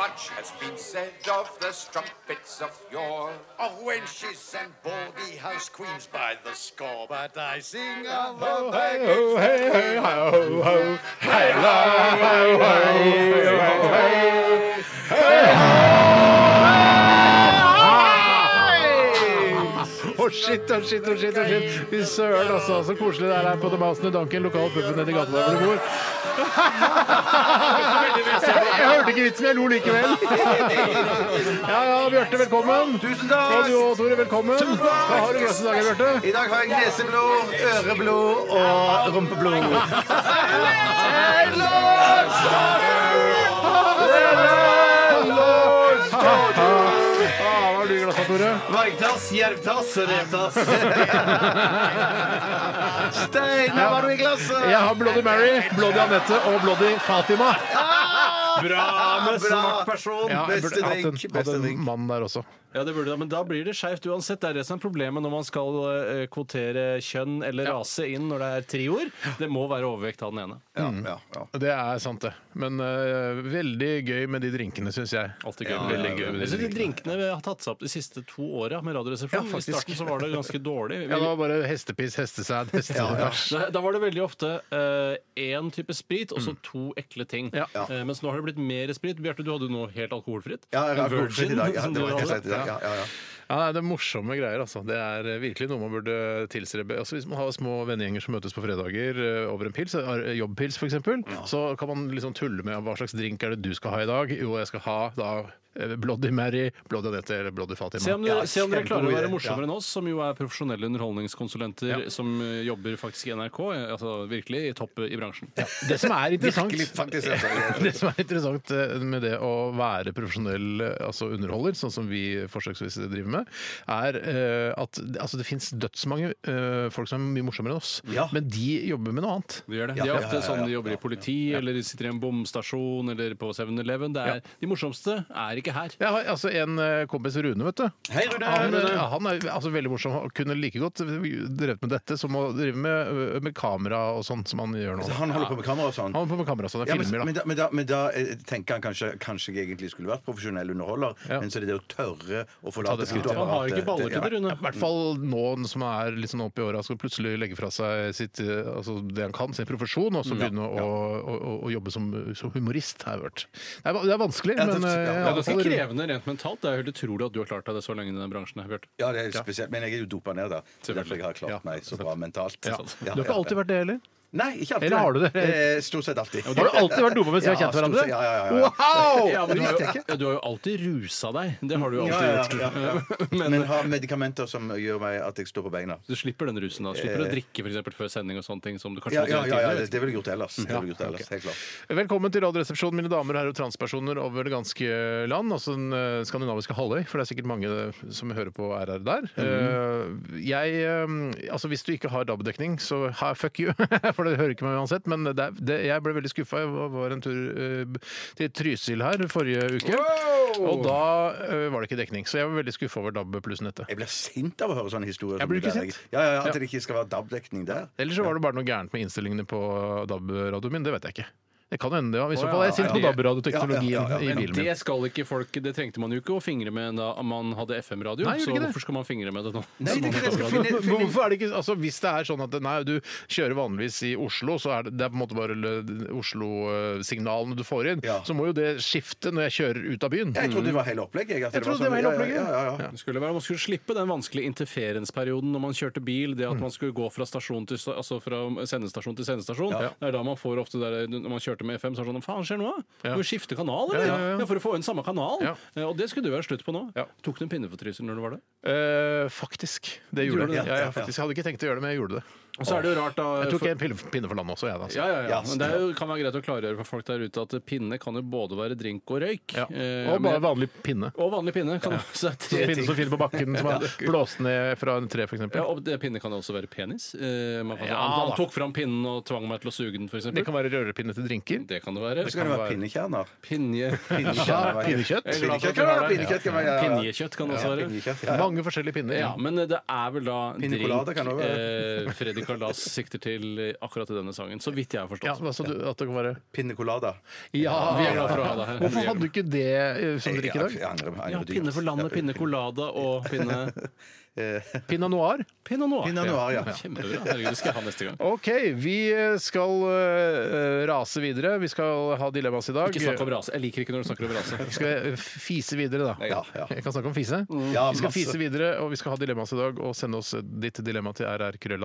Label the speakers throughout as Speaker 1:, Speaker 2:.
Speaker 1: Much has been said of the strumpets of yore, of wenches and baldy house queens by the score. But I sing of the baggage.
Speaker 2: Å, shit, å, shit, å, shit. å, shit. Fy søren, altså. Så koselig det er her på The Mouse and Duncan, lokal puben nedi gata der hvor du bor. Jeg hørte ikke vitsen, men jeg lo likevel. Ja, ja, Bjarte, velkommen. Tusen takk. Og du og Tore, velkommen. Hva har du i glasset i dag, Bjarte?
Speaker 3: I dag har jeg neseblod, øreblod og rumpeblod.
Speaker 2: Ja, hva har du i glasset, Tore?
Speaker 3: Vargtass, jervtass og revtass. Steinar, hva har du i glasset?
Speaker 2: Jeg har Bloody Mary, Bloody Anette og Bloody Fatima.
Speaker 3: Bra med
Speaker 2: smart
Speaker 3: person.
Speaker 2: Ja, jeg
Speaker 3: Beste
Speaker 2: burde hatt en,
Speaker 3: drink.
Speaker 2: hatt en mann der også.
Speaker 4: Ja, det burde det, men da blir det skeivt uansett. Det er det som er problemet når man skal eh, kvotere kjønn eller rase inn når det er trioer. Det må være overvekt av den ene.
Speaker 2: Det er sant, det. Men eh, veldig gøy med de drinkene, syns jeg.
Speaker 4: Alltid gøy.
Speaker 2: Veldig gøy med de
Speaker 4: Jeg synes de
Speaker 2: drinkene.
Speaker 4: drinkene vi har tatt seg opp de siste to åra med
Speaker 2: Ja,
Speaker 4: Radioresepsjonen. I
Speaker 2: faktisk.
Speaker 4: starten så var det ganske dårlig. Vi,
Speaker 2: Ja, det var bare hestepiss, hestesæd, hestebæsj.
Speaker 4: da, da var det veldig ofte eh, én type sprit
Speaker 3: Mm.
Speaker 4: og så to ekle ting.
Speaker 2: Ja.
Speaker 4: Eh, mens nå har det blitt mer sprit. Bjarte, du hadde jo noe helt alkoholfritt.
Speaker 3: Ja, jeg har alkoholfritt i
Speaker 4: Virgin,
Speaker 3: dag. Ja,
Speaker 4: som
Speaker 3: det
Speaker 4: du
Speaker 3: var helt
Speaker 4: hadde.
Speaker 3: rett i dag. Ja, ja, ja.
Speaker 2: Ja, nei, det er morsomme greier, altså. Det er eh, virkelig noe man burde tilstrebe. Altså, hvis man har små vennegjenger som møtes på fredager eh, over en pils, eh, jobbpils f.eks., eksempel, så kan man liksom tulle med hva slags drink er det du skal ha i dag. Jo, jeg skal ha da eh, Bloody Mary, Bloody Anette eller Bloody Fatima.
Speaker 4: Se om, dere,
Speaker 3: Ja,
Speaker 4: se om dere klarer å
Speaker 3: kjempegod
Speaker 4: være
Speaker 3: idé.
Speaker 4: morsommere enn oss, som jo er profesjonelle underholdningskonsulenter
Speaker 2: Ja.
Speaker 4: som eh, jobber faktisk i NRK, eh, altså virkelig i topp i bransjen.
Speaker 2: Det som er interessant
Speaker 3: Virkelig, faktisk, altså.
Speaker 2: Det som er interessant eh, med det å være profesjonell eh, altså underholder, sånn som vi forsøksvis driver med, er eh, at det- altså det fins dødsmange eh, folk som er mye morsommere enn oss,
Speaker 3: Ja.
Speaker 2: men de jobber med noe annet.
Speaker 4: De gjør det.
Speaker 3: Ja,
Speaker 4: De er
Speaker 3: ja,
Speaker 4: ofte
Speaker 3: ja, ja,
Speaker 4: sånn de
Speaker 3: ja.
Speaker 4: jobber i politi, eller de sitter i en bomstasjon, eller på 7-Eleven. Det er- De morsomste er ikke her.
Speaker 2: Jeg har altså en eh, kompis, Rune, vet du.
Speaker 3: Hei, Rune.
Speaker 2: Han, eh, han er altså veldig morsom. Han kunne like godt drevet med dette som å drive med, eh, med kamera og sånn, som han gjør nå.
Speaker 3: Altså, Han holder på med kamera og sånn.
Speaker 2: Han er på med kamera og sånn, og
Speaker 3: Ja, men,
Speaker 2: filmer,
Speaker 3: men,
Speaker 2: da.
Speaker 3: da, men, da, men da eh, tenker han kanskje Kanskje jeg egentlig skulle vært profesjonell underholder,
Speaker 2: Ja.
Speaker 3: men så er det det å tørre å forlate
Speaker 2: det skrittet.
Speaker 3: stort
Speaker 2: Han
Speaker 4: har
Speaker 3: apparat,
Speaker 4: ikke baller til
Speaker 3: ja.
Speaker 4: det, Rune.
Speaker 2: I hvert fall nå som er litt sånn opp i åra, skal plutselig legge fra seg sitt, eh, altså det han kan, sin profesjon, og så begynne å, å, å, å jobbe som, som humorist, har jeg hørt. Det er, det er vanskelig,
Speaker 3: Ja, det-
Speaker 2: men eh,
Speaker 3: ja,
Speaker 2: i
Speaker 4: Det er
Speaker 2: alle
Speaker 4: ganske
Speaker 2: fall-
Speaker 4: krevende rent mentalt. Det er jo helt utrolig at du har klart deg det så lenge i den bransjen. her, Bjarte.
Speaker 3: Ja, det er spesielt. Men jeg er jo dopa ned, da. Så
Speaker 4: Selvfølgelig.
Speaker 3: derfor jeg har klart
Speaker 2: Ja,
Speaker 3: meg så bra mentalt.
Speaker 2: ja.
Speaker 3: Ja,
Speaker 2: Du har ikke alltid vært det heller?
Speaker 3: Nei, ikke alltid.
Speaker 2: Eller har du det?
Speaker 3: Eh, Stort sett alltid.
Speaker 2: Har du alltid vært dopa mens vi har
Speaker 3: Ja,
Speaker 2: kjent hverandre?
Speaker 3: stort sett, Ja, ja, ja, ja.
Speaker 2: Wow!
Speaker 4: Ja, men du, har jo, ja, du har jo alltid rusa deg. Det har du jo alltid
Speaker 3: Ja,
Speaker 4: gjort.
Speaker 3: ja, ja, ja. Men, har medikamenter som gjør meg at jeg står på beina.
Speaker 4: Du slipper den rusen da. Slipper å drikke for eksempel, før sending og sånne ting. som du kanskje
Speaker 3: Eh. Ja,
Speaker 4: måtte
Speaker 3: ja,
Speaker 4: gjøre
Speaker 3: ja, ja
Speaker 4: tidligere.
Speaker 3: det, det ville jeg gjort ellers. Det ville jeg gjort ellers, helt klart.
Speaker 2: Velkommen til Radioresepsjonen, mine damer og herrer og transpersoner over det ganske land, også den eh, skandinaviske halvøy, for det er sikkert mange eh, som hører på RR der.
Speaker 3: Mhm.
Speaker 2: Eh, Jeg, eh, altså Hvis du ikke har DAB-dekning, så ha, fuck you, for det hører ikke meg uansett. Men det, er- det, jeg ble veldig skuffa. Jeg var, var en tur eh, til Trysil her forrige uke, og da eh, var det ikke dekning. Så jeg var veldig skuffa over DAB pluss nettet.
Speaker 3: Jeg blir sint av å høre sånne historier. som
Speaker 2: Jeg blir
Speaker 3: det
Speaker 2: ikke
Speaker 3: der.
Speaker 2: sint.
Speaker 3: Ja, ja, ja,
Speaker 2: Ja.
Speaker 3: At det ikke skal være DAB-dekning der.
Speaker 2: Eller så var det bare noe gærent med innstillingene på DAB-radioen min, det vet jeg ikke. Det kan hende, ja. I så
Speaker 4: Å,
Speaker 2: fall er jeg
Speaker 4: ja,
Speaker 2: sint på
Speaker 4: ja, ja.
Speaker 2: DAB-radioteknologien
Speaker 3: Ja, ja, ja, ja.
Speaker 2: i
Speaker 4: Men
Speaker 2: bilen min.
Speaker 4: det skal ikke folk Det trengte man jo ikke å fingre med da man hadde FM-radio.
Speaker 2: Nei, gjorde
Speaker 4: Så
Speaker 2: ikke det.
Speaker 4: hvorfor skal man fingre med det nå?
Speaker 3: Nei, det er ikke det jeg skal finne,
Speaker 2: Men
Speaker 3: finne.
Speaker 2: Hvorfor er det ikke, altså Hvis det er sånn at nei, du kjører vanligvis i Oslo, så er det, det er på en måte bare l- Oslo-signalene du får inn,
Speaker 3: Ja.
Speaker 2: så må jo det skifte når jeg kjører ut av byen.
Speaker 3: Jeg trodde det var hele opplegget. Jeg, at
Speaker 2: Jeg trodde det var
Speaker 3: sånn- ja,
Speaker 2: hele
Speaker 3: ja, ja, ja, ja.
Speaker 4: Det skulle være, Man skulle slippe den vanskelige interferensperioden når man kjørte bil. Det at
Speaker 2: Mm.
Speaker 4: man skulle gå fra, stasjon til, sta- altså fra sendestasjon til sendestasjon. Det er da man får ofte der, Når man kjørte med FM, så er det sånn Faen, skjer det nå? da?
Speaker 2: Ja.
Speaker 4: Du skifter kanal, eller?
Speaker 2: Ja,
Speaker 4: Ja,
Speaker 2: ja, ja.
Speaker 4: For å få inn samme kanal.
Speaker 2: Ja.
Speaker 4: Eh, Og det skulle det være slutt på nå.
Speaker 2: Ja.
Speaker 4: Tok du en pinne for Trysil når det var det?
Speaker 2: Eh, faktisk. Det gjorde
Speaker 4: Gjorde du
Speaker 2: jeg.
Speaker 4: det?
Speaker 2: Ja, ja, faktisk. Jeg hadde ikke tenkt å gjøre det, men jeg gjorde det.
Speaker 4: Og så er det jo rart, da
Speaker 2: Jeg tok
Speaker 4: Eh, for-
Speaker 2: en pille, pinne for landet også, jeg. Da, altså.
Speaker 4: ja, ja, ja.
Speaker 3: Ja,
Speaker 4: Men det er jo, kan være greit å klargjøre for folk der ute at pinne kan jo både være drink og røyk.
Speaker 2: Ja.
Speaker 4: Eh,
Speaker 2: Og bare
Speaker 4: men-
Speaker 2: vanlig pinne.
Speaker 4: og vanlig pinne. Kan også være
Speaker 2: Sånn
Speaker 4: tre
Speaker 2: pinne
Speaker 4: ting.
Speaker 2: som finner på bakken, som er blåst ned fra en tre, f.eks.
Speaker 4: Ja, og det, pinne kan jo også være penis. Eh, man kan,
Speaker 2: Ja,
Speaker 4: han, han
Speaker 2: da.
Speaker 4: tok fram pinnen og tvang meg til å suge den, f.eks.
Speaker 2: Det kan være rørepinne til drinker.
Speaker 4: det kan det være.
Speaker 3: Så kan det være pinnekjerner.
Speaker 4: Pinje.
Speaker 3: Pinnekjerner.
Speaker 2: Pinnekjøtt.
Speaker 4: Jeg er glad for at
Speaker 3: Pinnekjøtt kan være pinnekjøtt.
Speaker 4: du har det.
Speaker 3: kan være- ja, ja.
Speaker 4: Pinjekjøtt kan det også være.
Speaker 3: Pinnekjøtt, ja, ja.
Speaker 2: Mange forskjellige pinner.
Speaker 4: Ja, men eh, det er vel da
Speaker 3: Pina colada kan det
Speaker 4: drink
Speaker 3: også
Speaker 4: eh, Freddy Kalas sikter til eh, akkurat i denne sangen. Så vidt jeg har
Speaker 2: Ja,
Speaker 4: forstått.
Speaker 2: altså, du, at det kan være
Speaker 3: Pinne colada.
Speaker 2: Ja!
Speaker 4: Vi er glad for å ha deg her.
Speaker 2: Hvorfor hadde du ikke det eh, som drikk i
Speaker 3: Jeg-
Speaker 2: dag?
Speaker 3: jeg angrer- jeg angrer
Speaker 4: Ja,
Speaker 3: dypt.
Speaker 4: pinne for landet, pinne colada og pinne
Speaker 2: Pinot noir?
Speaker 4: Pinot noir.
Speaker 3: Pinot noir, ja.
Speaker 4: Kjempebra. Herregud, det skal jeg ha neste gang.
Speaker 2: OK, vi skal eh, rase videre. Vi skal ha dilemmas i dag.
Speaker 4: Ikke snakk om rase. Jeg liker ikke når du snakker om rase.
Speaker 2: Skal jeg fise videre, da?
Speaker 3: Ja, ja.
Speaker 2: Jeg kan snakke om fise.
Speaker 3: Ja,
Speaker 2: Vi skal
Speaker 3: masse.
Speaker 2: fise videre, og vi skal ha dilemmas i dag. Og sende oss ditt dilemma til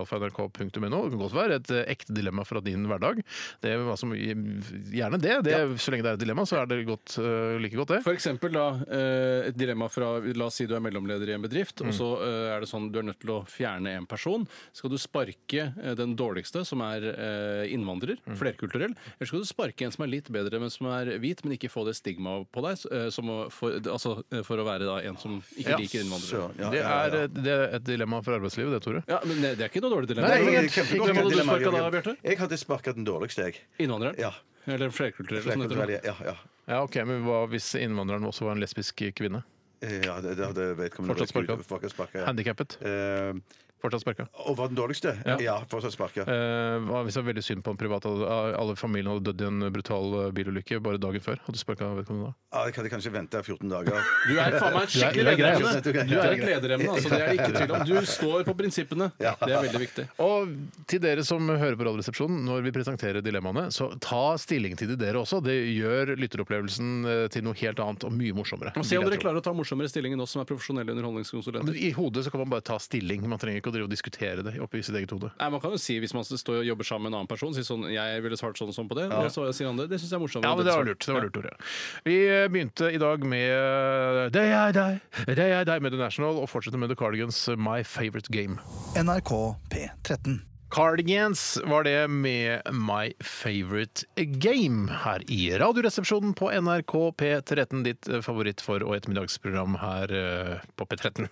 Speaker 2: rrkrøllalfa.nrk.no. Det kan godt være et eh, ekte dilemma fra din hverdag. Det er hva som, gjerne det. det Så lenge det er et dilemma, så er det godt, eh, like godt, det.
Speaker 4: For eksempel da, eh, et dilemma fra La oss si du er mellomleder i en bedrift, og så eh, er det sånn du er nødt til å fjerne en person. Skal du sparke eh, den dårligste, som er eh, innvandrer, flerkulturell, eller skal du sparke en som er litt bedre, men som er hvit, men ikke få det stigmaet på deg, s- eh, som å- for, altså, eh, for å være da, en som ikke
Speaker 2: Ja.
Speaker 4: liker innvandrere?
Speaker 3: Søren, ja,
Speaker 2: Det
Speaker 3: ja, ja.
Speaker 2: er, eh, det er et dilemma for arbeidslivet, det, Tore.
Speaker 4: Ja, men det, det er ikke noe dårlig dilemma.
Speaker 2: Nei,
Speaker 3: Det er
Speaker 2: helt-
Speaker 3: et kjempegodt
Speaker 2: ikke-
Speaker 4: Hvem hadde du
Speaker 3: dilemma,
Speaker 4: sparka da,
Speaker 3: Jørgen.
Speaker 4: Bjarte?
Speaker 3: Jeg hadde sparket den dårligste, jeg.
Speaker 4: Innvandreren?
Speaker 3: Ja.
Speaker 4: Eller flerkulturell? som det heter nå.
Speaker 3: Flerkulturell, ja, ja.
Speaker 2: Ja, ok, Men hva hvis innvandreren også var en lesbisk kvinne?
Speaker 3: Ja, det, det hadde vedkommende
Speaker 2: Fortsatt sparket.
Speaker 3: Fortsatt sparket, ja.
Speaker 2: Handikappet?
Speaker 3: Eh,
Speaker 2: Fortsatt sparka.
Speaker 3: og var den dårligste?
Speaker 2: Ja.
Speaker 3: Ja, fortsatt sparket.
Speaker 2: Eh, hva hvis det var veldig synd på en privat Alle familien hadde dødd i en brutal eh, bilulykke bare dagen før. Hadde du sparka vedkommende da?
Speaker 3: Ja, jeg hadde kanskje venta 14 dager.
Speaker 4: Du er faen meg et
Speaker 2: Du
Speaker 4: skikkelig
Speaker 2: er- du er grei,
Speaker 4: lederemne!
Speaker 3: altså.
Speaker 4: Du er et lederemne, altså. Det er det ikke tvil om. Du står på prinsippene. Det
Speaker 3: Ja.
Speaker 4: er veldig viktig.
Speaker 2: Og til dere som hører på Radioresepsjonen, når vi presenterer dilemmaene, så ta stilling til de dere også. Det gjør lytteropplevelsen eh, til noe helt annet og mye morsommere.
Speaker 4: Og se om
Speaker 2: vil jeg
Speaker 4: dere
Speaker 2: tro.
Speaker 4: klarer å ta morsommere stilling enn oss som er profesjonelle
Speaker 2: Men
Speaker 4: underholdningskonsulenter.
Speaker 2: I hodet så kan man bare ta stilling. Man trenger ikke å drive og diskutere det oppi sitt eget hode.
Speaker 4: Nei, man kan jo si Hvis man står og jobber sammen med en annen person, si sånn 'Jeg ville svart sånn og sånn på det', og så sier han det. Det syns jeg er morsommere.
Speaker 2: Ja, men det var lurt. Det var lurt, Tore. Vi eh, begynte i dag med eh, Det er deg, det er deg med The National, og fortsetter med The Cardigans' eh, My Favorite Game.
Speaker 5: NRK P13.
Speaker 2: Cardigans var det med My Favorite Game her i Radioresepsjonen på NRK P13. Ditt eh, favoritt for- og ettermiddagsprogram her eh, på P13.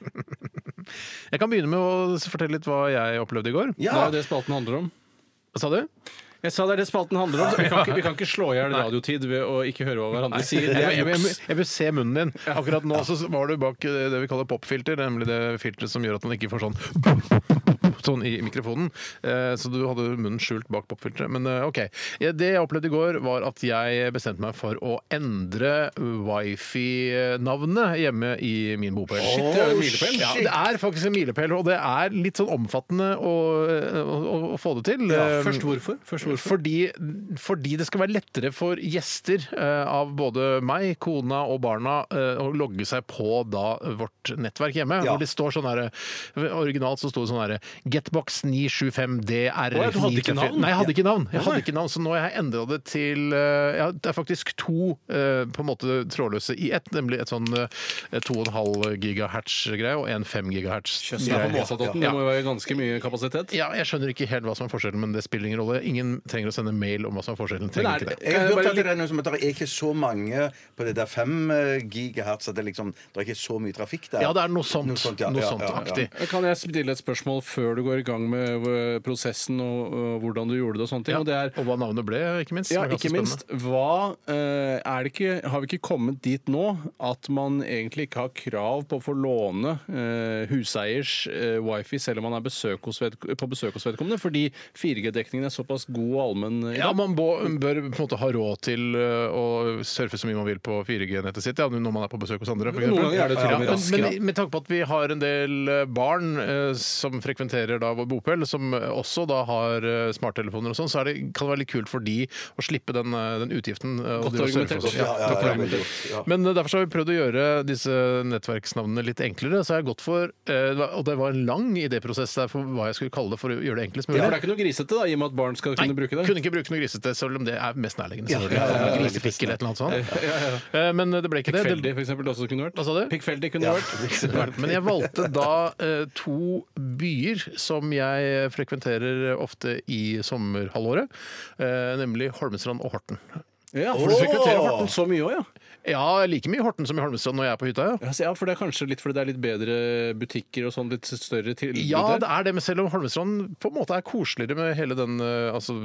Speaker 2: Jeg kan begynne med å fortelle litt hva jeg opplevde i går.
Speaker 4: Det er jo det spalten handler om.
Speaker 2: Hva sa du?
Speaker 4: Jeg sa det er det spalten handler om. så Vi kan ikke, vi kan ikke slå i hjel radiotid ved å ikke høre hva hverandre sier. Det
Speaker 2: Jeg,
Speaker 4: er
Speaker 2: jeg, jeg,
Speaker 4: juks.
Speaker 2: jeg vil se munnen din. Akkurat nå så var du bak eh, det vi kaller popfilter, nemlig det filteret som gjør at man ikke får sånn sånn i mikrofonen. Eh, Så du hadde munnen skjult bak popfilteret. Men eh, OK. Ja, Det jeg opplevde i går, var at jeg bestemte meg for å endre wifi-navnet hjemme i min bopel.
Speaker 4: Shit, det er jo en milepæl.
Speaker 2: Ja, det er faktisk en milepæl, og det er litt sånn omfattende å, å, å- å få det til.
Speaker 4: Ja,
Speaker 2: Eh,
Speaker 4: Først hvorfor? Først hvorfor?
Speaker 2: fordi, fordi det skal være lettere for gjester eh, av både meg, kona og barna eh, å logge seg på da vårt nettverk hjemme.
Speaker 3: Ja.
Speaker 2: Hvor det står sånn her, Originalt så sto det sånn herre Getbox 975DR.
Speaker 4: Å, ja, du hadde ikke navn?
Speaker 2: Nei, jeg hadde ikke navn. Jeg
Speaker 4: Nei.
Speaker 2: hadde ikke navn, Så nå har jeg endra det til eh, ja, Det er faktisk to eh, på en måte trådløse i ett, nemlig et sånn eh, 2,5 gigahertz-greie og en 5 gigahertz.
Speaker 4: Det er på Måsadotten. Det må jo være ganske mye kapasitet.
Speaker 2: Ja, jeg skjønner ikke helt hva som er forskjellen, men det spiller ingen rolle. Ingen trenger å sende mail om hva som er forskjellen.
Speaker 4: Men
Speaker 2: Trenger
Speaker 4: er-
Speaker 2: ikke det.
Speaker 3: Jeg
Speaker 4: kan
Speaker 3: har
Speaker 4: jeg
Speaker 3: hørt
Speaker 4: bare
Speaker 3: at det er noe som at det er ikke så mange på det der 5 gigahertz at det, liksom, det er ikke så mye trafikk der.
Speaker 2: Ja, det er noe sånt. Noe sånt,
Speaker 3: ja, ja, ja, ja.
Speaker 2: aktig.
Speaker 4: Kan jeg stille et spørsmål før du går i gang med øh, prosessen og øh, hvordan du gjorde det og sånne ting? Og det er
Speaker 2: og hva navnet ble, ikke minst.
Speaker 4: Ja,
Speaker 2: Det var ganske
Speaker 4: ikke minst. Hva eh, er det ikke Har vi ikke kommet dit nå at man egentlig ikke har krav på å få låne eh, huseiers eh, wifi selv om man er besøk hos vedk- på besøk hos vedkommende? Fordi 4G-dekningen er såpass god og allmenn i
Speaker 2: spennende. Ja,
Speaker 4: dag.
Speaker 2: man bå- bør på en måte ha råd til ø, å surfe så mye man vil på 4G-nettet sitt ja, når man er på besøk hos andre. for
Speaker 4: Noen
Speaker 2: eksempel.
Speaker 4: ganger er det til og med
Speaker 2: Ja,
Speaker 4: raskere.
Speaker 2: Men med tanke på at vi har en del ø, barn ø, som frekventerer da vår bopel, som også da har ø, smarttelefoner og sånn, så er det, kan det være litt kult for de å slippe den, ø, den utgiften. ø, og
Speaker 4: Godt
Speaker 2: det å surfe
Speaker 4: argumentert.
Speaker 2: og sånn.
Speaker 3: Ja, ja,
Speaker 2: takk for
Speaker 3: ja,
Speaker 2: det.
Speaker 3: veldig godt, ja.
Speaker 2: Men eh, derfor så har vi prøvd å gjøre disse nettverksnavnene litt enklere. Så har jeg gått for, eh, det var- og det var en lang idéprosess der for hva jeg skulle kalle det for å gjøre det enklest mulig.
Speaker 4: For det er ikke noe grisete, da, i og med at barn skal kunne bruke det.
Speaker 2: Kunne ikke bruke noe grisete, selv om det er mest nærliggende. selvfølgelig.
Speaker 3: ja, ja, ja, ja.
Speaker 2: Grisefikk eller et eller annet sånt. Eh, Men det ble ikke det.
Speaker 4: Pikkfeldig,
Speaker 2: det.
Speaker 4: for eksempel, også kunne vært.
Speaker 2: Hva sa du?
Speaker 4: Pikkfeldig kunne vært.
Speaker 2: Men jeg valgte da eh, to byer som jeg frekventerer ofte i sommerhalvåret, eh, nemlig Holmestrand og Horten.
Speaker 4: Ja, for du frekventerer Horten så mye òg, ja.
Speaker 2: Ja, like mye Horten som i Holmestrand når jeg er på hytta. ja.
Speaker 4: Ja, så- ja. For det er kanskje litt fordi det er litt bedre butikker og sånn, litt større tilbud
Speaker 2: Ja, det
Speaker 4: der?
Speaker 2: er det, men selv om Holmestrand på en måte er koseligere med hele den eh, altså,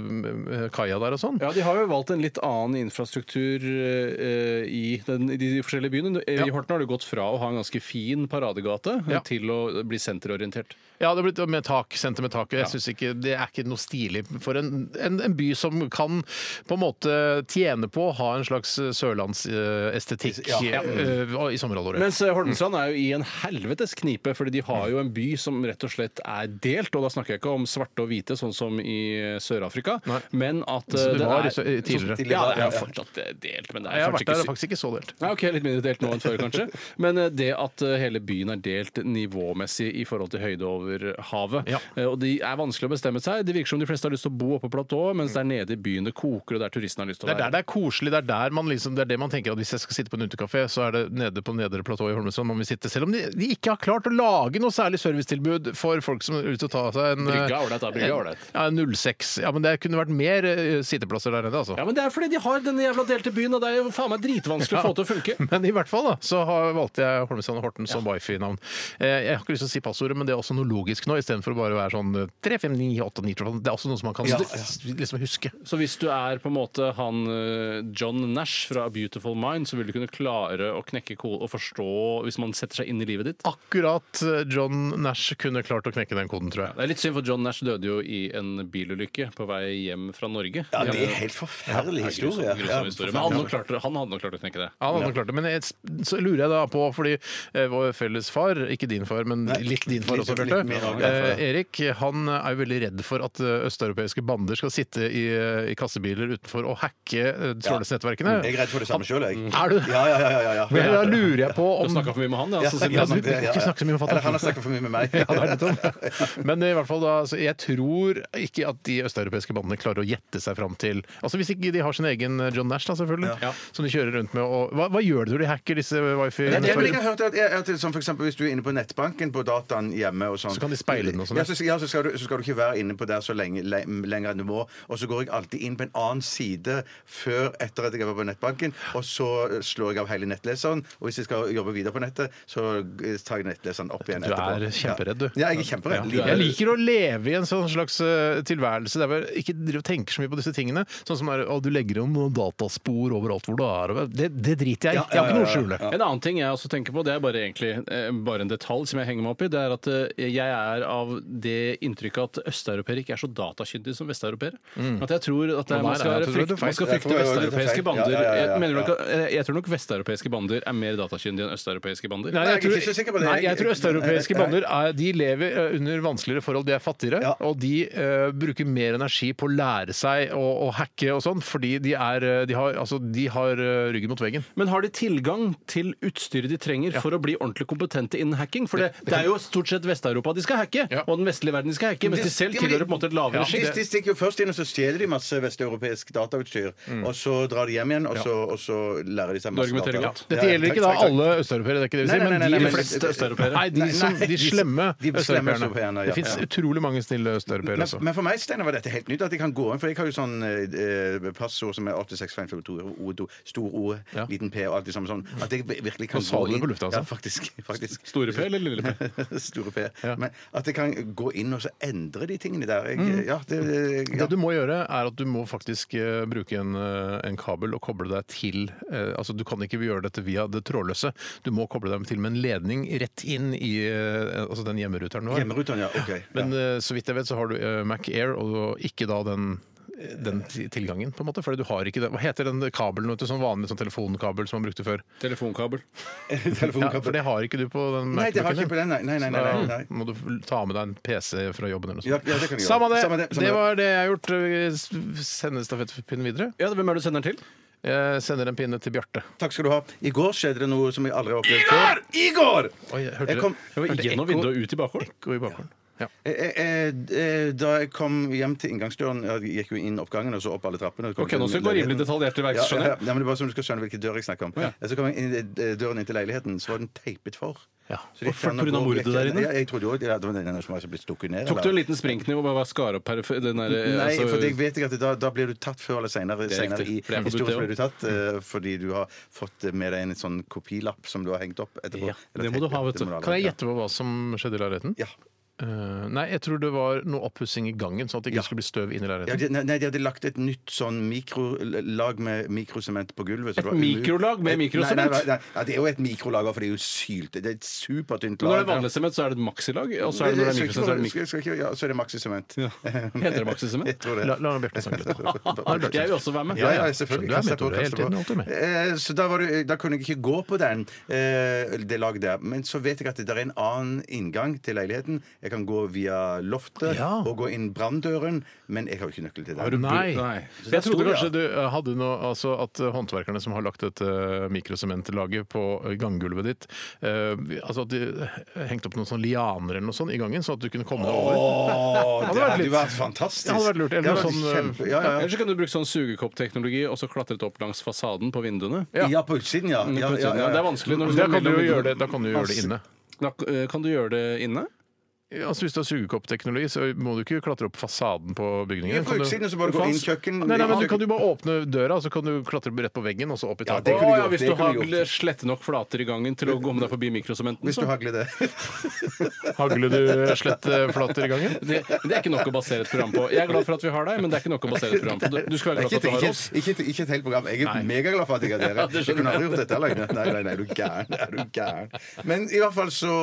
Speaker 2: eh, kaia der og sånn.
Speaker 4: Ja, De har jo valgt en litt annen infrastruktur eh, i, den, i de forskjellige byene. I
Speaker 2: Ja.
Speaker 4: Horten har du gått fra å ha en ganske fin paradegate eh,
Speaker 2: Ja.
Speaker 4: til å bli senterorientert.
Speaker 2: Ja, det har blitt med tak, senter med taket. Jeg synes ikke, Det er ikke noe stilig for en, en, en by som kan på en måte tjene på å ha en slags sørlandsestetikk
Speaker 3: Ja. Ja.
Speaker 2: i sommerhalvåret.
Speaker 4: Mens eh, Holmestrand er jo i en helvetes knipe, fordi de har jo en by som rett og slett er delt. Og da snakker jeg ikke om svarte og hvite, sånn som i eh, Sør-Afrika,
Speaker 2: Nei.
Speaker 4: men at eh,
Speaker 2: Så det var i
Speaker 4: er
Speaker 2: Sø- i tidligere.
Speaker 4: så- Ja, det er jo fortsatt eh, delt, men det
Speaker 2: jeg
Speaker 4: er
Speaker 2: har
Speaker 4: kanskje
Speaker 2: vært der, det
Speaker 4: ikke
Speaker 2: er
Speaker 4: sy-
Speaker 2: faktisk ikke så delt.
Speaker 4: Nei, ok, Litt mindre delt nå enn før, kanskje. Men eh, det at eh, hele byen er delt nivåmessig i forhold til høyde over havet.
Speaker 2: Ja.
Speaker 4: Eh, Og de er vanskelig å bestemme seg. Det virker som de fleste har lyst til å bo oppe på platået, mens det er nede i byen det koker, og der turistene har lyst til
Speaker 2: Det
Speaker 4: å
Speaker 2: er der
Speaker 4: være.
Speaker 2: det er koselig. Det er der man liksom, det er det man tenker at hvis jeg skal sitte på en utekafé, så er det nede på nedre platå i Holmestrand man vil sitte. Selv om de, de ikke har klart å lage noe særlig servicetilbud for folk som er ute og ta seg en
Speaker 4: Brygga er ålreit, da. Brygga er ålreit.
Speaker 2: Ja, 06. Ja, men det kunne vært mer eh, sitteplasser der nede, altså.
Speaker 4: Ja, men Det er fordi de har denne jævla delte byen, og det er jo faen meg dritvanskelig å få til å funke.
Speaker 2: Men i hvert fall da, så har, valgte jeg Holmestrand og Horten som wifi-navn. Eh, jeg har ikke lyst til å si passordet, men det er også noe logisk nå, istedenfor å bare være sånn eh, 3, 5, 9, 8, 9, 12. Det er også noe som man kan s- liksom huske.
Speaker 4: Så hvis du er på en måte han eh, John Nash fra A Beautiful Mind, så vil du kunne klare å knekke koden og forstå hvis man setter seg inn i livet ditt?
Speaker 2: Akkurat eh, John Nash kunne klart å knekke den koden, tror jeg.
Speaker 4: Det er litt synd, for John Nash døde jo i en bilulykke på vei hjem fra Norge.
Speaker 3: Ja, det er en
Speaker 4: Ja,
Speaker 3: helt forferdelig historie.
Speaker 4: grusom, grusom historie. Men
Speaker 3: Ja,
Speaker 4: han hadde nok klart, det- han hadde nok klart å knekke det.
Speaker 2: Ja, han hadde nok klart det, Men jeg, så lurer jeg da på, fordi eh, vår felles far, ikke din far, men litt din far
Speaker 3: litt-
Speaker 2: også,
Speaker 3: litt mer av
Speaker 2: Bjarte,
Speaker 3: min far, ja.
Speaker 2: eh, Erik, han er jo veldig redd for at eh, østeuropeiske bander skal sitte i, eh, i kassebiler utenfor og hacke eh, trådløsnettverkene.
Speaker 3: Jeg er redd for det samme sjøl, jeg.
Speaker 2: Er du det?
Speaker 3: Ja, ja, ja, ja, ja.
Speaker 2: Men da lurer jeg på
Speaker 4: Du
Speaker 2: om
Speaker 4: snakka for mye med han, ja.
Speaker 3: Ja, ja,
Speaker 4: Så, Silje.
Speaker 2: du-
Speaker 3: sant, ja, ja.
Speaker 2: ikke snakke så mye med fatter'n.
Speaker 3: Eller Han har snakket for mye med meg.
Speaker 2: Ja, det er litt sånn. dumt. Men i hvert fall da, så jeg tror ikke at de østeuropeiske bandene klarer å gjette seg fram til Altså Hvis ikke de har sin egen eh, John Nash, da selvfølgelig,
Speaker 4: Ja.
Speaker 2: som de kjører rundt med. Og, hva, hva gjør du når de hacker disse wifi?
Speaker 3: Ja, det, men jeg har hørt at, at det, som for eksempel, Hvis du er inne på nettbanken på dataen hjemme og sånn,
Speaker 2: Så kan de speile den og sånn, ja.
Speaker 3: Ja, så, ja, så, skal du, så skal du ikke være inne på der så lenge, le, lenger enn du må. Og så går jeg alltid inn på en annen side før etter at jeg har vært på nettbanken, og så eh, slår jeg av hele nettleseren. Og hvis jeg skal jobbe videre på nettet, så eh, tar jeg nettleseren opp igjen
Speaker 2: Du
Speaker 3: etterpå.
Speaker 2: er kjemperedd, du.
Speaker 3: Ja, jeg er kjemperedd.
Speaker 2: Ja. Jeg liker å leve i en sånn slags eh, tilværelse der jeg ikke driver og tenker så mye på disse tingene. Sånn som er, å, du legger om noen dataspor overalt hvor du er. og Det, det driter jeg i. Jeg har ikke noe å skjule.
Speaker 4: En annen ting jeg også tenker på, det er bare egentlig eh, bare en detalj som jeg henger meg opp i, det er at eh, jeg er av det inntrykket at østeuropeere ikke er så datakyndige som vesteuropeere.
Speaker 3: Mm.
Speaker 4: At jeg tror at det,
Speaker 2: Og der
Speaker 4: man,
Speaker 2: er jeg
Speaker 4: skal være
Speaker 2: til det
Speaker 4: frykt,
Speaker 2: du feil.
Speaker 4: man skal
Speaker 3: Jeg
Speaker 4: frykte
Speaker 3: tror jeg er litt
Speaker 4: vesteuropeiske
Speaker 3: feil.
Speaker 4: bander.
Speaker 3: Ja, ja, ja, ja,
Speaker 4: Jeg, mener nok,
Speaker 3: ja.
Speaker 4: at- eh, jeg tror nok vesteuropeiske bander er mer datakyndige enn østeuropeiske bander.
Speaker 2: Nei,
Speaker 3: Nei,
Speaker 2: jeg
Speaker 3: jeg er
Speaker 2: tror,
Speaker 3: ikke så sikker på det.
Speaker 2: nei, jeg tror østeuropeiske
Speaker 3: Nei, nei.
Speaker 2: bander er, de lever eh, under vanskeligere forhold. De er fattigere,
Speaker 3: Ja.
Speaker 2: og de eh, bruker mer energi på å lære seg å, å hacke og sånn, fordi de, er, eh, de, har, altså, de har eh, ryggen mot veggen.
Speaker 4: Men har de tilgang til utstyret de trenger for å bli ordentlig kompetente innen hacking? For det, det er jo stort sett Vest-Europa de skal hacke,
Speaker 2: Ja.
Speaker 4: og den vestlige verden de skal hacke, mens
Speaker 3: Det-
Speaker 4: de selv
Speaker 3: ja, men-
Speaker 4: tilhører på en måte et lavere
Speaker 3: De,
Speaker 4: sjikt.
Speaker 3: de stikker jo først inn og så stjeler de masse vesteuropeisk datautstyr.
Speaker 2: Mm.
Speaker 3: Og så drar de hjem igjen, og så, og så lærer de seg
Speaker 4: Du
Speaker 3: masse
Speaker 4: argumenterer
Speaker 3: data.
Speaker 4: godt.
Speaker 2: Dette gjelder ikke da alle østeuropeere, det er ikke det vi
Speaker 3: Nei,
Speaker 2: sier,
Speaker 3: nei,
Speaker 2: men
Speaker 3: nei, nei,
Speaker 2: de,
Speaker 3: men-
Speaker 2: fleste
Speaker 4: østeuropeere.
Speaker 2: Nei, de,
Speaker 3: Nei,
Speaker 2: som,
Speaker 3: nei,
Speaker 2: de
Speaker 3: de-
Speaker 2: slemme
Speaker 3: de slemme østeuropeerne,
Speaker 2: østeuropeerne.
Speaker 3: ja,
Speaker 2: Det fins
Speaker 3: ja.
Speaker 2: utrolig mange snille østeuropeere
Speaker 3: Men,
Speaker 2: også.
Speaker 3: men for meg Steiner, var dette helt nytt. At jeg kan gå inn, for jeg har jo sånn eh, eh, passord som er 8652, stor O,
Speaker 2: Ja.
Speaker 3: liten P og alt det samme sånn. At jeg virkelig kan
Speaker 2: Nå sa
Speaker 3: gå
Speaker 2: du det
Speaker 3: inn
Speaker 2: på lufta, altså.
Speaker 3: Ja, faktisk. faktisk.
Speaker 4: Store P eller lille P?
Speaker 3: Store P.
Speaker 2: Ja.
Speaker 3: Men at jeg kan gå inn og så endre de tingene der. Jeg, ja, det, ja.
Speaker 2: Mm. Det du må gjøre, er at du må faktisk eh, bruke en, eh, en kabel og koble deg til eh, Altså, du kan ikke gjøre dette via det trådløse. Du må koble deg til med en ledning rett inn i eh, altså den hjemmeruteren du har.
Speaker 3: Hjemmeruteren, ja. OK.
Speaker 2: Men
Speaker 3: ja.
Speaker 2: eh, så vidt jeg vet, så har du eh, Mac Air, og ikke da den den ti- tilgangen, på en måte. Fordi du har ikke det. Hva heter den kabelen? Vet du, sånn vanlig sånn telefonkabel som man brukte før?
Speaker 4: Telefonkabel.
Speaker 2: Ja,
Speaker 3: Telefonkabel.
Speaker 2: for det har ikke du på den
Speaker 3: Nei, det har ikke
Speaker 2: Mac-en
Speaker 3: på
Speaker 2: din.
Speaker 3: den, nei. nei, nei, nei,
Speaker 2: Da
Speaker 3: nei, nei.
Speaker 2: Mm. må du ta med deg en PC fra jobben eller noe
Speaker 3: Ja,
Speaker 2: sånt.
Speaker 3: ja, det kan jeg gjøre.
Speaker 2: Samme det!
Speaker 3: Samme det, samme
Speaker 2: det
Speaker 3: det.
Speaker 2: var det jeg har gjort. Eh, Sende stafettpinnen videre.
Speaker 4: Ja, Hvem er det du sender den til?
Speaker 2: Jeg sender en pinne til Bjarte.
Speaker 3: Takk skal du ha. I går skjedde det noe som jeg aldri har opplevd før. I går!
Speaker 2: Oi, jeg hørte
Speaker 3: Jeg kom,
Speaker 2: det. Hørte
Speaker 4: Gjennom
Speaker 2: ekko-
Speaker 4: vinduet og ut i bakgården?
Speaker 2: ekko i bakgrunnen. Ja.
Speaker 3: Eh, eh, eh, Da jeg kom hjem til inngangsdøren Jeg gikk jo inn oppgangen og så opp alle trappene og kom
Speaker 4: Ok, nå
Speaker 3: til
Speaker 4: skal du gå rimelig
Speaker 3: leiligheten.
Speaker 4: detaljert til verks,
Speaker 3: Ja, ja,
Speaker 4: skjønner
Speaker 3: ja,
Speaker 4: jeg.
Speaker 3: men det er bare sånn du skal skjønne hvilken dør jeg snakker om.
Speaker 4: Ja.
Speaker 3: Så kom jeg inn i døren inn til leiligheten, så var den teipet for.
Speaker 2: Ja.
Speaker 3: Så det gikk
Speaker 4: Hvorfor?
Speaker 3: an å
Speaker 4: På grunn av
Speaker 3: gå
Speaker 4: mordet
Speaker 3: vekk-
Speaker 4: der inne?
Speaker 3: Ja, jeg trodde jo at ja, det var den som var blitt stukket ned.
Speaker 4: Tok du
Speaker 3: eller-
Speaker 4: en liten springkniv og bare skar opp perifer... Den der, eh,
Speaker 3: Nei,
Speaker 4: altså-
Speaker 3: for jeg vet ikke at da, da blir du tatt før eller senere.
Speaker 4: Det er
Speaker 3: senere
Speaker 4: riktig,
Speaker 3: i
Speaker 4: for det er forbudt,
Speaker 3: historien
Speaker 4: det
Speaker 3: blir du tatt eh, fordi du har fått med deg en sånn kopilapp som du har hengt opp etterpå.
Speaker 4: Ja,
Speaker 3: Eller
Speaker 4: det må du
Speaker 3: teip,
Speaker 4: ha, vet
Speaker 3: det
Speaker 4: du.
Speaker 3: må ha.
Speaker 2: Kan jeg gjette på hva som skjedde i leiligheten?
Speaker 3: Ja.
Speaker 2: Eh, nei, jeg tror det var noe oppussing i gangen, sånn at det ikke
Speaker 3: Ja.
Speaker 2: skulle bli støv inn i
Speaker 3: Ja,
Speaker 2: leiligheten.
Speaker 3: de, nei, de hadde lagt et nytt sånn mikrolag med mikrosement på gulvet. så det var umulig-
Speaker 4: mikrolag med
Speaker 3: Et-
Speaker 4: mikrosement?
Speaker 3: Nei, nei, nei, nei, ja, det er jo et mikrolag, for det er jo sylt. Det er et supertynt
Speaker 4: Når det
Speaker 3: lag.
Speaker 4: er vanlig sement, så er det et maksilag. Og så er det når det er
Speaker 3: Jeg skal
Speaker 4: mikrosement, så er
Speaker 3: ikke-
Speaker 4: det mikro...
Speaker 3: jeg skal ikke- Ja, så er det maxisement.
Speaker 4: Ja. Heter det maksisement?
Speaker 3: Jeg tror det.
Speaker 2: La, la Bjarte snakke litt.
Speaker 4: Jeg vil også være med.
Speaker 3: Ja, ja, selvfølgelig.
Speaker 2: Du er med,
Speaker 3: Kast deg på,
Speaker 2: Tore, hele
Speaker 3: kast deg
Speaker 2: tiden,
Speaker 3: på.
Speaker 2: alltid
Speaker 3: Eh, Så da, var det, da kunne jeg ikke gå på den, eh, det laget der. Men så vet jeg at det er en annen inngang til leiligheten. Jeg kan gå via loftet
Speaker 2: Ja.
Speaker 3: og gå inn branndøren, men jeg har jo ikke nøkkel til den.
Speaker 2: Nei.
Speaker 4: Nei.
Speaker 2: Så Jeg trodde
Speaker 3: stor,
Speaker 2: kanskje
Speaker 3: ja.
Speaker 2: du eh, hadde noe Altså at eh, håndverkerne som har lagt dette eh, mikrosementlaget på eh, ganggulvet ditt eh, Altså at de eh, hengte opp noen sånne lianer eller noe sånt i gangen, sånn at du kunne komme deg over.
Speaker 3: Åh,
Speaker 2: Hadde
Speaker 3: det
Speaker 2: vært
Speaker 3: hadde jo
Speaker 2: litt-
Speaker 3: vært fantastisk.
Speaker 2: Det hadde vært lurt, eller
Speaker 3: Det hadde
Speaker 2: noe
Speaker 3: vært
Speaker 2: sånn,
Speaker 3: kjempe, ja, ja, ja.
Speaker 4: Eller så kan du bruke sånn sugekoppteknologi og så klatret opp langs fasaden på vinduene.
Speaker 2: Ja.
Speaker 3: ja, på utsiden, ja. ja, ja, ja, ja.
Speaker 4: Det er vanskelig. Når
Speaker 2: Da
Speaker 4: skal
Speaker 2: kan du jo
Speaker 4: mellom-
Speaker 2: gjøre det, da kan du jo gjøre det inne.
Speaker 4: Da, eh, kan du gjøre det inne?
Speaker 2: Altså Hvis du har sugekoppteknologi, så må du ikke klatre opp fasaden på bygningen.
Speaker 3: Ja, på
Speaker 2: Kan du-
Speaker 3: utsiden, så bare gå inn kjøkken-
Speaker 2: Nei, nei, men
Speaker 3: Ja.
Speaker 2: du kan du bare åpne døra, og så kan du klatre rett på veggen, og så opp i
Speaker 3: Ja,
Speaker 2: taket.
Speaker 3: det kunne du
Speaker 4: Å, ja,
Speaker 3: gjort,
Speaker 4: hvis
Speaker 3: det
Speaker 4: du
Speaker 3: kunne
Speaker 4: har
Speaker 3: du gjort.
Speaker 4: slette nok flater i gangen til å komme deg forbi mikrosementen,
Speaker 3: Hvis du
Speaker 4: så
Speaker 3: hagler det.
Speaker 2: Hagler du slett eh, flater i gangen?
Speaker 4: det, det er ikke nok å basere et program på. Jeg er glad for at vi har deg, men det er ikke nok å basere et program på. Du- Du skal være glad
Speaker 3: Ikke,
Speaker 4: for at du har
Speaker 3: ikke,
Speaker 4: oss.
Speaker 3: ikke, ikke et helt program. Jeg er megaglad for at jeg har dere.
Speaker 4: det skjønner
Speaker 3: Jeg kunne aldri gjort dette alene. Nei, nei, nei, er du gæren. Er du gæren. Men i hvert fall så,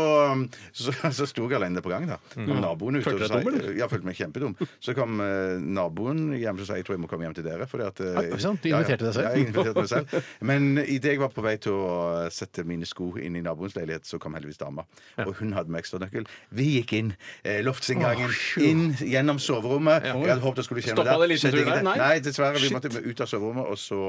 Speaker 3: så, så sto jeg alene på gang, da. Og naboen ute
Speaker 4: Mm. Følte du deg
Speaker 3: og sa-
Speaker 4: dum, eller?
Speaker 3: Ja, følte meg kjempedum. Så kom eh, naboen hjem og sa jeg tror jeg må komme hjem til dere. Fordi at, eh,
Speaker 2: Ah, sant, du inviterte deg selv.
Speaker 3: Ja, jeg inviterte meg selv. Men idet jeg var på vei til å eh, sette mine sko inn i naboens leilighet, så kom heldigvis dama. Og hun hadde med ekstranøkkel. Vi gikk inn eh, loftsinngangen, inn gjennom soverommet. Jeg hadde håpet det skulle skje noe
Speaker 4: Stoppa det liten
Speaker 3: Skjedde
Speaker 4: tur der?
Speaker 3: ingenting.
Speaker 4: Nei.
Speaker 3: Nei, dessverre. Vi måtte ut av soverommet, og så,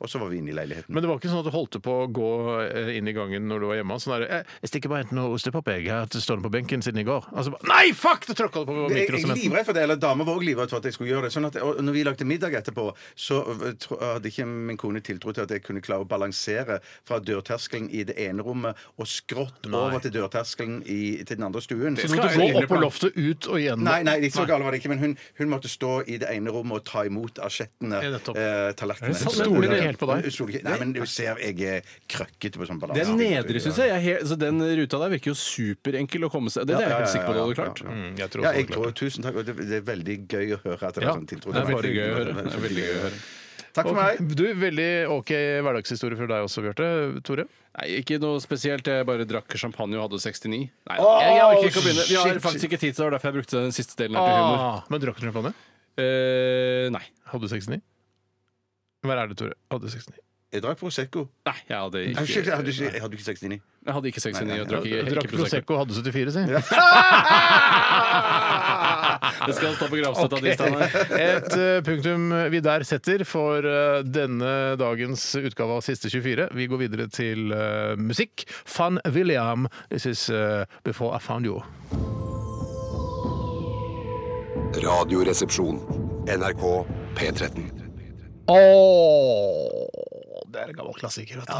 Speaker 3: og så var vi inne i leiligheten.
Speaker 2: Men det var ikke sånn at du holdt på å gå eh, inn i gangen når du var hjemme? Sånn der, eh, 'Jeg stikker bare og henter noe ostepop, jeg. Jeg har hatt det stående på benken siden i går.' Og så bare, Nei, fuck! Du tråkka på
Speaker 3: jeg, jeg er
Speaker 2: mikrosementen.
Speaker 3: livredd for det, eller Dama var også livredd for at jeg skulle gjøre det. Sånn at, og når vi lagde middag etterpå, så øh, tro- hadde ikke min kone tiltro til at jeg kunne klare å balansere fra dørterskelen i det ene rommet og skrått over til dørterskelen i, til den andre stuen.
Speaker 2: Så måtte du gå opp på loftet, ut og igjen.
Speaker 3: Nei, nei, ikke så gale var det ikke, men hun, hun måtte stå i det ene rommet og ta imot asjettene.
Speaker 2: Ja, nettopp. sånn?
Speaker 3: Eh, tallerkenene.
Speaker 4: sant?
Speaker 2: Stoler ikke helt på deg?
Speaker 3: Hun stoler ikke- Nei, men du ser jeg er krøkkete på sånn balanse.
Speaker 4: Den nedre, syns jeg. jeg er helt, så den ruta der virker jo superenkel å komme seg Det, det er jeg helt sikker på at du hadde klart.
Speaker 3: Ja, ja, ja.
Speaker 2: Mm, jeg tror
Speaker 3: ja,
Speaker 2: også
Speaker 3: jeg
Speaker 2: det.
Speaker 3: tror, tusen takk. og Det, det er veldig gøy å høre at det
Speaker 2: Ja,
Speaker 3: er sånn tiltro.
Speaker 2: det er
Speaker 4: Bare gøy å høre.
Speaker 3: Det
Speaker 4: Det er
Speaker 3: er
Speaker 4: veldig gøy å høre.
Speaker 3: Takk for
Speaker 2: Ok.
Speaker 3: meg.
Speaker 2: Du, Veldig OK hverdagshistorie fra deg også, Bjarte. Tore?
Speaker 4: Nei, ikke noe spesielt. Jeg bare drakk champagne og hadde 69. Nei, jeg, jeg orker ikke å begynne. Vi har
Speaker 3: shit,
Speaker 4: faktisk
Speaker 3: shit.
Speaker 4: ikke tid til det, var derfor jeg brukte den siste
Speaker 2: Ah.
Speaker 4: delen her til humor.
Speaker 2: Men drakk du champagne?
Speaker 4: Eh, nei.
Speaker 2: Hadde du 69? Vær ærlig, Tore. Hadde du 69?
Speaker 3: Jeg drakk Prosecco.
Speaker 4: nei. Jeg hadde
Speaker 3: Nei, shit, Jeg
Speaker 4: ikke,
Speaker 3: hadde ikke, jeg hadde ikke 69.
Speaker 4: jeg hadde ikke 69 og drakk ikke,
Speaker 2: Du drakk
Speaker 4: ikke Prosecco.
Speaker 2: Prosecco og hadde 74, si.
Speaker 4: Det skal stå på gravstøtta
Speaker 2: Ok.
Speaker 4: di, Steinar.
Speaker 2: Et eh, punktum vi der setter for eh, denne dagens utgave av Siste 24. Vi går videre til eh, musikk. Van William, this is eh, Before I Found You.
Speaker 6: Radioresepsjon. NRK P13.
Speaker 2: Åh, det er en gammel klassiker. Vet du.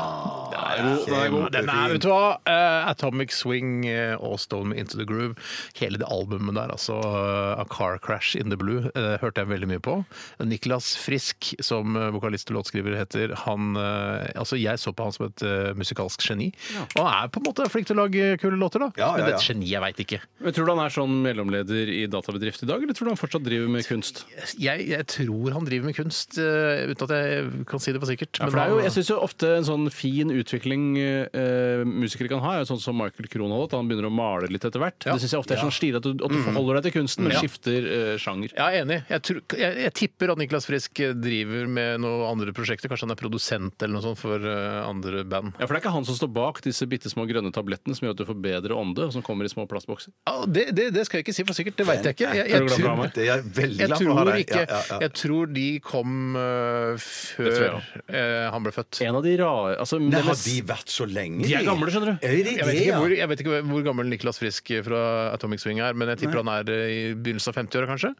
Speaker 4: Den er god.
Speaker 2: Den er, vet du hva? Eh, Atomic Swing eh, og Stone Into The Groove. Hele det albumet der, altså eh, A Car Crash In The Blue, eh, hørte jeg veldig mye på. Niklas Frisk, som eh, vokalist og låtskriver heter, han eh, Altså, jeg så på han som et eh, musikalsk geni. Og han er på en måte flink til å lage kule låter, da.
Speaker 3: Ja, ja,
Speaker 2: Men det er
Speaker 3: ja.
Speaker 2: et geni jeg veit ikke.
Speaker 4: Men Tror du han er sånn mellomleder i databedrift i dag, eller tror du han fortsatt driver med kunst?
Speaker 2: Jeg, jeg tror han driver med kunst, eh, uten at jeg kan si det for sikkert.
Speaker 4: Ja, for det er jo, jeg syns jo ofte en sånn fin utvikling eh, musikere kan ha, er jo sånn som Michael Kronholm, at han begynner å male litt etter hvert. Det syns jeg ofte er sånn stilig at du, at du forholder deg til kunsten, men skifter eh, sjanger.
Speaker 2: Ja, jeg er enig. Jeg, tror, jeg, jeg tipper at Niklas Frisk driver med noen andre prosjekter. Kanskje han er produsent eller noe sånt for eh, andre band.
Speaker 4: Ja, for det er ikke han som står bak disse bitte små grønne tablettene som gjør at du får bedre ånde, og som kommer i små plastbokser.
Speaker 2: Ja, det, det, det skal jeg ikke si for sikkert, det veit jeg ikke. Jeg,
Speaker 4: Er du glad for å ha meg?
Speaker 3: Det er jeg veldig
Speaker 2: jeg
Speaker 3: glad for å ha
Speaker 2: tror
Speaker 3: deg.
Speaker 2: ikke
Speaker 3: Ja, ja, ja.
Speaker 2: Jeg tror de kom eh,
Speaker 4: Det tror
Speaker 2: før eh, han ble født.
Speaker 4: En av de rare altså,
Speaker 3: Nei,
Speaker 4: det
Speaker 3: har
Speaker 4: mest-
Speaker 3: de vært så lenge?
Speaker 4: De er gamle, skjønner du.
Speaker 3: Er de det,
Speaker 2: Jeg vet, ikke
Speaker 3: ja?
Speaker 2: hvor, jeg vet ikke hvor gammel Niklas Frisk fra Atomic Swing er, men jeg tipper han er eh, i begynnelsen av 50-åra, kanskje?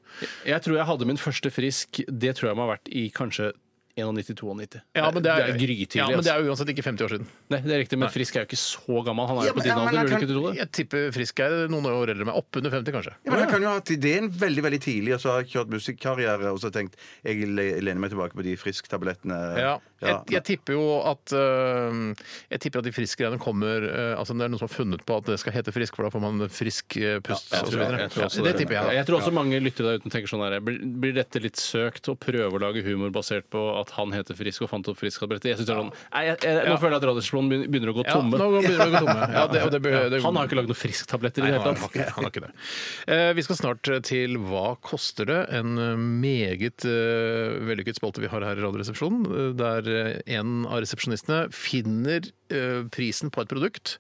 Speaker 4: Jeg tror jeg hadde min første frisk Det tror jeg må ha vært i kanskje 91-92.
Speaker 2: Ja, men det er,
Speaker 4: grytidlig.
Speaker 2: ja, men det
Speaker 4: altså.
Speaker 2: er jo uansett ikke 50 år siden.
Speaker 4: Nei, det er riktig, men Frisk er jo ikke så gammel. Han er
Speaker 3: Ja,
Speaker 4: jo på
Speaker 3: men-
Speaker 4: din
Speaker 3: ja, men
Speaker 4: alder,
Speaker 3: han
Speaker 4: vil du
Speaker 3: kan-
Speaker 4: ikke tro det?
Speaker 2: Jeg tipper Frisk er noen år eldre enn meg. Oppunder 50, kanskje.
Speaker 3: Ja, men Han kan jo ha hatt ideen veldig veldig tidlig og så har kjørt musikkarriere og så tenkt jeg le- lener meg tilbake på de frisktablettene.
Speaker 2: Ja. Jeg,
Speaker 3: Ja.
Speaker 2: jeg tipper jo at øh, Jeg tipper at de frisk-greiene kommer øh, Altså Det er noen som har funnet på at det skal hete frisk, for da får man frisk øh, pust
Speaker 4: Jeg
Speaker 2: og så
Speaker 4: tror-
Speaker 2: videre.
Speaker 4: jeg tror også
Speaker 2: Ja, det tipper jeg. da.
Speaker 4: Jeg tror også mange lyttere der uten tenker sånn her Blir blir dette litt søkt å prøve å lage humor basert på at han heter Frisk og fant opp Frisk-tabletter? Jeg synes det er sånn Nei, jeg, jeg, Nå
Speaker 2: Ja.
Speaker 4: føler jeg at Radiosplonen begyn- begynner å gå
Speaker 2: Ja,
Speaker 4: tomme.
Speaker 2: nå begynner vi å gå tomme. Ja, det, og det, be- det,
Speaker 4: Han har ikke lagd noen Frisk-tabletter i
Speaker 2: Nei,
Speaker 4: det
Speaker 2: han har
Speaker 4: hele tatt.
Speaker 2: ikke det. Han har ikke det. Eh, Vi skal snart til Hva koster det? En eh, meget eh, vellykket spalte vi har her i Radioresepsjonen, eh, der eh, en av resepsjonistene finner eh, prisen på et produkt,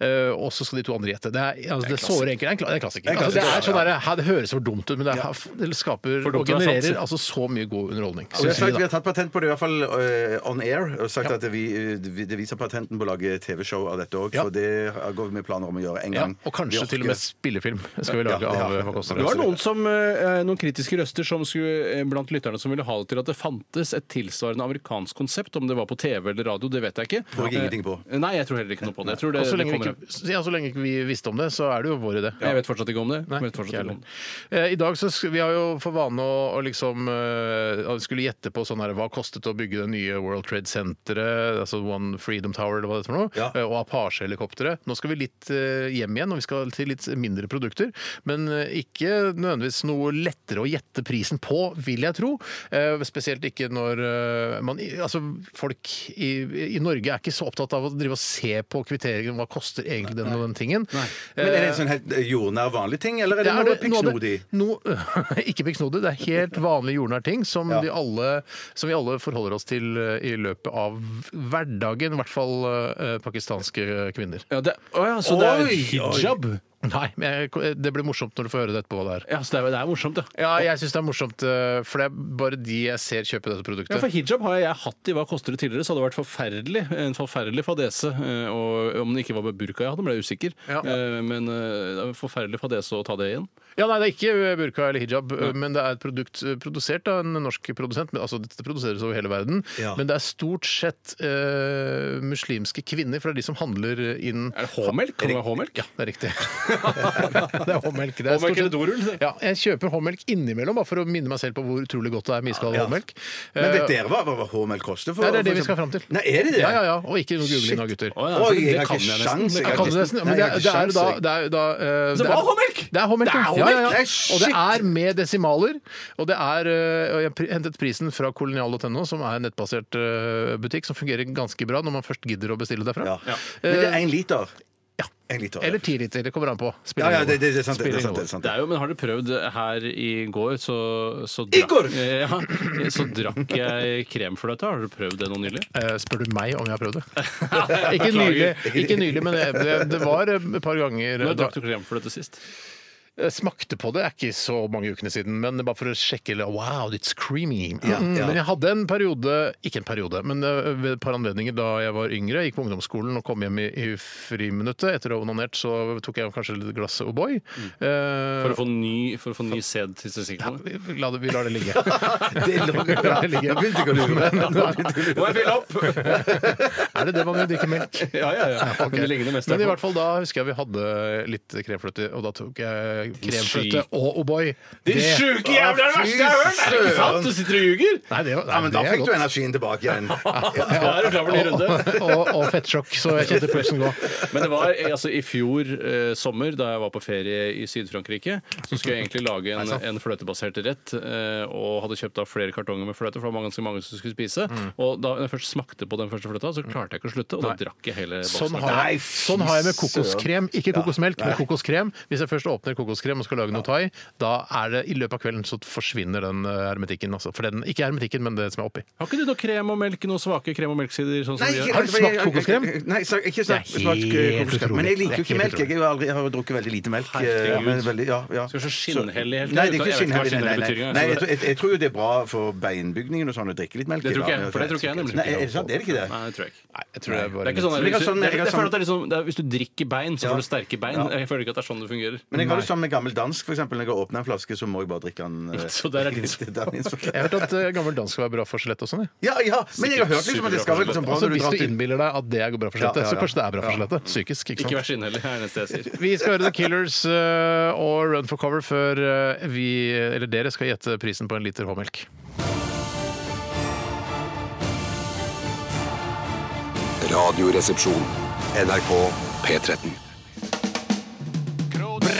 Speaker 2: eh, og så skal de to andre gjette. Det er, altså, det er såre enkelt. Det er en kla- det er en klassiker. Altså, det, er sånn der, her, det høres for dumt ut, men det, er, det skaper
Speaker 4: For dumt
Speaker 2: og
Speaker 4: er sant,
Speaker 2: genererer
Speaker 4: sier.
Speaker 2: altså så mye god underholdning.
Speaker 3: Vi har,
Speaker 2: Synes vi,
Speaker 3: sagt,
Speaker 2: da.
Speaker 3: vi har tatt patent på det, i hvert fall øh, on air, og sagt at vi, øh, vi- det viser patenten på å lage TV-show av dette òg.
Speaker 2: Ja.
Speaker 3: For det går vi med planer om å gjøre en
Speaker 2: ja,
Speaker 3: gang.
Speaker 2: og kanskje
Speaker 3: Mm. Vi
Speaker 2: til og med spillefilm skal vi lage
Speaker 3: Ja, ja.
Speaker 2: av eh, Hva koster
Speaker 4: Det
Speaker 2: det?
Speaker 4: var noen, som, eh, noen kritiske røster som skulle, eh, blant lytterne som ville ha det til at det fantes et tilsvarende amerikansk konsept, om det var på TV eller radio, det vet jeg ikke.
Speaker 3: Tror jeg ingenting på.
Speaker 4: Eh, Nei, jeg tror heller ikke noe på det. Jeg, tror det,
Speaker 2: Og så lenge,
Speaker 4: det
Speaker 2: vi
Speaker 4: kommer.
Speaker 2: ikke, ja, så lenge ikke vi visste om det, så er det jo vår idé.
Speaker 4: jeg vet fortsatt ikke om det.
Speaker 2: Nei,
Speaker 4: Jeg vet
Speaker 2: ikke
Speaker 4: fortsatt
Speaker 2: jeg
Speaker 4: ikke om det.
Speaker 2: heller. Eh, I dag så sk- vi har jo for vane å, å liksom eh, at vi skulle gjette på sånn her, hva kostet det å bygge det nye World Trade Centeret, altså One Freedom Tower eller hva det er for noe,
Speaker 3: Ja.
Speaker 2: eh, og Apache-helikopteret. Nå skal vi litt eh, hjem igjen, og vi skal til litt mindre produkter. Men eh, ikke nødvendigvis noe lettere å gjette prisen på, vil jeg tro. Eh, Spesielt ikke når eh, man i- Altså, folk i, i Norge er ikke så opptatt av å drive og se på kvitteringen, hva koster egentlig den og den tingen.
Speaker 3: Men er det en sånn helt jordnær vanlig ting, eller er det,
Speaker 2: Eh, Ja,
Speaker 3: noe
Speaker 2: noe av
Speaker 3: pikksnodig?
Speaker 2: det- noe- ikke pikksnodig. Det er helt vanlige jordnære ting som, vi alle, som vi alle forholder oss til eh, i løpet av hverdagen. I hvert fall eh, pakistanske kvinner.
Speaker 4: Ja, det, å ja, så det er
Speaker 3: Oi,
Speaker 4: hijab?
Speaker 2: Nei, men jeg, det blir morsomt når du får høre det etterpå hva det er.
Speaker 4: Ja, så det er, det er morsomt, ja.
Speaker 2: Ja, jeg syns det er morsomt, eh, for det er bare de jeg ser kjøpe dette
Speaker 4: Ja, for
Speaker 2: produktet.
Speaker 4: Hijab har jeg hatt i Hva koster det tidligere, så hadde det vært forferdelig, en forferdelig fadese. eh, Og om det ikke var burka jeg hadde, ble jeg usikker.
Speaker 2: Ja.
Speaker 4: Eh, Men eh, det er en forferdelig fadese å ta det igjen.
Speaker 2: Ja, nei, det er ikke burka eller hijab, eh, men det er et produkt eh, produsert av en norsk produsent. Men, altså, dette produseres over hele verden,
Speaker 3: Ja.
Speaker 2: men det er stort sett eh, muslimske kvinner, for det er de som handler inn
Speaker 4: Er det H-melk? Kan det være H-melk?
Speaker 2: Ja, det er riktig. det er håmelk. Det er
Speaker 4: Håmelk
Speaker 2: stort sett-
Speaker 4: eller dorull, det?
Speaker 2: Ja, jeg kjøper håmelk innimellom, bare for å minne meg selv på hvor utrolig godt det er med iskald
Speaker 3: Ja.
Speaker 2: håmelk.
Speaker 3: Men vet
Speaker 2: Eh,
Speaker 3: dere hva, hva, hva HML koster? For,
Speaker 2: Nei, det er det
Speaker 3: for
Speaker 2: vi skal
Speaker 3: eksempel?
Speaker 2: fram til.
Speaker 3: Nei, er det det?
Speaker 2: Ja, ja, ja. Og ikke noe googling nå, gutter.
Speaker 4: Å, ja,
Speaker 3: Oi,
Speaker 4: det
Speaker 3: jeg har
Speaker 4: kan
Speaker 3: ikke
Speaker 4: jeg nesten.
Speaker 3: sjans.
Speaker 4: Det
Speaker 3: jeg har
Speaker 2: Jeg kan det
Speaker 3: ikke-
Speaker 2: nesten,
Speaker 3: Nei,
Speaker 2: men det
Speaker 3: jeg har
Speaker 2: er,
Speaker 3: ikke
Speaker 2: det er
Speaker 3: sjans,
Speaker 2: da,
Speaker 3: jeg.
Speaker 2: det er, da eh,
Speaker 4: Så det var håmelk?
Speaker 2: Det er håmelk,
Speaker 3: Det er
Speaker 2: ja.
Speaker 3: håmelk, nei,
Speaker 2: ja, ja, ja. Og det
Speaker 3: shit.
Speaker 2: er med desimaler. Og det er eh, og Jeg pr- hentet prisen fra kolonial.no, som er en nettbasert eh, butikk som fungerer ganske bra når man først gidder å bestille derfra.
Speaker 3: Ja.
Speaker 2: Eh,
Speaker 3: Men det er én liter. Ja. En liter
Speaker 2: Eller ti liter. Det kommer an på. Spiller
Speaker 3: ja, ja,
Speaker 2: ingen
Speaker 3: det, det,
Speaker 2: rolle.
Speaker 3: det er sant. Det,
Speaker 2: Spiller
Speaker 3: det, er sant,
Speaker 2: ingen rolle.
Speaker 3: det, er sant.
Speaker 4: Det er jo, men har du prøvd her i går, så, så
Speaker 3: I går?
Speaker 4: Ja, så drakk jeg kremfløte. Har du prøvd det nå nylig?
Speaker 2: Eh, Spør du meg om jeg har prøvd det? ikke, nylig, ikke nylig, men det, det var eh, et par ganger
Speaker 4: Når
Speaker 2: da,
Speaker 4: drakk du kremfløte sist?
Speaker 2: Jeg Smakte på det, er ikke så mange ukene siden, men bare for å sjekke eller, Wow, it's creamy! Mm,
Speaker 3: Ja, ja.
Speaker 2: Men jeg hadde en periode, ikke en periode, men eh, ved et par anledninger da jeg var yngre, gikk på ungdomsskolen og kom hjem i, i friminuttet. Etter å ha onanert så tok jeg kanskje litt glass O'boy. Eh,
Speaker 4: For å få ny, for å få ny sæd til testikkelene?
Speaker 2: vi- la det- vi lar det ligge.
Speaker 3: Det er lov-
Speaker 2: Vi lar det ligge.
Speaker 3: Nå begynte jeg å lure.
Speaker 4: Må jeg fylle opp?
Speaker 2: Er det det man gjør, drikke melk?
Speaker 4: Ja, ja, ja.
Speaker 2: Ok.
Speaker 4: Men det ligner mest
Speaker 2: Men i hvert fall da husker jeg vi hadde litt kremfløte, og da tok jeg kremfløte
Speaker 4: syke-
Speaker 2: og O'boy.
Speaker 4: Din
Speaker 2: Det-
Speaker 4: sjuke jævla
Speaker 3: Å, fy
Speaker 4: verste jeg har hørt! Er det ikke sant?
Speaker 3: søren.
Speaker 4: Du sitter og ljuger!
Speaker 2: Nei, det, var-
Speaker 3: Ja, men da
Speaker 2: det er
Speaker 3: fikk du
Speaker 2: godt.
Speaker 3: energien tilbake igjen.
Speaker 4: Da er du klar for ny runde.
Speaker 2: Og, og, og fettsjokk, så jeg kjente pulsen gå.
Speaker 4: Men det var eh, altså i fjor eh, sommer, da jeg var på ferie i Syd-Frankrike, så skulle jeg egentlig lage en, en fløtebasert rett, eh, og hadde kjøpt da flere kartonger med fløte, for det var ganske mange som skulle spise. Og da jeg først smakte på den første fløta, så klarte jeg ikke å slutte, og da drakk jeg hele boksen.
Speaker 2: Sånn har,
Speaker 3: Nei,
Speaker 2: jeg,
Speaker 3: fy
Speaker 2: sånn har jeg med kokoskrem. Ikke kokosmelk, men kokoskrem. Hvis jeg først åpner hvalkålskrem og skal lage noe thai, da er det i løpet av kvelden så forsvinner den eh, hermetikken. Altså. For den, ikke hermetikken, men det som er oppi.
Speaker 4: Har ikke du noe krem og melk, noen svake krem- og melksider? Sånn som vi
Speaker 2: Har
Speaker 4: gjør?
Speaker 2: du smakt kokoskrem?
Speaker 3: Nei, så- ikke smakt
Speaker 2: Det er
Speaker 3: smakt eh,
Speaker 2: helt
Speaker 3: kokoskrem. Men jeg liker jo
Speaker 2: utrolig.
Speaker 3: ikke melk. Jeg har jo aldri- jeg har jo drukket veldig lite melk. eh, Men veldig, ja, ja.
Speaker 4: Skal du så skinnhellig helt,
Speaker 3: Nei, det er
Speaker 4: jeg
Speaker 3: ikke
Speaker 4: vet ikke hva
Speaker 3: skinnhellig. Nei, nei,
Speaker 4: skinnhellig betyr
Speaker 3: nei.
Speaker 4: engang,
Speaker 3: nei
Speaker 4: så
Speaker 3: jeg, tror- jeg, jeg tror jo det er bra for beinbygningen og sånn å drikke litt melk.
Speaker 4: Det tror
Speaker 3: i
Speaker 4: ikke
Speaker 3: dag.
Speaker 4: jeg, for det tror ikke jeg nemlig.
Speaker 3: Nei, er det sant? Er det ikke det?
Speaker 4: Nei, det tror jeg ikke.
Speaker 2: Nei, jeg tror det er
Speaker 4: Det
Speaker 2: bare
Speaker 4: er
Speaker 3: Men jeg har
Speaker 4: ikke sånn, hvis,
Speaker 3: sånn-
Speaker 4: du, det,
Speaker 3: jeg har
Speaker 4: jeg føler
Speaker 3: sånn-
Speaker 4: at det er liksom, det er, hvis du drikker bein, så
Speaker 3: Ja.
Speaker 4: får du sterke bein.
Speaker 3: Ja.
Speaker 4: Jeg føler ikke at det er sånn det fungerer.
Speaker 3: Men jeg har det sånn med gammel dansk, for eksempel. Når jeg åpner en flaske, så må jeg bare drikke den. eh,
Speaker 4: Så der er liksom- din-
Speaker 3: det er din
Speaker 2: Jeg har hørt at eh, gammel dansk skal være bra for skjelett og sånn. jeg.
Speaker 3: Ja, ja, men jeg har hørt liksom at det skal være liksom bra
Speaker 2: Altså,
Speaker 3: når du
Speaker 2: hvis
Speaker 3: drar
Speaker 2: du
Speaker 3: til
Speaker 2: innbiller deg at det er bra for
Speaker 3: Ja,
Speaker 2: skjelettet,
Speaker 3: ja,
Speaker 2: så
Speaker 3: ja.
Speaker 2: kanskje det er sånn- bra for skjelettet. Psykisk, ikke
Speaker 4: Ikke vær
Speaker 2: sant?
Speaker 4: skinnhellig, er det eneste jeg sier.
Speaker 2: Vi skal høre The Killers eh, og Run for cover før eh, vi, eller dere skal gjette prisen på en liter H-melk.
Speaker 6: Radioresepsjon. NRK P13.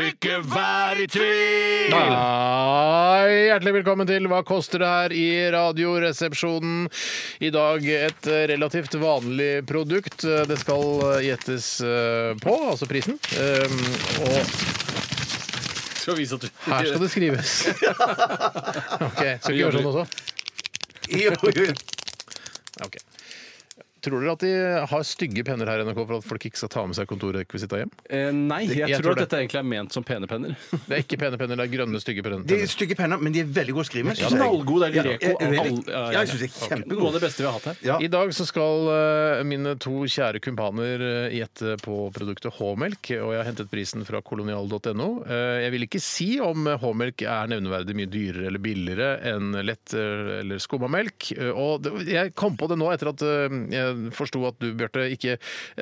Speaker 7: Ikke vær i tvil.
Speaker 2: Hei, hjertelig velkommen til Hva koster det her i Radioresepsjonen. I dag et eh, relativt vanlig produkt. Eh, Det skal eh, gjettes eh, på, altså prisen. Eh, Og
Speaker 4: Skal vise at du
Speaker 2: her skal det skrives. Ok, Skal vi gjøre sånn også?
Speaker 3: Jo, jo, jo.
Speaker 2: Ok. Tror dere at de har stygge penner her i NRK for at folk ikke skal ta med seg kontorrekvisitta hjem?
Speaker 4: Eh, Nei, jeg,
Speaker 2: Jeg
Speaker 4: tror
Speaker 2: tror
Speaker 4: at dette egentlig er ment som pene penner.
Speaker 2: Det er ikke pene penner, det er grønne, stygge penner.
Speaker 3: Det er stygge penner, men de er veldig gode å skrive med. synes jeg.
Speaker 4: Knallgod, det er
Speaker 3: Ja,
Speaker 4: Lireko.
Speaker 3: jeg-
Speaker 4: all- ja, ja,
Speaker 3: Ja, jeg
Speaker 4: ja.
Speaker 3: syns det er
Speaker 4: Noe av
Speaker 3: kjempegod.
Speaker 4: det beste vi har hatt her.
Speaker 3: Ja.
Speaker 2: I dag så skal eh, mine to kjære kumpaner eh, gjette på produktet H-melk, og jeg har hentet prisen fra kolonial.no. Eh, jeg vil ikke si om eh, H-melk er nevneverdig mye dyrere eller billigere enn lett eh, eller skumma melk. Eh, og det, jeg kom på det nå etter at eh, jeg forsto at du, Bjarte, ikke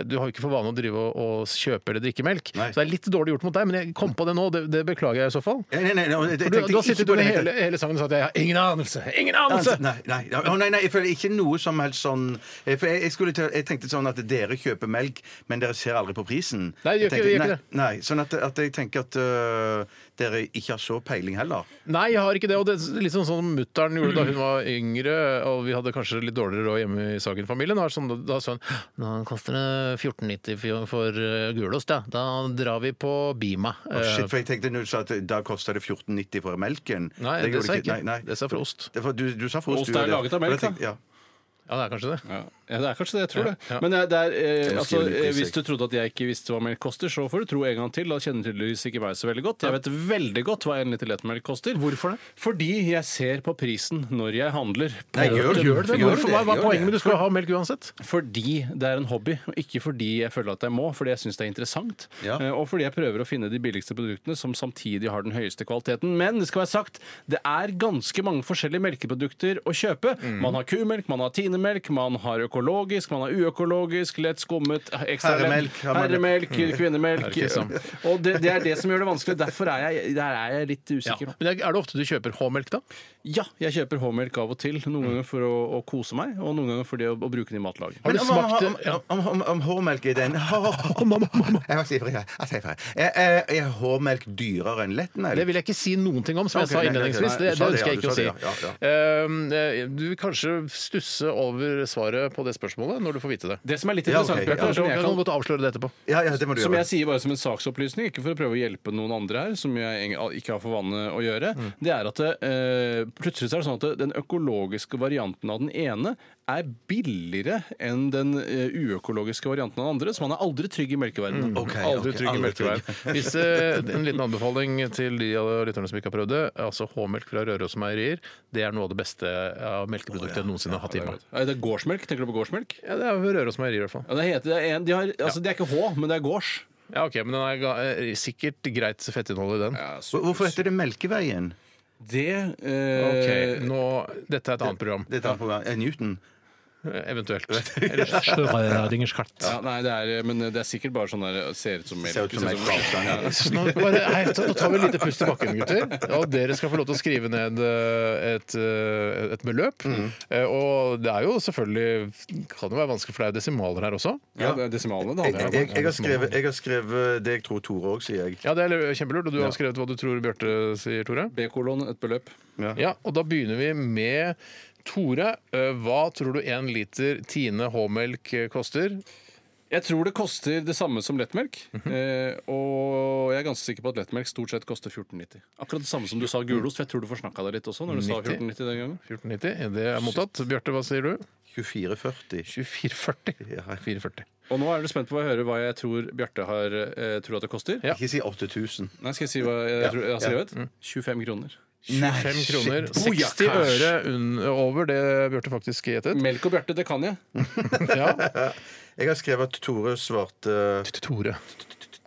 Speaker 2: Du har jo ikke for vane å drive og, og kjøpe eller drikke melk,
Speaker 3: Nei.
Speaker 2: så det er litt dårlig gjort mot deg, men jeg kom på det nå, det, det beklager jeg i så fall.
Speaker 3: Nei, nei, nei, nei, jeg
Speaker 2: For du,
Speaker 3: tenkte
Speaker 2: du har
Speaker 3: ikke
Speaker 2: sittet
Speaker 3: på
Speaker 2: under
Speaker 3: det altså,
Speaker 2: hele, hele sangen og sagt 'jeg har ingen anelse', ingen anelse!
Speaker 3: Nei, nei, nei, Å, nei, nei, jeg føler ikke noe som helst sånn eh, For jeg, jeg, skulle til, jeg tenkte sånn at dere kjøper melk, men dere ser aldri på prisen.
Speaker 2: Nei,
Speaker 3: Jeg
Speaker 2: gjør ikke-
Speaker 3: tenkte,
Speaker 2: gjør ikke det.
Speaker 3: Nei, nei, sånn at, at jeg tenker at øh, dere ikke har så peiling heller.
Speaker 2: Nei, jeg har ikke det. Og det er litt sånn som mutter'n gjorde da hun var yngre, og vi hadde kanskje litt dårligere råd hjemme i Sagen-familien. Da, sånn, da sa hun nå koster det 14,90 for- for eh, gulost, ja. Da drar vi på Bima.
Speaker 3: Å,
Speaker 2: Eh,
Speaker 3: shit, for jeg tenkte når du sa at da kosta det 14,90 for melken.
Speaker 2: Nei, det
Speaker 3: gjorde
Speaker 2: sa jeg ikke.
Speaker 3: Nei, nei.
Speaker 2: Det sa jeg for ost.
Speaker 3: Det var- du, du sa for ost.
Speaker 4: Ost
Speaker 3: du,
Speaker 4: er
Speaker 3: det.
Speaker 4: laget av
Speaker 3: For jeg
Speaker 4: melk, da.
Speaker 3: tenkte- Ja.
Speaker 2: Ja, det er kanskje det.
Speaker 4: Ja. ja, det er kanskje det. Jeg tror
Speaker 2: Ja,
Speaker 4: det.
Speaker 2: ja.
Speaker 4: Men det er, det er, eh,
Speaker 3: må
Speaker 4: altså,
Speaker 3: skrive litt
Speaker 4: eh,
Speaker 3: pris,
Speaker 4: hvis
Speaker 3: jeg.
Speaker 4: du trodde at jeg ikke visste hva melk koster, så får du tro en gang til. Da kjenner du tydeligvis ikke meg så veldig godt. Jeg vet veldig godt hva en liter lettmelk koster. Hvorfor det? Fordi jeg ser på prisen når jeg handler.
Speaker 3: Nei, gjør det.
Speaker 2: Gjør det,
Speaker 3: Gjør
Speaker 2: Hvorfor?
Speaker 3: det,
Speaker 2: Hva hva er
Speaker 3: gjør
Speaker 2: poenget
Speaker 3: det.
Speaker 2: med du skal ha melk uansett?
Speaker 4: Fordi det er en hobby, og ikke fordi jeg føler at jeg må, fordi jeg syns det er interessant.
Speaker 3: Ja.
Speaker 4: Eh, Og fordi jeg prøver å finne de billigste produktene som samtidig har den høyeste kvaliteten. Men det skal være sagt, det er ganske mange forskjellige melkeprodukter å kjøpe.
Speaker 2: Mm.
Speaker 4: Man har kumelk, man har tinemelk, man har økologisk, man har uøkologisk, lett skummet, eh, ekstra
Speaker 3: Herremelk,
Speaker 4: lett, herremelk,
Speaker 2: Det Mm. er
Speaker 4: kvinnemelk.
Speaker 2: ikke sånn? sant.
Speaker 4: Og det, det er det som gjør det vanskelig. Derfor er jeg, der er jeg litt
Speaker 2: Ja.
Speaker 4: usikker nå.
Speaker 2: Men er er det ofte du kjøper H-melk, da?
Speaker 4: Ja, jeg kjøper H-melk av og til. Noen ganger for å, å kose meg, og noen ganger for det å, å bruke den i matlaging.
Speaker 2: Har du
Speaker 3: Men om-
Speaker 2: smakt
Speaker 3: om-
Speaker 2: ja.
Speaker 3: Om, om, om hårmelk er den Jeg var så ivrig, jeg. Jeg sier fra, jeg. Er- Er er hårmelk dyrere enn lettmelk?
Speaker 2: Det vil jeg ikke si noen ting om, som
Speaker 3: Mm. Ok,
Speaker 2: jeg sa
Speaker 3: nei, nei, nei,
Speaker 2: innledningsvis.
Speaker 3: nei, du
Speaker 2: Det, det
Speaker 3: sa det,
Speaker 2: ønsker
Speaker 3: ja,
Speaker 2: jeg
Speaker 3: du
Speaker 2: ikke å
Speaker 3: sa
Speaker 2: si.
Speaker 3: det, ja, ja,
Speaker 2: Um, eh, Du vil kanskje stusse over svaret på det spørsmålet når du får vite det.
Speaker 4: Det som er litt
Speaker 3: Ja,
Speaker 4: interessant,
Speaker 3: ok,
Speaker 4: Bjarte,
Speaker 3: ja.
Speaker 4: er som
Speaker 2: Jeg
Speaker 4: jeg
Speaker 2: kan
Speaker 4: kan
Speaker 2: godt avsløre det etterpå.
Speaker 3: Ja, ja, det må du
Speaker 4: Som
Speaker 3: gjøre.
Speaker 4: jeg sier bare som en saksopplysning, ikke for å prøve å hjelpe noen andre her, som jeg eng- ikke har for vane å gjøre,
Speaker 3: Mm.
Speaker 4: det er at det, eh, plutselig så er det sånn at det- den økologiske varianten av den ene er billigere enn den eh, uøkologiske varianten av den andre, så man er aldri trygg i melkeverdenen.
Speaker 3: Mm, Ok,
Speaker 2: Aldri
Speaker 3: ok,
Speaker 2: trygg i
Speaker 3: aldri
Speaker 2: melkeveien. Hvis, eh, En liten anbefaling til de av lytterne som ikke har prøvd det. Altså H-melk fra Røros meierier, det er noe av det beste eh, av melkeproduktet jeg noensinne har hatt i meg.
Speaker 4: Er det gårdsmelk? Tenker du på gårdsmelk?
Speaker 2: Ja, det er ved Røros meierier i hvert fall.
Speaker 4: Ja, det, heter, det, er en, de har, altså, det er ikke H, men det er gårds.
Speaker 2: Ja, ok, Men den er ga- eh, sikkert greit fettinnhold i den.
Speaker 3: Hvor- Hvorfor heter det Melkeveien?
Speaker 4: Det eh,
Speaker 2: Ok, Eh, nå, Dette er et annet program.
Speaker 3: Det tar på eh, Newton.
Speaker 2: Eventuelt. Eller
Speaker 8: Sjørøveringerskart.
Speaker 4: Ja, nei, det er, men det er sikkert bare sånn der Ser ut som melk.
Speaker 3: Ser
Speaker 4: liksom.
Speaker 3: ut som en kvalstang. ja.
Speaker 2: Nå, bare, hei, ta- nå tar vi et lite pust i bakken, gutter. Og dere skal få lov til å skrive ned eh, et, eh, et beløp.
Speaker 4: Mm.
Speaker 2: Eh, Og det er jo selvfølgelig Kan jo være vanskelig, for det er desimaler her også.
Speaker 4: Ja, det er desimalene det
Speaker 3: Jeg,
Speaker 4: handler om.
Speaker 3: jeg, jeg, har skrevet, jeg har skrevet det jeg tror Tore òg sier, jeg.
Speaker 2: Ja, det er kjempelurt. Og du har skrevet hva du tror Bjarte sier, Tore.
Speaker 4: B-kolon, et beløp.
Speaker 2: Ja, og da begynner vi med Tore. Eh, Hva tror du én liter Tine H-melk eh, koster?
Speaker 4: Jeg tror det koster det samme som lettmelk. eh, og jeg er ganske sikker på at lettmelk stort sett koster 14,90. Akkurat det samme som du sa gulost, for jeg tror du forsnakka deg litt også når du sa
Speaker 2: 90.
Speaker 4: 14,90 den gangen.
Speaker 2: 14,90. eh, Det er mottatt. Bjarte, hva sier du?
Speaker 3: 24,40.
Speaker 2: 24,40.
Speaker 3: Ja.
Speaker 2: 4,40.
Speaker 4: Og nå er du spent på å høre hva jeg tror Bjarte har, eh, tror at det koster.
Speaker 2: Ja.
Speaker 3: Ikke si 8000.
Speaker 4: Nei, skal jeg si hva jeg, tror, jeg har skrevet? 25 kroner.
Speaker 2: 25 kroner.
Speaker 4: Oh, ja,
Speaker 2: 60 øre un- over det Bjarte faktisk gjettet.
Speaker 4: Melk og Bjarte, det kan jeg. Mm.
Speaker 2: Ja.
Speaker 3: Jeg har skrevet at Tore svarte
Speaker 2: Tore.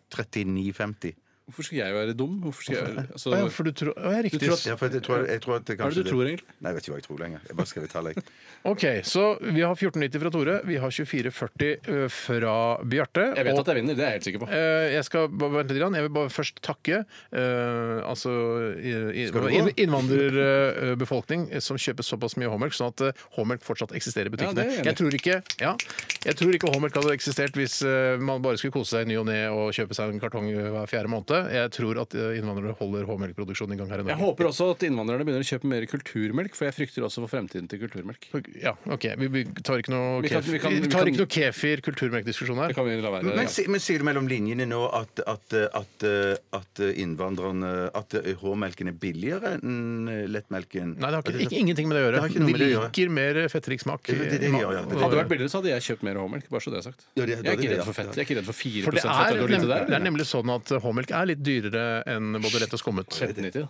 Speaker 3: 39,50.
Speaker 4: Hvorfor skal jeg være dum? Hvorfor skal jeg, altså,
Speaker 2: Å ja, for du tror, å, ja, riktig.
Speaker 4: tror at-
Speaker 3: Ja, for jeg tror, jeg tror at det
Speaker 4: hva er
Speaker 3: kanskje
Speaker 4: det du tror, egentlig?
Speaker 3: Nei, jeg vet ikke hva jeg tror lenger. Jeg bare skrev et tall, jeg.
Speaker 2: OK, så vi har 14,90 fra Tore. Vi har 24,40 fra Bjarte.
Speaker 4: Jeg vet
Speaker 2: og-
Speaker 4: at jeg vinner, det er jeg helt sikker på.
Speaker 2: Eh, Jeg skal bare vente litt. grann. Jeg vil bare først takke eh, altså, i- i-
Speaker 3: Skal du gå?
Speaker 2: inn- innvandrerbefolkning som kjøper såpass mye H-melk, sånn at eh, H-melk fortsatt eksisterer i
Speaker 4: Ja,
Speaker 2: butikkene.
Speaker 4: det er jeg enig i.
Speaker 2: jeg tror ikke, ja, jeg tror ikke H-melk hadde eksistert hvis eh, man bare skulle kose seg i ny og ne og kjøpe seg en kartong hver fjerde måned. Jeg tror at eh, innvandrere holder H-melkproduksjonen i gang her i
Speaker 4: Jeg
Speaker 2: Norge.
Speaker 4: håper også at innvandrerne begynner å kjøpe mer kulturmelk, for jeg frykter også for fremtiden til kulturmelk.
Speaker 2: Ja, ok. Vi vi tar ikke noe,
Speaker 4: Vi kan-
Speaker 2: kefir,
Speaker 4: vi kan- vi
Speaker 2: vi tar
Speaker 4: kan-
Speaker 2: ikke noe kefir kulturmelkdiskusjon her.
Speaker 4: Det kan vi la være.
Speaker 3: Men,
Speaker 4: ja.
Speaker 3: si- men sier du mellom linjene nå at, at, at, at innvandrerne At H-melken er billigere enn lettmelken?
Speaker 2: Nei, det har ikke, ikke, ingenting med det
Speaker 3: Det
Speaker 2: å gjøre.
Speaker 3: har ikke noe
Speaker 2: Vi
Speaker 3: med det å gjøre.
Speaker 2: liker mer fettrik smak.
Speaker 3: Det er det
Speaker 2: i
Speaker 3: de
Speaker 2: mat.
Speaker 3: gjør, ja. Det er det de
Speaker 4: Hadde det vært billigere, så hadde jeg kjøpt mer H-melk. Bare så det er sagt.
Speaker 3: Ja, det-
Speaker 4: jeg
Speaker 3: det
Speaker 4: er
Speaker 3: er
Speaker 4: ikke
Speaker 3: det,
Speaker 4: redd for
Speaker 3: ja.
Speaker 4: fett. Jeg er ikke redd for 4
Speaker 2: For det
Speaker 4: fett.
Speaker 2: er,
Speaker 4: Det er lite
Speaker 2: nem-
Speaker 4: der.
Speaker 2: det er nemlig sånn at H-melk er litt dyrere enn både lett og skummet.
Speaker 4: 1790, da.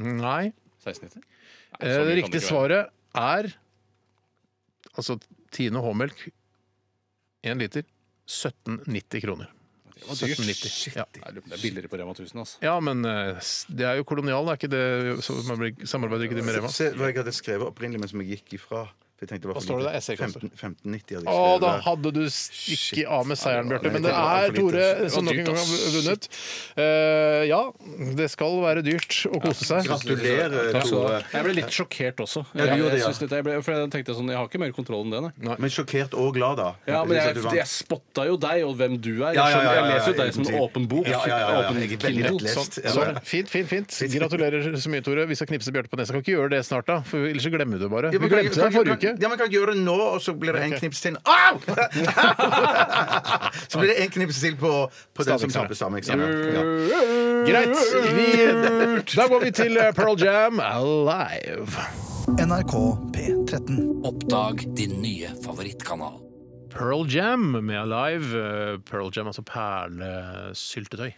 Speaker 2: Nei. Eh,
Speaker 4: 1690. Nei, så
Speaker 2: Det
Speaker 4: mye kan det
Speaker 2: riktige
Speaker 4: ikke
Speaker 2: svaret er altså Tine H-melk én liter 1790 kroner.
Speaker 4: være. Det var dyrt.
Speaker 2: 1790. Ja.
Speaker 4: Nei, Det er billigere på Rema 1000, altså.
Speaker 2: ja, men eh, s- det er jo kolonial, det er ikke det så man blir- samarbeider ikke de med Rema?
Speaker 3: Se hva jeg hadde skrevet opprinnelig, men som jeg gikk ifra. For jeg tenkte,
Speaker 2: Hva står det E der? Jeg ser ikke hva det står.
Speaker 3: 15, 1590 hadde jeg
Speaker 2: Å,
Speaker 3: skrevet.
Speaker 2: da hadde du ikke av med seieren, Bjarte.
Speaker 3: Nei,
Speaker 2: Men
Speaker 3: det
Speaker 2: det
Speaker 3: var for
Speaker 2: er
Speaker 3: lite.
Speaker 2: Tore
Speaker 3: Det var
Speaker 2: som nok
Speaker 4: dyrt,
Speaker 2: en gang har
Speaker 4: ass.
Speaker 2: vunnet. Eh, ja, det skal være dyrt å kose seg.
Speaker 3: Gratulerer, Tore.
Speaker 4: Jeg ble litt sjokkert også.
Speaker 3: Ja, du
Speaker 4: Jeg-
Speaker 3: gjorde det,
Speaker 4: jeg
Speaker 3: ja.
Speaker 4: synes dette- jeg ble- for jeg tenkte sånn, jeg har ikke mer kontroll enn det, nei.
Speaker 3: Men sjokkert og glad, da.
Speaker 4: Ja, men
Speaker 3: Synes
Speaker 4: jeg,
Speaker 3: at du vant.
Speaker 4: jeg spotta jo deg og hvem du
Speaker 3: Ja,
Speaker 4: er. Jeg,
Speaker 3: ja,
Speaker 4: skjønner,
Speaker 3: ja, ja,
Speaker 4: jeg
Speaker 3: ja,
Speaker 4: leser jo deg som en
Speaker 3: ja,
Speaker 4: åpen bok.
Speaker 3: ja, ja, ja, ja.
Speaker 4: åpen
Speaker 3: Jeg er veldig
Speaker 4: Kindle.
Speaker 3: lettlest.
Speaker 4: Sånn.
Speaker 3: Ja.
Speaker 2: Sånn. Fint, fint, fint. Gratulerer så mye, Tore. Vi skal knipse Bjarte på nesa. Kan ikke gjøre det snart, da. For ellers så glemmer du det bare.
Speaker 3: Ja,
Speaker 2: Vi
Speaker 3: men kan-
Speaker 2: glemte det
Speaker 3: kan-
Speaker 2: forrige
Speaker 3: kan-
Speaker 2: uke.
Speaker 3: Ja, man kan gjøre det nå, og så blir det en knips til. Au! så blir det en knips til på, på den som
Speaker 2: Stavmikserne.
Speaker 3: taper stameksamen. Ja.
Speaker 2: Greit. Vi, da går vi til eh, Pearl Jam Alive.
Speaker 5: NRK P13.
Speaker 9: Oppdag din nye favorittkanal.
Speaker 2: Pearl Jam med Alive. Eh, Pearl Jam, altså perlesyltetøy.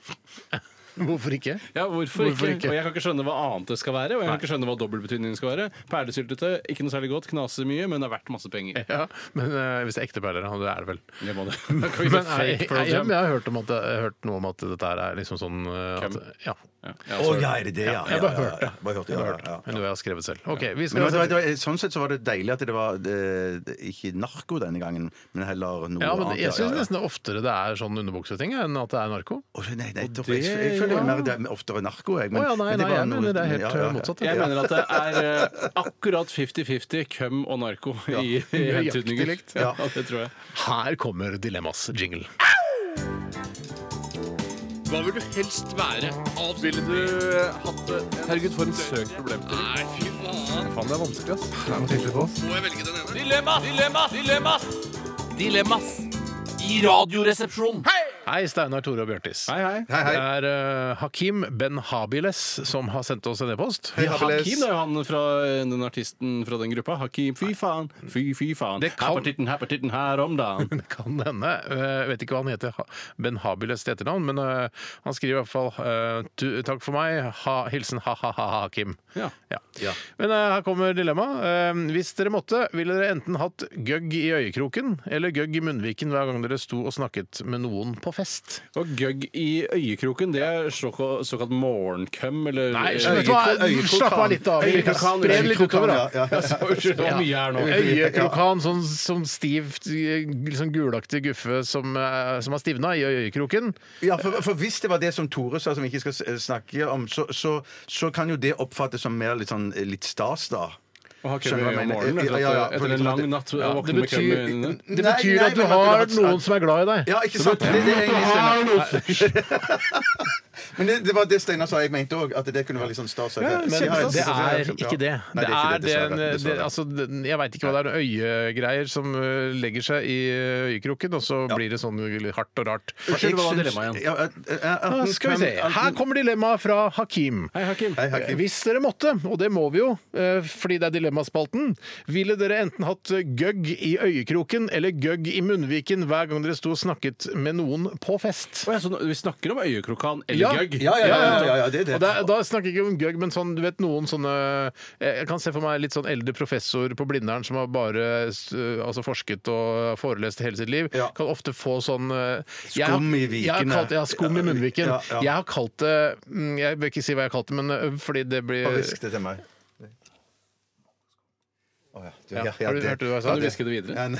Speaker 2: Hvorfor ikke?
Speaker 4: Ja, hvorfor,
Speaker 2: Hvorfor
Speaker 4: ikke?
Speaker 2: ikke?
Speaker 4: Og jeg kan ikke skjønne hva annet det skal være. Og jeg kan ikke skjønne hva dobbeltbetydningen skal være. Perlesyltetøy, ikke noe særlig godt, knaser mye, men det er verdt masse penger.
Speaker 2: Ja, men eh, hvis det er ekte perler, ja, det er det vel.
Speaker 4: Det må det.
Speaker 2: Men eh,
Speaker 4: Men,
Speaker 2: jeg, jeg, jeg, jeg har hørt, om at, det- jeg har hørt noe om at dette her er liksom sånn eh, at,
Speaker 4: Køm.
Speaker 2: Ja.
Speaker 3: Å ja, er det det, ja?
Speaker 2: Jeg bare hørte det.
Speaker 3: ja, bare hørte, ja, ja, ja.
Speaker 2: Men noe jeg har skrevet selv. OK, vi
Speaker 3: Men det
Speaker 2: skal
Speaker 3: var, det var, sånn sett så var det deilig at det var eh, ikke narko denne gangen, men heller noe
Speaker 2: Ja, men
Speaker 3: annet.
Speaker 2: jeg syns nesten det er oftere det er sånn underbukseting enn at det er narko.
Speaker 3: Å, nei, nei, jeg, jeg, jeg føler jo mer det er oftere narko, jeg.
Speaker 2: Å ja, nei,
Speaker 3: det
Speaker 2: nei,
Speaker 3: var
Speaker 2: jeg
Speaker 3: noe-
Speaker 2: mener det er helt
Speaker 3: ja, ja, ja.
Speaker 2: eh, motsatt.
Speaker 4: jeg mener at det er eh, akkurat 50-50 køm og narko i, i hentydninger.
Speaker 2: likt.
Speaker 4: Ja, det tror jeg.
Speaker 2: Her kommer Dilemmas-jingle.
Speaker 4: Hva vil du helst være? Ville du hatt det? Herregud, for en søk problemstilling. Nei, fy faen. Faen, det er vanskelig, ass.
Speaker 9: Dilemmas! Dilemmas! Dilemmas! Dilemmas i Radioresepsjonen.
Speaker 2: Hei, Steinar, Tore og Bjørtis.
Speaker 4: Hei, hei.
Speaker 3: Hei, hei.
Speaker 2: Det er eh, Hakim Ben Habiles som har sendt oss en e-post.
Speaker 3: Hei, Habiles.
Speaker 4: Hakim det er jo han fra eh, den artisten fra den gruppa. Hakim, fy faen, fy fy faen.
Speaker 2: Det kan-
Speaker 4: Her på titten, her på titten, her om dagen.
Speaker 2: Det kan hende. Eh, Jeg vet ikke hva han heter. Ha- Ben Habiles til etternavn, men eh, han skriver i hvert fall eh, tu- 'takk for meg', ha, hilsen ha-ha-ha-Hakim.
Speaker 4: Ja.
Speaker 3: Ja.
Speaker 2: Men eh, her kommer dilemmaet. Eh, hvis dere måtte, ville dere enten hatt gøgg i øyekroken eller gøgg i munnviken hver gang dere sto og snakket med noen på fest.
Speaker 4: Og gøgg i øyekroken, det er såkalt, såkalt morgenkøm, eller
Speaker 2: Nei,
Speaker 4: eh,
Speaker 2: vet du hva?
Speaker 3: øyekrokan.
Speaker 2: Slapp av litt av. Vi kan
Speaker 3: Øyekrokan,
Speaker 2: Spre det litt
Speaker 3: øyekrokan,
Speaker 2: utover, da.
Speaker 3: ja, ja, ja.
Speaker 4: Unnskyld, det var mye her nå.
Speaker 2: Øyekrokan, sånn som stivt, sånn gulaktig guffe som, eh, som har stivna i øyekroken.
Speaker 3: Ja, for, for hvis det var det som Tore sa, som vi ikke skal s- eh, snakke om, så, så, så kan jo det oppfattes som mer litt, sånn, litt stas, da.
Speaker 4: Å ha køm
Speaker 3: Skjønner
Speaker 4: i
Speaker 3: hva jeg mener?
Speaker 4: morgenen,
Speaker 3: Ja,
Speaker 4: etter,
Speaker 3: ja,
Speaker 4: at- etter
Speaker 3: for
Speaker 4: en
Speaker 3: liksom
Speaker 4: lang
Speaker 3: at-
Speaker 4: natt
Speaker 2: Ja, det
Speaker 4: våkne med køm i
Speaker 2: betyr-
Speaker 4: øynene.
Speaker 2: Det
Speaker 3: Nei, nei,
Speaker 2: betyr at du
Speaker 3: men at du
Speaker 2: har
Speaker 3: har et
Speaker 2: noen
Speaker 3: slag.
Speaker 2: som er glad i deg.
Speaker 3: Ja, ikke sant? Det, er det, egentlig Steinar- men det, det var det Steinar sa jeg mente òg, at det kunne være litt sånn stas. Ja,
Speaker 2: Men det er ikke det.
Speaker 3: Nei,
Speaker 2: Det
Speaker 3: det er
Speaker 2: er
Speaker 3: ikke det,
Speaker 2: den,
Speaker 3: dessverre.
Speaker 2: det,
Speaker 3: dessverre.
Speaker 2: altså, den- jeg veit ikke hva det er, øyegreier som eh, legger seg i eh, øyekroken, og så blir det sånn hardt og rart.
Speaker 4: Unnskyld, hva
Speaker 3: Jeg
Speaker 4: var
Speaker 3: syns-
Speaker 4: dilemmaet igjen?
Speaker 3: Ja, eh, eh,
Speaker 2: Ja,
Speaker 3: enten
Speaker 2: Ah, skal vi se.
Speaker 3: kan- enten-
Speaker 2: Her kommer dilemmaet fra Hakim. Eh,
Speaker 4: Hei, Hakim.
Speaker 3: Hei, Hakim.
Speaker 2: Hvis dere måtte, og det må vi jo eh, fordi det er Dilemmaspalten, ville dere enten hatt gøgg i øyekroken eller gøgg i munnviken hver gang dere sto og snakket med noen på fest?
Speaker 4: Å, ja, så nå- vi snakker om øyekrokan eller
Speaker 2: Ja.
Speaker 4: gøgg?
Speaker 3: Ja, ja, ja, ja, ja, ja, det er det.
Speaker 2: Og da, da snakker jeg ikke om gøgg, men sånn, du vet noen sånne Jeg kan se for meg litt sånn eldre professor på Blindern som har bare s- altså forsket og forelest hele sitt liv.
Speaker 3: Ja.
Speaker 2: Kan ofte få sånn eh, jeg har-
Speaker 3: Skum i
Speaker 2: Jeg har
Speaker 3: vikene.
Speaker 2: kalt, ja, skum i munnviken.
Speaker 3: Ja, ja.
Speaker 2: Jeg har kalt det mm, Jeg vil ikke si hva jeg har kalt det, men eh, fordi det blir
Speaker 3: Bare hvisk det til meg. Å, ja. Du,
Speaker 2: Ja, har du hørt det du sa?
Speaker 3: ja,
Speaker 2: Du
Speaker 4: hvisket det videre.
Speaker 3: Ja, nei,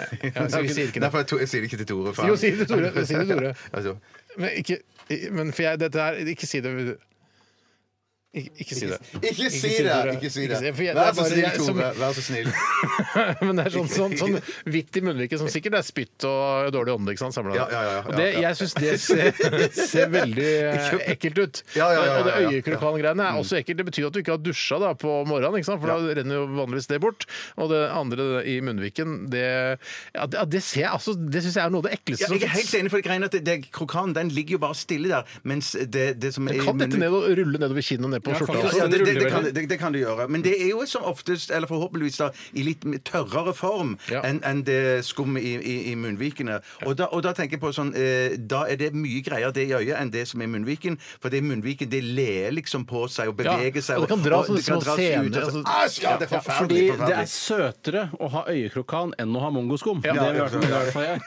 Speaker 2: så vi sier ikke det.
Speaker 3: Nei, for jeg, to, jeg sier det ikke til Tore. for
Speaker 2: Jo,
Speaker 3: han-
Speaker 2: si det til Tore, si det til Tore.
Speaker 3: Altså,
Speaker 2: Men ikke men for jeg, dette her, Ikke si det. Ikke, ikke si det.
Speaker 3: Ikke si
Speaker 2: si
Speaker 3: det!
Speaker 2: Tore.
Speaker 3: Ikke si
Speaker 2: Ikke
Speaker 3: det.
Speaker 2: si det, for jeg- det
Speaker 3: Vær
Speaker 2: er
Speaker 3: så
Speaker 2: bare
Speaker 3: snill,
Speaker 2: jeg som-
Speaker 3: Tore. Vær så snill.
Speaker 2: Men det er sånn, sånn, sånn hvitt i munnviken som sikkert er spytt og dårlig ånde. ikke sant, samlet.
Speaker 3: Ja, ja, ja, ja,
Speaker 2: og det,
Speaker 3: ja.
Speaker 2: jeg syns det ser, ser veldig eh, ekkelt ut.
Speaker 3: Ja, ja, Mm. ja, ja,
Speaker 2: Og det
Speaker 3: ja.
Speaker 2: øyekrokangreiene er også ekkelt. Det betyr at du ikke har dusja da, på morgenen, ikke sant? for da renner jo vanligvis det bort. Og det andre i munnviken, det, ja, det, ja, det, ser jeg, altså, det syns jeg er noe av
Speaker 3: Ja,
Speaker 2: det
Speaker 3: jeg
Speaker 2: ekleste
Speaker 3: er
Speaker 2: finnes.
Speaker 3: helt enig, for det greiene at det, det, krokanen den ligger jo bare stille der. Mens det, det som er
Speaker 2: Det kan dette ned og rulle nedover kinnet og ned på
Speaker 4: Ja,
Speaker 2: skjorta.
Speaker 4: faktisk.
Speaker 2: også.
Speaker 3: Ja, det, det,
Speaker 4: ruller
Speaker 3: det, kan,
Speaker 4: vel.
Speaker 3: det, det kan du gjøre.
Speaker 2: Mm.
Speaker 3: Men det er jo som oftest, eller forhåpentligvis da, i litt tørrere form
Speaker 2: Ja.
Speaker 3: enn enn det skummet i, i, i munnvikene. Og da, og da tenker jeg på sånn eh, Da er det mye greier det i øyet enn det som er i munnviken. For det i munnviken, det ler liksom på seg og beveger seg.
Speaker 2: og det kan dra sånne
Speaker 3: det kan
Speaker 2: små
Speaker 3: dras ut,
Speaker 2: scener,
Speaker 3: og så-
Speaker 2: altså-
Speaker 3: Æsj! Ja, det er
Speaker 4: Fordi
Speaker 3: forferdelig.
Speaker 4: det
Speaker 3: forferdelig.
Speaker 4: er søtere å ha øyekrokan enn å ha mongoskum. Det er i hvert fall- i hvert fall jeg.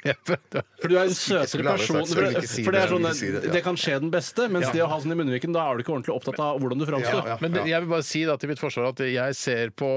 Speaker 4: For du er en søtere
Speaker 3: skulle aldri
Speaker 4: person.
Speaker 3: sagt- skulle
Speaker 4: For,
Speaker 3: ikke si
Speaker 4: for det,
Speaker 3: det,
Speaker 4: er sånn,
Speaker 3: skulle ikke si det, ja.
Speaker 4: det kan skje den beste, mens det å ha sånn i munnviken, da er du ikke ordentlig opptatt av hvordan du framstår.
Speaker 3: Ja, ja.
Speaker 2: Men det- jeg vil bare si da, til mitt forsvar at jeg ser på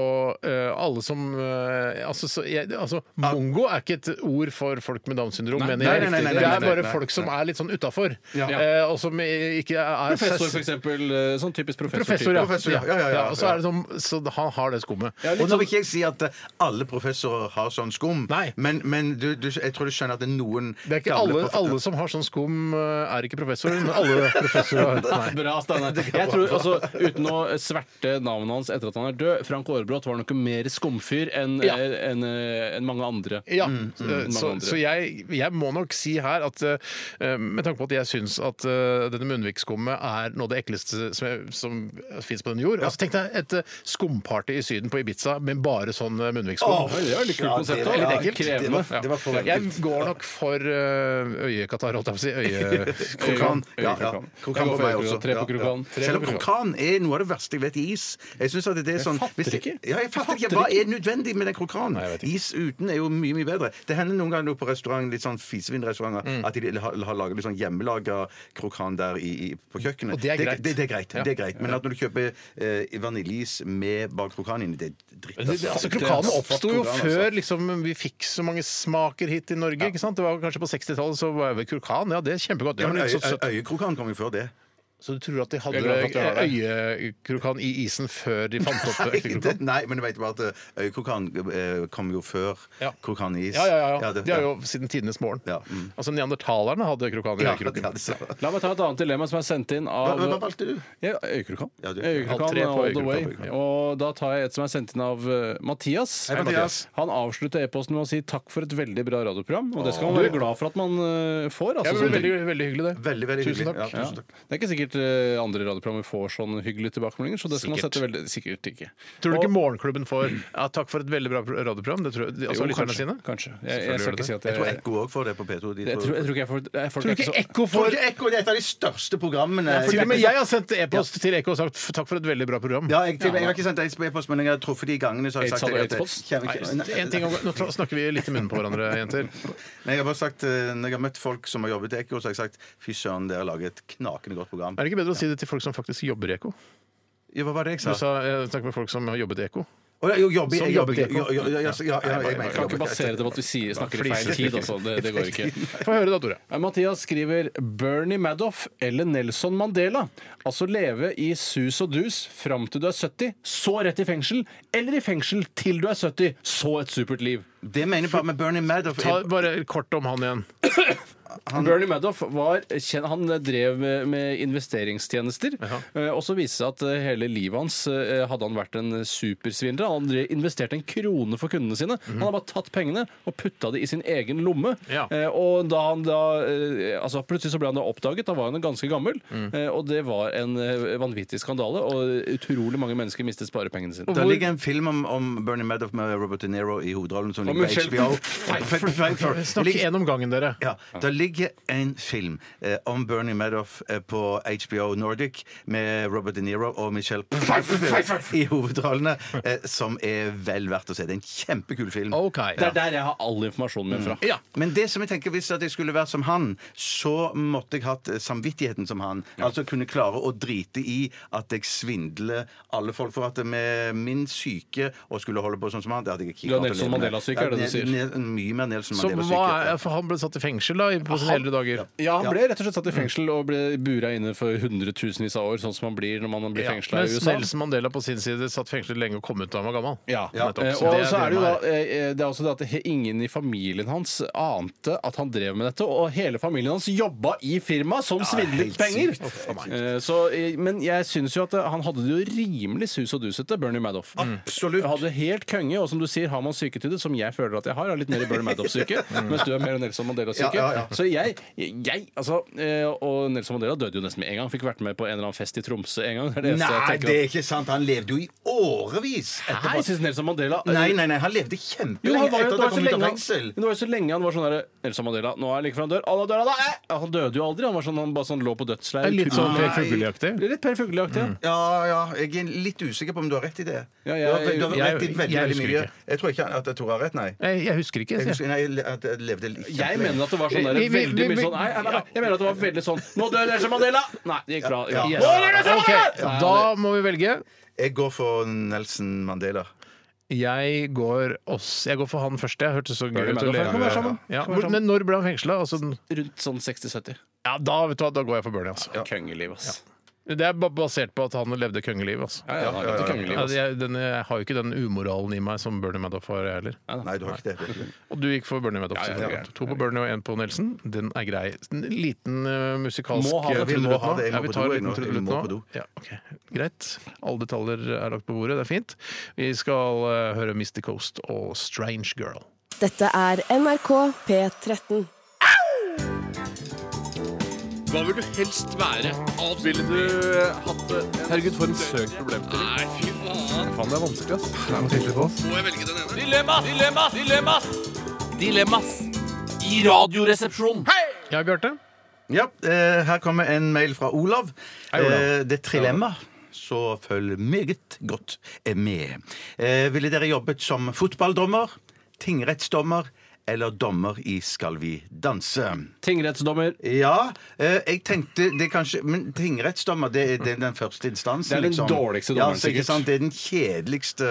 Speaker 2: eh, alle som eh, altså, så, jeg, altså, Mongo er ikke et ord for folk med Downs syndrom, mener jeg.
Speaker 3: nei, nei, nei,
Speaker 2: det
Speaker 3: nei,
Speaker 2: er
Speaker 3: nei,
Speaker 2: bare
Speaker 3: nei,
Speaker 2: folk som er litt sånn utafor, eh,
Speaker 3: Ja.
Speaker 2: og som ikke er
Speaker 4: Professor, for eksempel. eh, Sånn typisk
Speaker 2: Professor,
Speaker 4: professor.
Speaker 2: ja.
Speaker 3: Professor, ja. Ja, ja, ja,
Speaker 2: Ja, og så, er det sånn, så han har det skummet.
Speaker 3: Og nå vil ikke jeg si at eh, alle professorer har sånn skum,
Speaker 2: Nei.
Speaker 3: men, men du, du, jeg tror du skjønner at det er noen
Speaker 2: Det er ikke
Speaker 3: gamle
Speaker 2: alle,
Speaker 3: profe-
Speaker 2: alle som har sånn skum, eh, er ikke professorer, men alle professorer Nei.
Speaker 4: Bra, Steinar. Jeg tror, altså, Uten å sverte navnet hans etter at han er død Frank Aarebrot var nok en mer skumfyr enn
Speaker 2: Ja.
Speaker 4: eh, enn, eh, enn mange andre.
Speaker 2: Ja,
Speaker 3: Mm,
Speaker 2: eh,
Speaker 4: mange
Speaker 2: så,
Speaker 4: andre.
Speaker 2: så jeg, jeg må nok si her at eh, med tanke på at jeg syns at eh, denne munnvikskummet er noe av det ekleste som, jeg- som fins på den jord Altså Tenk deg et eh, skumparty i Syden på Ibiza med bare sånn eh, munnvikskum.
Speaker 4: Oi, det er jo litt kult
Speaker 3: Ja,
Speaker 4: konsept.
Speaker 3: det-
Speaker 4: da.
Speaker 3: ja,
Speaker 4: Litt ekkelt.
Speaker 3: det var-
Speaker 4: Krevende.
Speaker 3: det var for
Speaker 2: jeg
Speaker 3: enkelt.
Speaker 2: går nok for eh, øyekatarr, holdt jeg på å si. Øye...
Speaker 3: Krokan. Ja, ja.
Speaker 4: Krokan.
Speaker 3: Krokan
Speaker 4: Jeg
Speaker 3: på
Speaker 4: går for
Speaker 3: meg
Speaker 4: krokan.
Speaker 3: også.
Speaker 4: Tre på
Speaker 3: Ja, ja.
Speaker 4: krokan. Tre
Speaker 3: Selv
Speaker 4: på
Speaker 3: om
Speaker 4: krokan.
Speaker 3: krokan er noe av det verste jeg vet i is. Jeg synes at det er sånn,
Speaker 4: fatter
Speaker 3: hvis det-
Speaker 4: ikke.
Speaker 3: Ja, jeg fatter ikke. Hva er nødvendig med den krokanen? Is uten er jo mye, mye bedre. Det hender noen ganger på restaurant, litt sånn fisevinrestauranter at de har, har laget litt sånn hjemmelaga krokan der i, i, på kjøkkenet.
Speaker 2: Og det er greit.
Speaker 3: Det, det, er greit. det er greit. Men at når du kjøper eh, vaniljeis med bare krokan inni, det er dritt. ass.
Speaker 2: Altså, Krokanen oppsto jo
Speaker 3: Krokan, altså.
Speaker 2: før liksom, vi fikk så mange smaker hit i Norge. Ikke sant? Det var kanskje på 60-tallet. Så var det krokan, ja, det er kjempegodt.
Speaker 3: Ja,
Speaker 2: Ja,
Speaker 3: men
Speaker 2: men
Speaker 3: øye-
Speaker 2: litt så søtt.
Speaker 3: øye- Øyekrokan kom jo før det.
Speaker 2: Så du tror at de
Speaker 4: Jeg er glad for at du har
Speaker 2: hadde
Speaker 4: det.
Speaker 2: øyekrokan i isen før de fant opp ekte
Speaker 3: Nei, det-
Speaker 2: krokan?
Speaker 3: nei, men du vet bare at eh, øyekrokan eh, kom jo før
Speaker 2: Ja.
Speaker 3: krokanis.
Speaker 2: Ja, ja, ja. ja.
Speaker 3: det-
Speaker 2: De har jo siden tidenes morgen.
Speaker 3: Ja, mm.
Speaker 2: Altså Neandertalerne hadde krokan i
Speaker 3: ja,
Speaker 2: øyekroken.
Speaker 3: ja, det sa-
Speaker 4: La meg ta et annet dilemma som er sendt inn
Speaker 3: hva,
Speaker 4: av
Speaker 3: hva valgte du?
Speaker 4: Ja, Øyekrokan.
Speaker 3: Ja, du-
Speaker 2: Alt
Speaker 4: Øyekrokan
Speaker 2: tre på
Speaker 4: all the
Speaker 2: Øyekrokan,
Speaker 4: way.
Speaker 2: Øyekrokan.
Speaker 4: Og da tar jeg et som er sendt inn av eh, Mathias.
Speaker 3: Hei, Mathias.
Speaker 4: Han avslutter e-posten med å si takk for et veldig bra radioprogram. Og det skal man være glad for at man eh, får.
Speaker 2: Ja,
Speaker 4: Altså,
Speaker 2: men
Speaker 4: som-
Speaker 2: veldig, veldig hyggelig, det.
Speaker 3: Veldig, veldig
Speaker 2: Tusen
Speaker 3: hyggelig.
Speaker 2: takk.
Speaker 3: Ja,
Speaker 4: ja.
Speaker 3: tusen takk.
Speaker 4: Det er ikke sikkert sikkert eh, andre radioprogrammer får sånne hyggelige tilbakemeldinger, så det skal man
Speaker 2: Sikkert.
Speaker 4: sette veldig Sikkert ikke.
Speaker 2: Tror du
Speaker 4: Og-
Speaker 2: ikke Morgenklubben får ja, 'takk for et veldig bra radioprogram'? Det tror jeg, altså, lytterne
Speaker 4: Jo, kanskje.
Speaker 2: sine?
Speaker 4: kanskje.
Speaker 2: Selvfølgelig
Speaker 4: Jeg, jeg skal
Speaker 2: gjør det
Speaker 4: ikke si
Speaker 3: Jeg
Speaker 4: at jeg
Speaker 3: tror Ekko òg får det på P2. De
Speaker 4: jeg tror, jeg tror ikke jeg får jeg, folk er ikke så-
Speaker 2: Ekko
Speaker 3: Tror ikke Ekko det er et av de største programmene.
Speaker 2: Til og med jeg har sendt e-post til Ekko og sagt "F- 'takk for et veldig bra program'.
Speaker 3: Ja, jeg, til, jeg har ikke sendt deg e-post, men jeg har truffet de gangene. Så har jeg
Speaker 4: Aids
Speaker 3: sagt at
Speaker 4: hadde
Speaker 3: jeg-
Speaker 4: aids-post?
Speaker 3: Kjem- kjem-
Speaker 2: Nei, en ting om, nå tra- snakker vi litt i munnen på hverandre, jenter.
Speaker 3: Nei, jeg har bare sagt, eh, Når jeg har møtt folk som har jobbet i Ekko, så har jeg sagt fy søren, dere lager et knakende godt program.
Speaker 2: Er det ikke bedre å si det til folk som faktisk jobber i Ekko?
Speaker 3: Ja, hva var det jeg
Speaker 2: Du
Speaker 3: sa?
Speaker 2: sa jeg snakker med folk som har jobbet i Ekko.
Speaker 3: Å, ja, jo, jobbe,
Speaker 2: Som
Speaker 3: jeg
Speaker 2: jobbet i
Speaker 3: jobbet-
Speaker 2: Ekko.
Speaker 3: jo, jo, jo, ja, så- ja, ja, jeg
Speaker 4: Jeg
Speaker 3: mener
Speaker 4: kan ikke
Speaker 3: jobbet-
Speaker 4: basere det på at vi sier, snakker i
Speaker 2: Fliser.
Speaker 4: feil tid, altså. Det, det går ikke.
Speaker 2: Få høre da, Tore.
Speaker 4: Eh, Mathias skriver Bernie Madoff eller Nelson Mandela. Altså leve i sus og dus fram til du er 70, så rett i fengsel, eller i fengsel til du er 70, så et supert liv.
Speaker 3: Det mener jeg bare med Bernie Madoff.
Speaker 2: Ta bare kort om han igjen.
Speaker 4: Bernie Madoff var, kjen- han drev med- med investeringstjenester. eh, Og så viste det seg at eh, hele livet hans eh, hadde han vært en supersvindler. Han drev- investerte en krone for kundene sine. Han hadde bare tatt pengene og putta det i sin egen lomme.
Speaker 2: Mhm. Ja.
Speaker 4: Eh, Og da han da eh, altså Plutselig så ble han da oppdaget. Da var han ganske gammel.
Speaker 2: Mm.
Speaker 4: Eh, Og det var en eh, vanvittig skandale, og utrolig mange mennesker mistet sparepengene sine.
Speaker 3: Det ligger en film om, om Bernie Madoff med Robert De Niro i hovedrollen. Som ligger
Speaker 4: Michelle
Speaker 3: på HBO. Pfeiffer, Pfeiffer. Det
Speaker 2: Snakk
Speaker 3: ligger-
Speaker 2: én om gangen, dere.
Speaker 3: Ja, Det ligger en film eh, om Bernie Madoff eh, på HBO Nordic med Robert De Niro og Michelle Pfeiffer i hovedrollene, eh, som er vel verdt å se. Det er en kjempekul film.
Speaker 2: OK.
Speaker 4: Det er der jeg har all informasjonen min fra.
Speaker 2: Ja.
Speaker 3: Men det som jeg tenker, hvis at jeg skulle vært som han, så måtte jeg hatt eh, samvittigheten som han. Altså kunne klare å drite i at jeg svindler alle folk. For at med min syke og skulle holde på sånn som han, det hadde jeg ikke
Speaker 4: Du er
Speaker 3: klart å
Speaker 4: Nelson
Speaker 3: leve med.
Speaker 4: Mandela-syk, er det du
Speaker 3: Ja,
Speaker 4: sier?
Speaker 3: ne- ne- Mye mer Nelson
Speaker 2: Så hva er,
Speaker 3: Mandela-syk.
Speaker 2: for han ble satt i fengsel da, i- på sine eldre dager.
Speaker 4: Ja, han ble rett og slett satt i fengsel og ble bura inne for hundretusenvis av år, sånn som man blir når man blir
Speaker 2: Ja.
Speaker 4: fengsla i
Speaker 2: Mens
Speaker 4: USA.
Speaker 2: Nelson Mandela på sin side satt fengslet lenge og kom ut da han var gammel.
Speaker 4: Ja.
Speaker 2: Nettopp.
Speaker 4: Eh,
Speaker 2: Så
Speaker 4: og
Speaker 2: det-
Speaker 4: så er det jo da
Speaker 2: drømmen
Speaker 4: eh, Det er også det at he- ingen i familien hans ante at han drev med dette, og hele familien hans jobba i firmaet som svindlet penger! Eh, Så, eh, men jeg syns jo at eh, han hadde det jo rimelig sus og dusete, Bernie Madoff.
Speaker 3: Absolutt.
Speaker 4: Jeg hadde helt kønge, og som du sier, har man syke til det, som jeg føler at jeg har, er litt mer Bernie Madoff-syke, mens du er mer Nelson Mandela-syke.
Speaker 3: Mm. Ja, ja, ja.
Speaker 4: Så jeg, jeg altså, eh, Og Nelson Mandela døde jo nesten med en gang. Fikk vært med på en eller annen fest i Tromsø en gang. Det er det eneste
Speaker 3: Nei,
Speaker 4: jeg
Speaker 3: det
Speaker 4: tenker
Speaker 3: er ikke sant. Han levde jo i årevis
Speaker 4: at- Hæ? Jeg
Speaker 3: etterpå.
Speaker 4: synes Nelson Mandela
Speaker 3: Nei, nei, nei, han levde
Speaker 4: Jo,
Speaker 3: kjempelenge
Speaker 4: han var,
Speaker 3: etter
Speaker 4: jo-
Speaker 3: at
Speaker 4: det,
Speaker 3: han
Speaker 4: var så
Speaker 3: kom ut av
Speaker 4: lenge,
Speaker 3: fengsel.
Speaker 4: han, det var jo så lenge han var sånn der Nelson Mandela, nå er jeg like før han dør. Å, nå dør han, da! Eh! Ja, Han døde jo aldri. Han var sånn, han bare sånn lå på
Speaker 2: er
Speaker 4: dødsleiet.
Speaker 2: Litt sånn Per
Speaker 3: Nei.
Speaker 2: Fugelli-aktig.
Speaker 4: Litt Per Fugelli-aktig. ja.
Speaker 3: Ja, ja, jeg er litt usikker på om du har rett i det.
Speaker 4: Ja, jeg-
Speaker 3: du har, du har
Speaker 2: jeg-
Speaker 3: rett i veldig,
Speaker 2: jeg
Speaker 3: veldig
Speaker 2: husker
Speaker 3: mye.
Speaker 2: ikke.
Speaker 3: Jeg tror ikke at Tore har rett, nei.
Speaker 2: Nei, Jeg husker ikke.
Speaker 3: Jeg
Speaker 2: sier jeg.
Speaker 3: husker, nei, jeg le- at jeg levde
Speaker 4: Jeg mener at det var sånn der,
Speaker 2: Vi- vi- vi-
Speaker 4: veldig mye
Speaker 2: vi-
Speaker 4: sånn nei, nei, nei, Jeg mener at det var veldig sånn Nå dør Nelson Mandela! Nei, det gikk bra.
Speaker 3: Ja, ja.
Speaker 4: Nå dør Nelson
Speaker 2: Ok,
Speaker 4: Mandela!
Speaker 2: Da må vi velge.
Speaker 3: Jeg går for Nelson Mandela.
Speaker 2: Jeg går oss. Jeg går for han først. Jeg hørtes så gøy ut å
Speaker 4: Madoff,
Speaker 2: leve
Speaker 4: kan være sammen.
Speaker 2: Ja.
Speaker 4: Kan være sammen.
Speaker 2: Men når ble han fengsla? Altså, den-
Speaker 4: rundt sånn 60-70.
Speaker 2: ja, da, vet du hva, da går jeg for Bernie. Altså.
Speaker 4: Kongeliv, ass.
Speaker 2: Det er ba- basert på at han levde kongeliv. Altså.
Speaker 4: Ja, ja, ja, ja, kongeliv,
Speaker 2: Ja,
Speaker 4: ass.
Speaker 2: jeg, den, jeg har jo ikke den umoralen i meg som Bernie Madoff har, jeg heller.
Speaker 3: Nei, du har ikke det. det. er ikke det.
Speaker 2: Og du gikk for Bernie Madoff.
Speaker 4: Ja, ja,
Speaker 2: selvfølgelig.
Speaker 4: ja, ja.
Speaker 2: To på Bernie og én på Nelson. Den er grei. En liten eh, musikalsk
Speaker 4: Må ha det,
Speaker 2: eh,
Speaker 3: vi må
Speaker 2: trudelutt
Speaker 3: ha
Speaker 2: nå.
Speaker 3: det. Jeg må
Speaker 2: Ja, vi
Speaker 3: på
Speaker 2: tar
Speaker 3: do,
Speaker 2: en
Speaker 3: jeg
Speaker 2: liten
Speaker 3: nå. Jeg må
Speaker 2: trudelutt
Speaker 3: på
Speaker 2: nå.
Speaker 3: do.
Speaker 2: Ja, ok. Greit. Alle detaljer er lagt på bordet. Det er fint. Vi skal eh, høre Misty Coast og Strange Girl.
Speaker 8: Dette er NRK P13.
Speaker 9: Hva vil du helst være? Ville du hatt det? Herregud, for en søk problem til. Nei, fy faen. Faen, det er vanskelig, ass. Det er noe på. Må jeg velge den ene? Dilemmas! Dilemmas! Dilemmas! Dilemmas! I radioresepsjonen.
Speaker 2: Ja, Bjarte?
Speaker 3: Ja, eh, her kommer en mail fra Olav.
Speaker 2: Hei, Olav.
Speaker 3: Eh, det er trilemma. Så følg meget godt med. Eh, ville dere jobbet som fotballdommer, tingrettsdommer eller dommer i Skal vi danse?
Speaker 4: Tingrettsdommer.
Speaker 3: Ja, eh, jeg tenkte det kanskje Men tingrettsdommer, det er, det er den første instansen. liksom.
Speaker 4: Det er den dårligste
Speaker 3: ja,
Speaker 4: dommeren,
Speaker 3: så ikke
Speaker 4: sikkert.
Speaker 3: sant? Det er den kjedeligste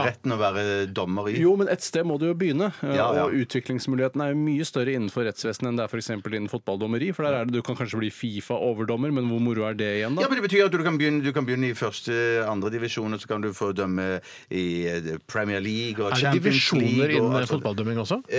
Speaker 3: retten å være dommer i.
Speaker 4: Jo, men et sted må du jo begynne. eh,
Speaker 3: Ja, ja.
Speaker 4: Og utviklingsmuligheten er jo mye større innenfor rettsvesenet enn det er f.eks. innen fotballdommeri. For der er det du kan kanskje bli Fifa-overdommer, men hvor moro er det igjen,
Speaker 3: Ja,
Speaker 4: da?
Speaker 3: men Det betyr at du kan begynne, du kan begynne i første, andre divisjon, og så kan du få dømme i eh, Premier League og
Speaker 2: Er det
Speaker 3: Champions League.
Speaker 2: divisjoner
Speaker 3: og
Speaker 2: innen
Speaker 3: alt sånt.
Speaker 2: fotballdømming også?
Speaker 3: Eh, eh,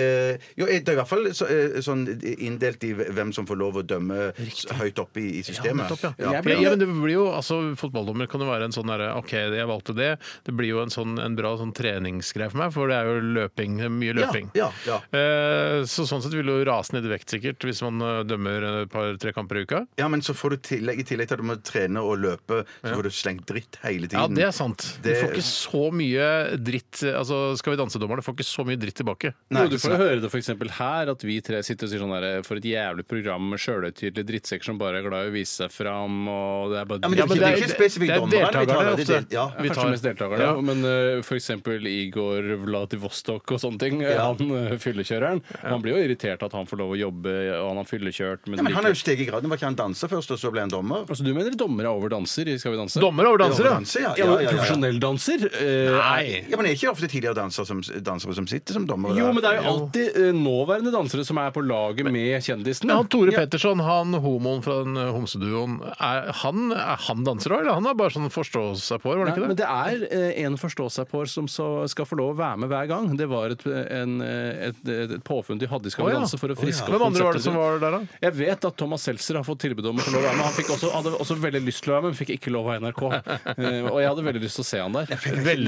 Speaker 3: Jo, det er i hvert fall så, eh, sånn inndelt i hvem som får lov å dømme s- høyt oppe i, i systemet.
Speaker 2: nettopp, ja.
Speaker 3: Ja.
Speaker 2: Jeg blir- ja, men det blir jo, altså Fotballdommer kan jo være en sånn derre OK, jeg valgte det. Det blir jo en, sånn, en bra sånn treningsgreie for meg, for det er jo løping. det er Mye
Speaker 3: Ja,
Speaker 2: løping.
Speaker 3: ja, ja.
Speaker 2: Eh, så sånn sett vil du jo rase ned i vekt sikkert hvis man eh, dømmer et par-tre kamper i uka.
Speaker 3: Ja, men så får du tillegg, i tillegg til at du må trene og løpe, så får du slengt dritt hele tiden.
Speaker 2: Ja, det er sant. Du
Speaker 3: Det-
Speaker 2: får ikke så mye dritt Altså, Skal vi danse-dommerne får ikke så mye dritt tilbake.
Speaker 3: Nei,
Speaker 4: jo, du får jo høre det for eksempel her, at vi tre sitter og sier sånn her For et jævlig program med sjølhøytidelige drittsekker som bare er glad i å vise seg fram, og det er bare
Speaker 3: Ja, men det er
Speaker 4: dritt».
Speaker 3: ikke- det er ikke spesifikt
Speaker 2: det er
Speaker 3: dommerne vi
Speaker 2: deltakerne
Speaker 3: taler, det er
Speaker 2: ofte.
Speaker 3: del- ja.
Speaker 4: Ja,
Speaker 2: Vi
Speaker 4: kanskje
Speaker 2: tar-
Speaker 4: mest deltakerne,
Speaker 2: Ja.
Speaker 4: ja. men uh, f.eks. Igor Vladivostok og sånne ting. Han eh, fyllekjøreren. Han blir jo irritert at han får lov å jobbe, og han har fyllekjørt. Men,
Speaker 3: Ja, men han er jo
Speaker 4: likevel-
Speaker 3: steget i graden. Var ikke han danser først, og så ble han dommer?
Speaker 4: altså, du mener dommere over danser i Skal vi danse?
Speaker 2: Dommere over dansere!
Speaker 3: Danser, ja.
Speaker 4: Ja,
Speaker 3: Ja,
Speaker 4: men
Speaker 3: ja, ja, ja.
Speaker 4: Profesjonell danser? eh,
Speaker 2: Nei!
Speaker 3: ja, men er ikke ofte tidligere danser som, dansere som sitter som dommere?
Speaker 4: Jo,
Speaker 3: der?
Speaker 4: men det er jo alltid eh, nåværende dansere som er på laget med kjendisene.
Speaker 2: Ja, han Tore Petterson, han homoen fra den eh, homseduoen, er han, er han danser òg, eller han er bare sånn forstå seg på, var det
Speaker 4: Nei,
Speaker 2: ikke
Speaker 4: men
Speaker 2: det?
Speaker 4: det er eh, en forstå seg på som så skal få lov å være med hver gang. Det var et, en, eh, et, et, et påfunn de hadde i Skal
Speaker 2: Å,
Speaker 4: vi
Speaker 2: ja.
Speaker 4: danse for å friske opp
Speaker 2: Hvem andre var det
Speaker 4: konseptet
Speaker 2: som
Speaker 4: sitt.
Speaker 2: var der, da?
Speaker 4: Jeg vet at Thomas Seltzer har fått tilbud om å få lov å være med. Han fikk også, hadde også veldig lyst til å være med, men fikk ikke lov av NRK. Eh, og jeg hadde veldig lyst til å se han der.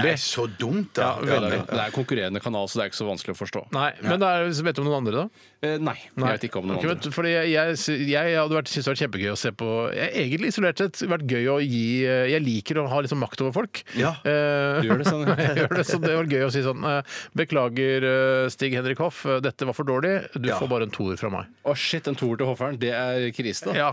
Speaker 3: Nei, så dumt, da.
Speaker 4: Ja, det er- det er konkurrerende kanal, så det er ikke så vanskelig å forstå.
Speaker 2: Nei, men det er, vet du om noen andre, da?
Speaker 4: Eh, nei, jeg vet ikke om noen
Speaker 2: Ok,
Speaker 4: andre.
Speaker 2: vet du, Fordi jeg, jeg, jeg hadde vært, synes det hadde vært kjempegøy å se på jeg, har Egentlig isolert sett vært gøy å gi eh, Jeg liker å ha litt sånn makt over folk.
Speaker 3: Ja.
Speaker 2: Eh,
Speaker 4: Du gjør det, Sanne.
Speaker 2: jeg gjør det, så det var gøy å si sånn eh, Beklager, eh, Stig Henrik Hoff, eh, dette var for dårlig. Du
Speaker 3: Ja.
Speaker 2: får bare en toer fra meg.
Speaker 4: Å shit, en toer til Hofferen, det er krise, da.
Speaker 2: Ja,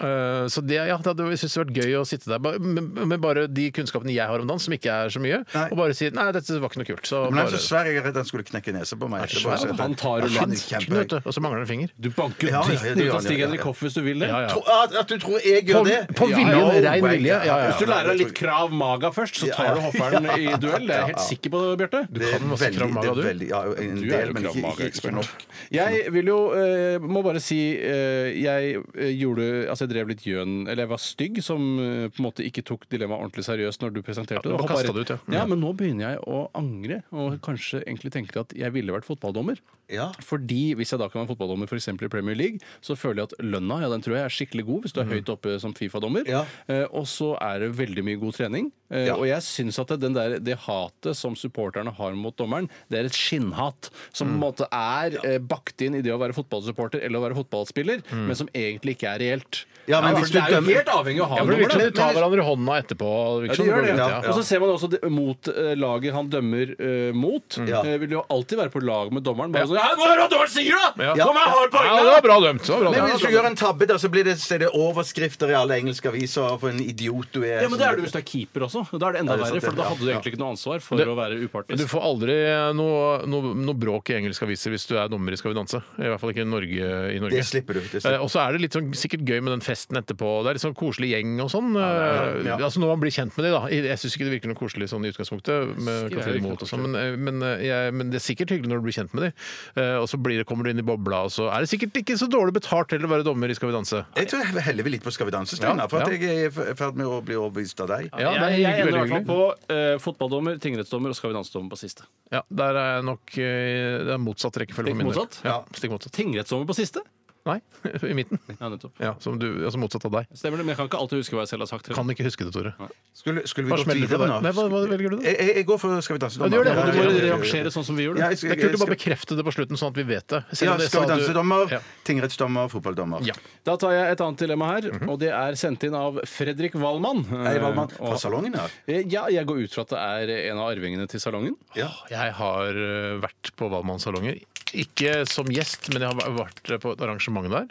Speaker 2: eh, så det, ja, det hadde jeg syntes det vært gøy å sitte der ba- med, med bare de kunnskapene jeg har om dans, som ikke er så mye,
Speaker 3: Nei.
Speaker 2: og bare si nei, dette var ikke noe kult. Så
Speaker 3: Men han er
Speaker 2: bare,
Speaker 3: så svær, jeg er redd han skulle knekke nesa på meg. etterpå,
Speaker 4: svær,
Speaker 3: så jeg-
Speaker 4: han tar
Speaker 3: Ja, han er
Speaker 4: rulett.
Speaker 2: Kjempe-
Speaker 3: kjempehøy.
Speaker 2: vet du, og så mangler han en finger.
Speaker 4: Du banker jo
Speaker 3: Ja, ja, ja,
Speaker 4: dritten
Speaker 3: det gjør
Speaker 4: ut av
Speaker 3: han,
Speaker 4: Stig
Speaker 3: ja, ja,
Speaker 4: Henrik
Speaker 3: ja.
Speaker 4: Hoff hvis du vil det.
Speaker 2: Ja, ja.
Speaker 3: Tro- at- At du tror jeg gjør
Speaker 2: På-
Speaker 3: det?
Speaker 2: på vilje,
Speaker 3: Ja,
Speaker 2: rein
Speaker 3: way,
Speaker 2: vilje. Ja, ja, ja.
Speaker 4: Hvis du lærer deg litt krav maga først, så tar du hofferen i duell. Det er jeg helt sikker på, Bjarte.
Speaker 3: Det er
Speaker 2: kan masse
Speaker 3: veldig,
Speaker 2: Krav Maga,
Speaker 3: det er
Speaker 2: du.
Speaker 3: veldig ja, en
Speaker 4: Du er
Speaker 3: del,
Speaker 4: jo
Speaker 3: men
Speaker 4: Krav
Speaker 3: ikke, ikke, ikke
Speaker 4: Maga-ekspert.
Speaker 3: nok.
Speaker 4: Jeg vil jo eh, må bare si eh, Jeg eh, gjorde Altså, jeg drev litt gjøn Eller jeg var stygg, som eh, på en måte ikke tok dilemmaet ordentlig seriøst når du presenterte
Speaker 2: du
Speaker 4: det.
Speaker 2: bare
Speaker 4: Hoppa
Speaker 2: kastet
Speaker 4: rett-
Speaker 2: det ut, ja. Mm.
Speaker 4: ja. men nå begynner jeg å angre, og kanskje egentlig tenker at jeg ville vært fotballdommer.
Speaker 3: Ja.
Speaker 4: Fordi hvis jeg da kan være fotballdommer f.eks. i Premier League, så føler jeg at lønna ja, den tror jeg er skikkelig god hvis du er høyt oppe som Fifa-dommer.
Speaker 3: Mhm. Ja.
Speaker 4: Eh, og så er det veldig mye god trening. Eh,
Speaker 3: Ja.
Speaker 4: Og jeg syns at det- den der, det hatet som supporterne har mot dommeren, det er et skinnhat. Som
Speaker 3: Mm.
Speaker 4: på en måte er eh, bakt inn i det å være fotballsupporter eller å være fotballspiller, men som egentlig ikke er
Speaker 3: Mm.
Speaker 4: reelt.
Speaker 3: Ja, men
Speaker 4: for
Speaker 3: hvis
Speaker 4: det
Speaker 3: du
Speaker 4: er jo
Speaker 3: dømmer-
Speaker 4: helt avhengig av å ha
Speaker 2: Ja,
Speaker 4: en
Speaker 2: for det virker
Speaker 4: dommer. da.
Speaker 2: som de tar hverandre i hånda etterpå. det virker
Speaker 4: Ja, de
Speaker 2: som
Speaker 4: gjør det.
Speaker 2: går ut,
Speaker 3: ja.
Speaker 4: Og så ser man også det, mot eh, laget han dømmer eh, mot.
Speaker 3: Mm. Ja.
Speaker 4: eh, vil jo alltid være på lag med dommeren. Bare sånn, «Hæ, må høre hva dommeren sier, da!
Speaker 2: Ja.
Speaker 4: Nå må jeg ha et poeng,
Speaker 2: Ja, det
Speaker 4: da!»
Speaker 2: var bra dømt. Det var bra
Speaker 3: Men
Speaker 2: dømt.
Speaker 3: hvis du gjør en tabbe, da, så blir det, så er det overskrifter i alle engelske aviser for en idiot du er.
Speaker 4: Ja, men det er du hvis du er keeper også. Da er det enda
Speaker 3: Ja, det er sant,
Speaker 4: verre, for
Speaker 3: det.
Speaker 4: da hadde du
Speaker 3: Ja.
Speaker 4: egentlig ikke noe ansvar for
Speaker 2: Det-
Speaker 4: å være
Speaker 2: Men Du
Speaker 4: upartisk.
Speaker 2: får aldri eh, noe, noe, noe bråk i engelske aviser hvis du er dommer i Skal vi danse. I hvert fall ikke i Norge. I Norge.
Speaker 3: Det slipper du, det slipper du.
Speaker 2: Eh, Og så er det litt sånn, sikkert gøy med den festen etterpå. Det er litt sånn koselig gjeng og sånn.
Speaker 3: det, ja.
Speaker 2: Eh, Altså Når man blir kjent med de, da. I- Jeg syns ikke det virker noe koselig sånn i utgangspunktet, med
Speaker 4: Ikke
Speaker 2: Katrine
Speaker 4: jeg,
Speaker 2: Moholt og
Speaker 4: ikke
Speaker 2: sånn, men, eh, men, eh, jeg- men det er sikkert hyggelig når du blir kjent med de. Eh, Og så blir det, kommer du inn i bobla, og så er det sikkert ikke så dårlig betalt heller å være dommer i Skal vi danse.
Speaker 3: Jeg tror jeg heller vi litt på Skal vi danse, Steinar. For
Speaker 2: Ja,
Speaker 3: at
Speaker 2: ja.
Speaker 3: jeg er i ferd med å bli overbevist av deg.
Speaker 2: Ja, det er
Speaker 4: jeg, jeg
Speaker 2: hyggelig,
Speaker 4: ender
Speaker 2: veldig
Speaker 4: i hvert fall
Speaker 2: hyggelig.
Speaker 4: på eh, fotballdommer, tingrettsdommer og Skal vi danse-dommer på siste.
Speaker 2: Ja, der er jeg nok eh, Det er motsatt rekkefølge.
Speaker 4: Stikk
Speaker 2: for min del.
Speaker 4: motsatt?
Speaker 2: Ja, stikk motsatt.
Speaker 4: Tingrettsdommer på siste?
Speaker 2: Nei, i midten.
Speaker 4: Ja, nettopp.
Speaker 2: Ja, som du, altså motsatt av deg.
Speaker 4: Stemmer det, men jeg kan ikke alltid huske hva jeg selv har sagt.
Speaker 2: Kan ikke huske det, Tore.
Speaker 3: Skulle, skulle vi gått
Speaker 2: Hva smeller det
Speaker 3: videre
Speaker 2: for deg?
Speaker 3: nå?
Speaker 2: Nei, hva, hva velger du, da?
Speaker 3: Jeg, jeg, jeg går for Skal vi danse.
Speaker 2: du gjør det.
Speaker 4: Du må
Speaker 2: Ja, ja, ja, ja.
Speaker 4: rangere sånn som vi gjorde.
Speaker 3: Ja, jeg skal-
Speaker 2: Det er kult å
Speaker 3: jeg skal-
Speaker 2: bare bekrefte det på slutten, sånn at vi vet det. Selv
Speaker 3: Ja,
Speaker 2: om det
Speaker 3: skal vi
Speaker 2: sa du-
Speaker 3: danse-dommer,
Speaker 2: Ja.
Speaker 3: tingrettsdommer, fotballdommer.
Speaker 2: Ja.
Speaker 4: Da tar jeg et annet dilemma her,
Speaker 2: Mhm.
Speaker 4: og det er sendt inn av Fredrik Valmann.
Speaker 3: Hei, Valmann.
Speaker 4: Eh,
Speaker 3: Fra
Speaker 4: og-
Speaker 3: salongen her.
Speaker 4: Eh, Ja, jeg går ut fra at det er en av arvingene til salongen.
Speaker 2: Jeg har eh, vært på Valmannssalonger. Ikke som gjest, men jeg har vært på et arrangement der.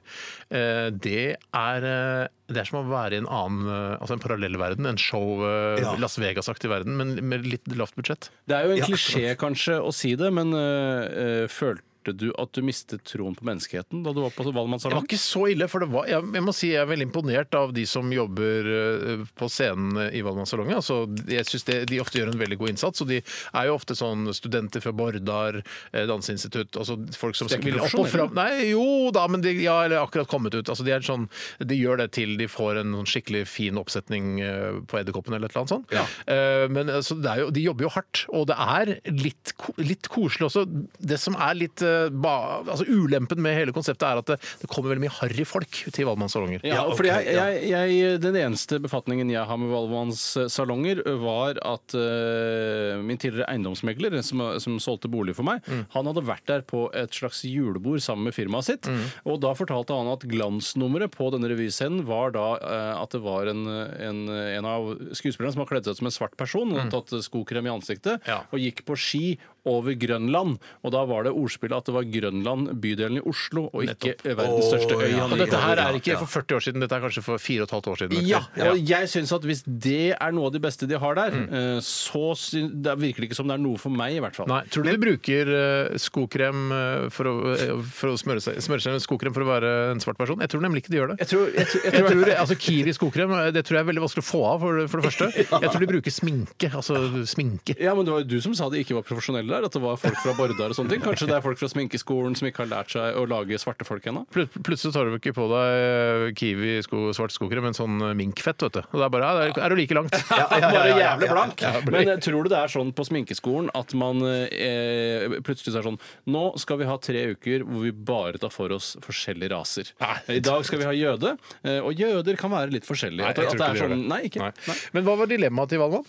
Speaker 2: Eh, Det er, eh, det er som å være i en annen eh, altså en parallellverden. En show eh,
Speaker 3: Ja.
Speaker 2: Las Vegas-aktig verden, men med litt lavt budsjett.
Speaker 4: Det er jo en
Speaker 3: Ja,
Speaker 4: klisjé kanskje å si det, men eh, eh, følte du at du mistet troen på menneskeheten da du var på
Speaker 2: Det var
Speaker 4: Valmannssalongen?
Speaker 2: ikke så ille, for det var, jeg, jeg må si jeg er veldig imponert av de som jobber eh, på scenen i Valmannssalongen. Altså, jeg synes det, de ofte gjør en veldig god innsats, og de er jo ofte sånn studenter fra Bordar eh, danseinstitutt, altså folk som
Speaker 4: Det er ikke
Speaker 2: vil opp og fram. Nei, jo da, men de ja, eller akkurat kommet ut. Altså, de, er sånn, de gjør det til de får en sånn skikkelig fin oppsetning eh, på Edderkoppen eller et eller annet sånt. Eh, men altså, det er jo, de jobber jo hardt, og det er litt, ko- litt koselig også. Det som er litt eh, eh, ba, altså, ulempen med hele konseptet er at det, det kommer veldig mye harry folk til valgmannssalonger.
Speaker 4: Ja, fordi jeg, jeg, jeg, Den eneste befatningen jeg har med valgmannssalonger, var at eh, min tidligere eiendomsmegler, som, som solgte bolig for meg, han hadde vært der på et slags julebord sammen med firmaet sitt. Og da fortalte han at glansnummeret på denne revyscenen var da eh, at det var en, en, en av skuespillerne som har kledd seg ut som en svart person, og hadde tatt skokrem i ansiktet,
Speaker 2: Ja.
Speaker 4: og gikk på ski over Grønland. Og da var det ordspillet at det var Grønland, bydelen i Oslo, og ikke eh, verdens største øy. han
Speaker 2: Og
Speaker 4: gikk
Speaker 2: dette her
Speaker 4: over.
Speaker 2: er ikke for 40 år siden, dette er kanskje for 4 15 år siden.
Speaker 4: Ja, og jeg syns at hvis det er noe av de beste de har der, eh, så syn- det virker det ikke som det er noe for meg, i hvert fall.
Speaker 2: Nei, Tror du de bruker eh, skokrem eh, for å, eh, for å smøre, seg, smøre seg med skokrem for å være en svart person? Jeg tror nemlig ikke de gjør det.
Speaker 4: Jeg tror, jeg, tror- jeg
Speaker 2: Jeg
Speaker 4: tror,
Speaker 2: tror, altså Kiwi skokrem eh, det tror jeg er veldig vanskelig å få av, for, for det første. Jeg tror de bruker sminke. Altså sminke.
Speaker 4: ja, men Det var jo du som sa de ikke var profesjonelle der. At det var folk fra Bordar og sånne ting. Kanskje det er folk fra sminkeskolen som ikke har lært seg å lage svarte folk ennå.
Speaker 2: Plut- Plutselig tar du ikke på deg eh, Kiwi sko, svart skokrem, men sånn eh, minkfett, vet du. Og det er bare ja, der er du like langt.
Speaker 4: Bare jævlig blank. Men eh, tror du det er sånn på sminkeskolen at man eh, plutselig så er sånn Nå skal vi ha tre uker hvor vi bare tar for oss forskjellige raser. I dag skal vi ha jøde, eh, og jøder kan være litt forskjellige. At- at det er sånn, nei, ikke.
Speaker 2: Nei. Men hva var dilemmaet til Valmann?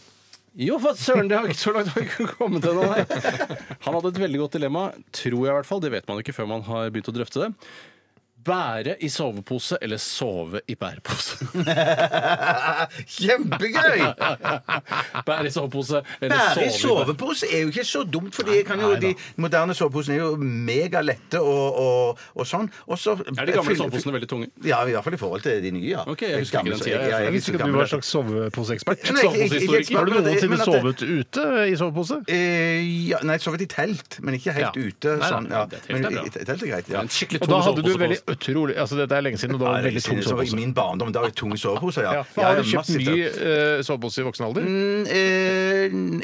Speaker 4: Jo, for søren, det har ikke så langt har ikke kommet ennå. nei. Han hadde et veldig godt dilemma, tror jeg i hvert fall. Det vet man ikke før man har begynt å drøfte det. Bære i sovepose eller sove i bærepose?
Speaker 3: Kjempegøy!
Speaker 4: Bære i sovepose eller
Speaker 3: Bære i
Speaker 4: sove i bærepose?
Speaker 3: sovepose er jo ikke så dumt, for de, kan jo, de moderne soveposene er jo megalette og, og, og sånn. Og så
Speaker 4: Er de gamle soveposene veldig tunge?
Speaker 3: Ja, i hvert fall i forhold til de nye, ja.
Speaker 4: Ok, jeg husker ikke den
Speaker 3: Jeg,
Speaker 4: tida, jeg.
Speaker 2: Altså, Jeg
Speaker 3: er
Speaker 2: visste
Speaker 3: ikke så
Speaker 2: ikke at du
Speaker 3: gammel.
Speaker 2: var en slags soveposeekspert.
Speaker 3: Nei, ikke- ikke- ikke- ikke-
Speaker 2: Har du
Speaker 3: men at det-
Speaker 2: noensinne
Speaker 3: men at det-
Speaker 2: sovet ute i sovepose?
Speaker 3: Eh, ja, nei, sovet i telt, men ikke helt
Speaker 2: Ja.
Speaker 3: ute.
Speaker 2: Nei, nei,
Speaker 3: Sånn, ja.
Speaker 4: det er telt
Speaker 3: Men
Speaker 4: er bra.
Speaker 3: i- telt er greit, ja.
Speaker 4: En skikkelig
Speaker 2: Og
Speaker 4: tung
Speaker 2: da hadde du
Speaker 4: sovepose på
Speaker 2: veldig
Speaker 4: oss.
Speaker 2: utrolig altså Dette er lenge siden, og da
Speaker 3: Ja,
Speaker 2: var det
Speaker 3: det er
Speaker 2: veldig
Speaker 3: lenge siden jeg sov
Speaker 2: tung
Speaker 3: I
Speaker 2: sovepose.
Speaker 3: min barndom da var det tunge soveposer, ja.
Speaker 2: Ja,
Speaker 3: Ja,
Speaker 2: har du kjøpt
Speaker 3: massivt,
Speaker 2: ny
Speaker 3: ja.
Speaker 2: eh, sovepose i voksen alder?
Speaker 3: Mm, eh,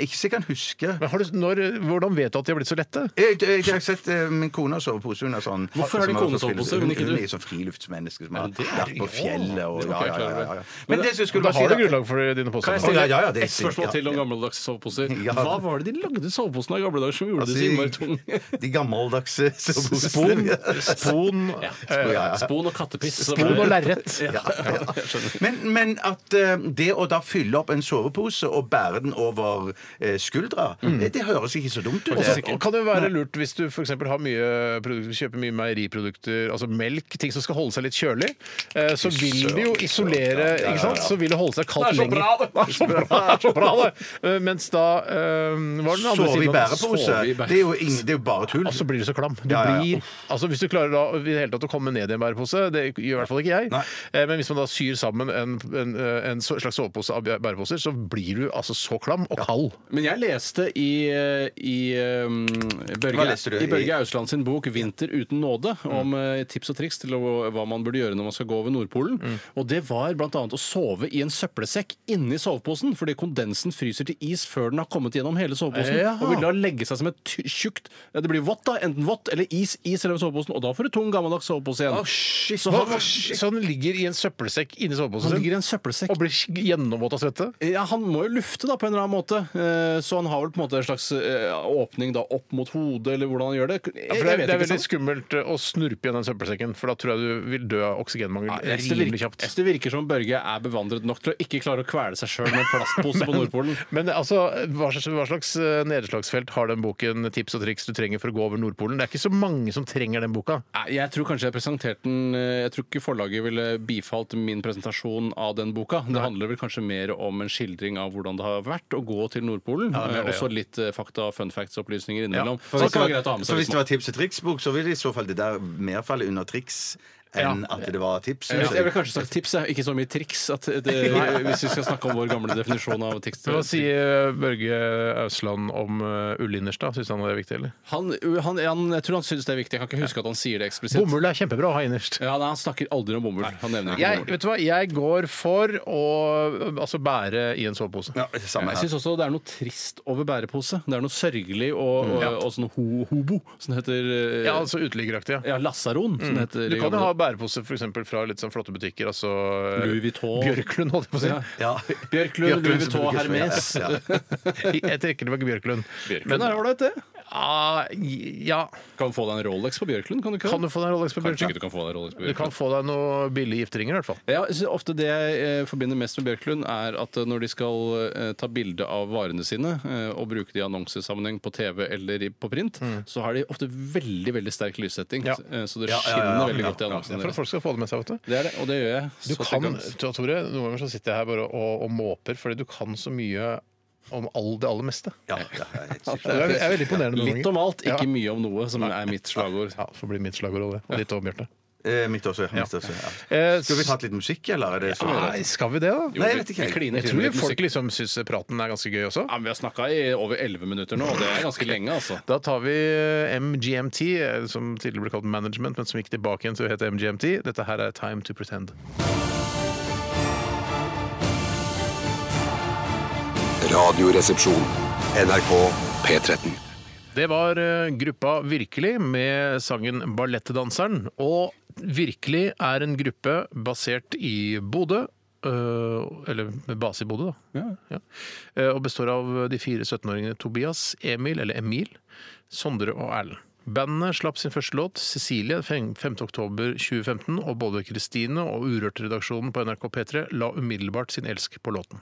Speaker 3: Ikke så jeg kan huske.
Speaker 2: Men har du, når, hvordan vet du at de har blitt så lette?
Speaker 3: Jeg, jeg, jeg har sett eh, min kone har sovepose. Hun er sånn
Speaker 4: Hvorfor har
Speaker 3: som
Speaker 4: din kone
Speaker 3: sånn
Speaker 4: sovepose,
Speaker 3: frilufts-
Speaker 4: men ikke
Speaker 3: Hun,
Speaker 4: du?
Speaker 3: hun er sånn friluftsmenneske som har
Speaker 4: det er
Speaker 3: vært på fjellet og ja, ja, ja, ja, ja. Men det som jeg skulle
Speaker 2: Da
Speaker 3: bare si
Speaker 2: har du
Speaker 3: da-
Speaker 2: grunnlag for dine
Speaker 4: Kan jeg
Speaker 2: påstander.
Speaker 4: stille
Speaker 3: Ja, ja, ja, det er
Speaker 4: et spørsmål
Speaker 3: sikkert, ja.
Speaker 4: til om gammeldagse soveposer?
Speaker 3: Ja.
Speaker 4: Hva var det de lagde soveposene av i gamle dager som gjorde det så innmari tunge?
Speaker 3: Altså, de gammeldagse soveposene.
Speaker 2: Spon, spon, eh,
Speaker 4: Spon og kattepiss. som
Speaker 2: spon
Speaker 4: er-
Speaker 2: og lerret.
Speaker 4: Ja, ja, jeg skjønner.
Speaker 3: Men, men at eh, det å da fylle opp en sovepose og bære den over eh, skuldra, det, det høres ikke så dumt ut.
Speaker 2: Og så
Speaker 3: det.
Speaker 2: kan det være lurt hvis du for eksempel har mye produkter, kjøper mye meieriprodukter, altså melk, ting som skal holde seg litt kjølig, eh, så vil det jo isolere ikke sant? Så vil det holde seg kaldt
Speaker 4: Det er så
Speaker 2: lenger.
Speaker 4: bra, det!
Speaker 2: Det er så bra, det er så bra, det! Eh, Mens da eh, Hva er den
Speaker 3: Sove
Speaker 2: andre
Speaker 3: i
Speaker 2: siden? av det?
Speaker 3: bærepose.
Speaker 4: Sove i bære-
Speaker 3: Det er jo, ingen, det er jo bare tull.
Speaker 2: Og så Altså, blir du så klam. Du
Speaker 3: Ja, ja, ja.
Speaker 2: blir, altså Hvis du klarer da i det hele tatt å komme ned i en bærepose, det gjør i hvert fall ikke jeg,
Speaker 3: Nei.
Speaker 2: Eh, men hvis man da syr sammen en, en, eh, en så- slags sovepose av bæreposer, så blir du altså så klam og kald.
Speaker 4: Men jeg leste i, i, um,
Speaker 3: Hva
Speaker 4: Børge,
Speaker 3: leste du?
Speaker 4: i Børge Ausland sin bok 'Vinter uten nåde' om eh, tips og triks til å- hva man burde gjøre når man skal gå over Nordpolen. Og det var bl.a. å sove i en søppelsekk inni soveposen, fordi kondensen fryser til is før den har kommet gjennom hele soveposen.
Speaker 2: Ja.
Speaker 4: Og vil da legge seg som et ty- tjukt ja, Det blir vått, da. Enten vått eller is i selve soveposen. Og da får du tung, gammeldags sovepose igjen. så han,
Speaker 2: Så den Sånn ligger i en søppelsekk inni soveposen
Speaker 4: han
Speaker 2: sin
Speaker 4: ligger i en søppelsekk.
Speaker 2: og blir gjennomvåt av svette?
Speaker 4: Ja, Han må jo lufte da på en eller annen måte. Eh, Så han har vel på en måte en slags eh, åpning da opp mot hodet, eller hvordan han gjør det. Jeg,
Speaker 2: Ja,
Speaker 4: jeg
Speaker 2: for det, er,
Speaker 4: vet
Speaker 2: det er
Speaker 4: ikke
Speaker 2: veldig
Speaker 4: sant?
Speaker 2: skummelt eh, å snurpe igjen den søppelsekken, for da tror jeg du vil dø av oksygenmangel
Speaker 4: Jeg synes det
Speaker 2: rimelig
Speaker 4: virker-
Speaker 2: kjapt.
Speaker 4: jeg synes det virker som Børge er bevandret nok til å ikke klare å kvele seg sjøl med en plastpose på Nordpolen.
Speaker 2: Men altså, hva slags, hva slags eh, nedslagsfelt har den boken 'Tips og triks du trenger for å gå over Nordpolen'? Det er ikke så mange som trenger den boka.
Speaker 4: Nei, Jeg tror kanskje jeg presenterte den eh, Jeg tror ikke forlaget ville bifalt min presentasjon av den boka. Det handler vel kanskje mer om en skildring av hvordan det har vært å gå til Nordpolen. eh, og så litt eh, fakta, fun facts-opplysninger innimellom.
Speaker 3: For
Speaker 4: så
Speaker 3: hvis,
Speaker 4: det kan være greit å ha
Speaker 3: det,
Speaker 4: med
Speaker 3: så
Speaker 4: seg.
Speaker 3: hvis
Speaker 4: hvis
Speaker 3: det
Speaker 4: man-
Speaker 3: var tips og triks-bok, så ville i så fall det der mer falle under triks enn at det var tips.
Speaker 4: Jeg ville kanskje sagt tips, jeg. ikke så mye triks. At det, hvis vi skal snakke om vår gamle definisjon av tips.
Speaker 2: Hva sier eh, Børge Ausland om eh, Ulliners, da? Syns han det er viktig, eller?
Speaker 4: Han, han, han, jeg tror han syns det er viktig. Jeg kan ikke huske at han sier det eksplisitt.
Speaker 2: Bomull er kjempebra å ha innerst.
Speaker 4: Ja, nei, Han snakker aldri om bomull. Han nevner ikke
Speaker 2: Jeg,
Speaker 4: bomull.
Speaker 2: vet du hva? jeg går for å eh, altså, bære i en sovepose.
Speaker 3: Ja, samme
Speaker 4: Jeg
Speaker 3: her.
Speaker 4: syns også det er noe trist over bærepose. Det er noe sørgelig og, og, og sånn ho, hobo, som det heter. eh,
Speaker 2: Ja, altså uteliggeraktig, ja.
Speaker 4: ja, Mm. Lasaron, som det heter.
Speaker 2: Du
Speaker 4: i
Speaker 2: kan jo
Speaker 4: gamle-
Speaker 2: ha bærepose for eksempel, fra litt sånn flotte butikker. altså eh,
Speaker 4: Louis Vuitton.
Speaker 2: Bjørklund, holdt jeg på å si.
Speaker 4: Ja.
Speaker 3: Ja.
Speaker 4: Bjørklund, Louis
Speaker 3: som
Speaker 4: Vuitton,
Speaker 3: brukes, ja,
Speaker 4: Hermes.
Speaker 3: ja, ja.
Speaker 2: Jeg tenker det var ikke Bjørklund.
Speaker 4: Men er ålreit, det.
Speaker 2: Ah, ja.
Speaker 4: Kan du få deg en Rolex på Bjørklund? Kan du ikke?
Speaker 2: Kan du få deg Rolex på
Speaker 4: Kanskje
Speaker 2: Bjørklund?
Speaker 4: ikke du kan få deg en Rolex på
Speaker 2: Du kan
Speaker 4: Bjørklund.
Speaker 2: få deg noen billige gifteringer, i hvert fall.
Speaker 4: Ja, jeg synes ofte Det jeg eh, forbinder mest med Bjørklund, er at eh, når de skal eh, ta bilde av varene sine eh, og bruke det i annonsesammenheng på TV eller i, på print, så har de ofte veldig veldig sterk lyssetting.
Speaker 2: Ja.
Speaker 4: eh, Så det
Speaker 3: Ja, ja,
Speaker 4: skinner
Speaker 3: ja, ja,
Speaker 4: veldig
Speaker 3: ja,
Speaker 4: godt i
Speaker 3: ja,
Speaker 4: annonsene.
Speaker 2: For at
Speaker 4: deres.
Speaker 2: folk skal få det med seg. vet du.
Speaker 4: Det er det, og det gjør jeg.
Speaker 2: Du
Speaker 4: så
Speaker 2: kan,
Speaker 4: til gangs.
Speaker 2: Tor- Tore, Noen ganger så sitter jeg her bare og, og måper fordi du kan så mye om all det aller meste.
Speaker 3: Ja, ja, ja, helt sikkert.
Speaker 2: Det er, det er veldig imponerende. noen
Speaker 4: Litt om
Speaker 2: ganger.
Speaker 4: alt, ikke
Speaker 2: Ja.
Speaker 4: mye om noe, som er mitt slagord.
Speaker 2: Ja, Får bli mitt slagord og det. Og ditt òg, Bjarte.
Speaker 3: Eh, Mitt også. ja, Mitt også ja.
Speaker 2: Eh,
Speaker 3: Skulle vi tatt litt musikk, eller? Er det så
Speaker 2: Nei, skal vi det, da?
Speaker 3: Nei, jeg vet ikke.
Speaker 4: Vi kliner
Speaker 2: Jeg
Speaker 4: til
Speaker 2: tror
Speaker 4: med litt
Speaker 2: folk
Speaker 4: musikk.
Speaker 2: liksom syns praten er ganske gøy også.
Speaker 4: Ja, men Vi har snakka i over 11 minutter nå, og det er ganske lenge, altså.
Speaker 2: Da tar vi eh, MGMT, eh, som tidligere ble kalt Management, men som gikk tilbake igjen til å hete MGMT. Dette her er Time to Pretend.
Speaker 6: Radioresepsjon. NRK P13.
Speaker 2: Det var eh, gruppa Virkelig med sangen Ballettdanseren. Og Virkelig er en gruppe basert i Bodø. eh, eller med base i Bodø, da. Ja. Eh, og består av de fire 17-åringene Tobias, Emil, eller Emil, Sondre og Erlend. Bandet slapp sin første låt, 'Cecilie', 5.10.2015, og både Kristine og Urørt-redaksjonen på NRK P3 la umiddelbart sin elsk på låten.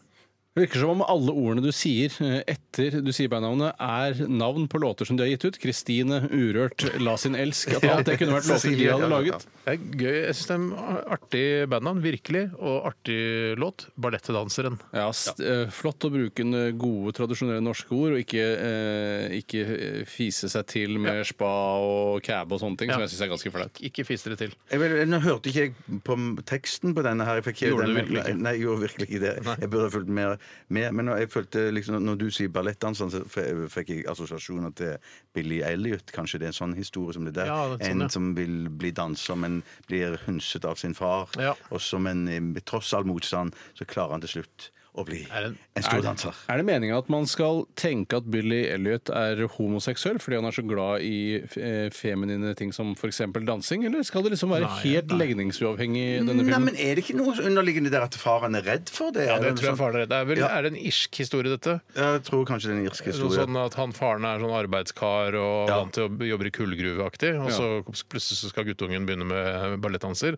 Speaker 4: Det virker som om alle ordene du sier eh, etter du sier bandnavnet, er navn på låter som de har gitt ut. Kristine, Urørt, La sin elsk. At alt det kunne vært låter de
Speaker 3: Cecilie, ja,
Speaker 4: hadde
Speaker 3: ja.
Speaker 4: laget.
Speaker 2: Det er gøy. Jeg synes det er en artig bandnavn, virkelig, og artig låt. 'Ballettdanseren'.
Speaker 4: Ja, st eh, Flott å bruke en, eh, gode, tradisjonelle norske ord, og ikke, eh, ikke eh, fise seg til med spa og cab og sånne ting, som
Speaker 2: Ja.
Speaker 4: jeg syns er ganske flaut.
Speaker 2: Ikke fis dere til.
Speaker 3: Jeg vil, nå hørte ikke jeg på m- teksten på denne her. Jeg fikk
Speaker 2: Gjorde
Speaker 3: den,
Speaker 2: du virkelig ikke?
Speaker 3: Nei, jeg gjorde virkelig ikke det. Jeg burde ha fulgt mer med. Men når jeg følte liksom, når du sier ballettdanseren, så f- fikk jeg assosiasjoner til Billy Elliot. Kanskje det er en sånn historie som det der.
Speaker 2: Ja, det er
Speaker 3: en
Speaker 2: sånn, ja.
Speaker 3: som vil bli danser, men blir hunset av sin far.
Speaker 2: Ja.
Speaker 3: Og som en med tross all motstand, så klarer han til slutt å bli
Speaker 2: Er det-
Speaker 3: en, stor danser.
Speaker 4: Er det meninga at man skal tenke at Billy Elliot er homoseksuell fordi han er så glad i eh, feminine ting som f.eks. dansing, eller skal det liksom være helt legningsuavhengig, denne
Speaker 3: Nei,
Speaker 4: filmen?
Speaker 3: men Er det ikke noe underliggende der at faren er redd for det?
Speaker 2: Ja, det
Speaker 3: Eller noe
Speaker 2: tror jeg
Speaker 3: sånt?
Speaker 2: faren er redd. Det er, vel,
Speaker 3: Ja.
Speaker 2: er det en irsk historie, dette?
Speaker 3: Jeg tror kanskje det er en irsk
Speaker 2: Noe
Speaker 3: historie.
Speaker 2: sånn at han faren er sånn arbeidskar og
Speaker 3: Ja.
Speaker 2: vant til å jobbe i kullgruveaktig, og så plutselig så skal guttungen begynne med ballettdanser.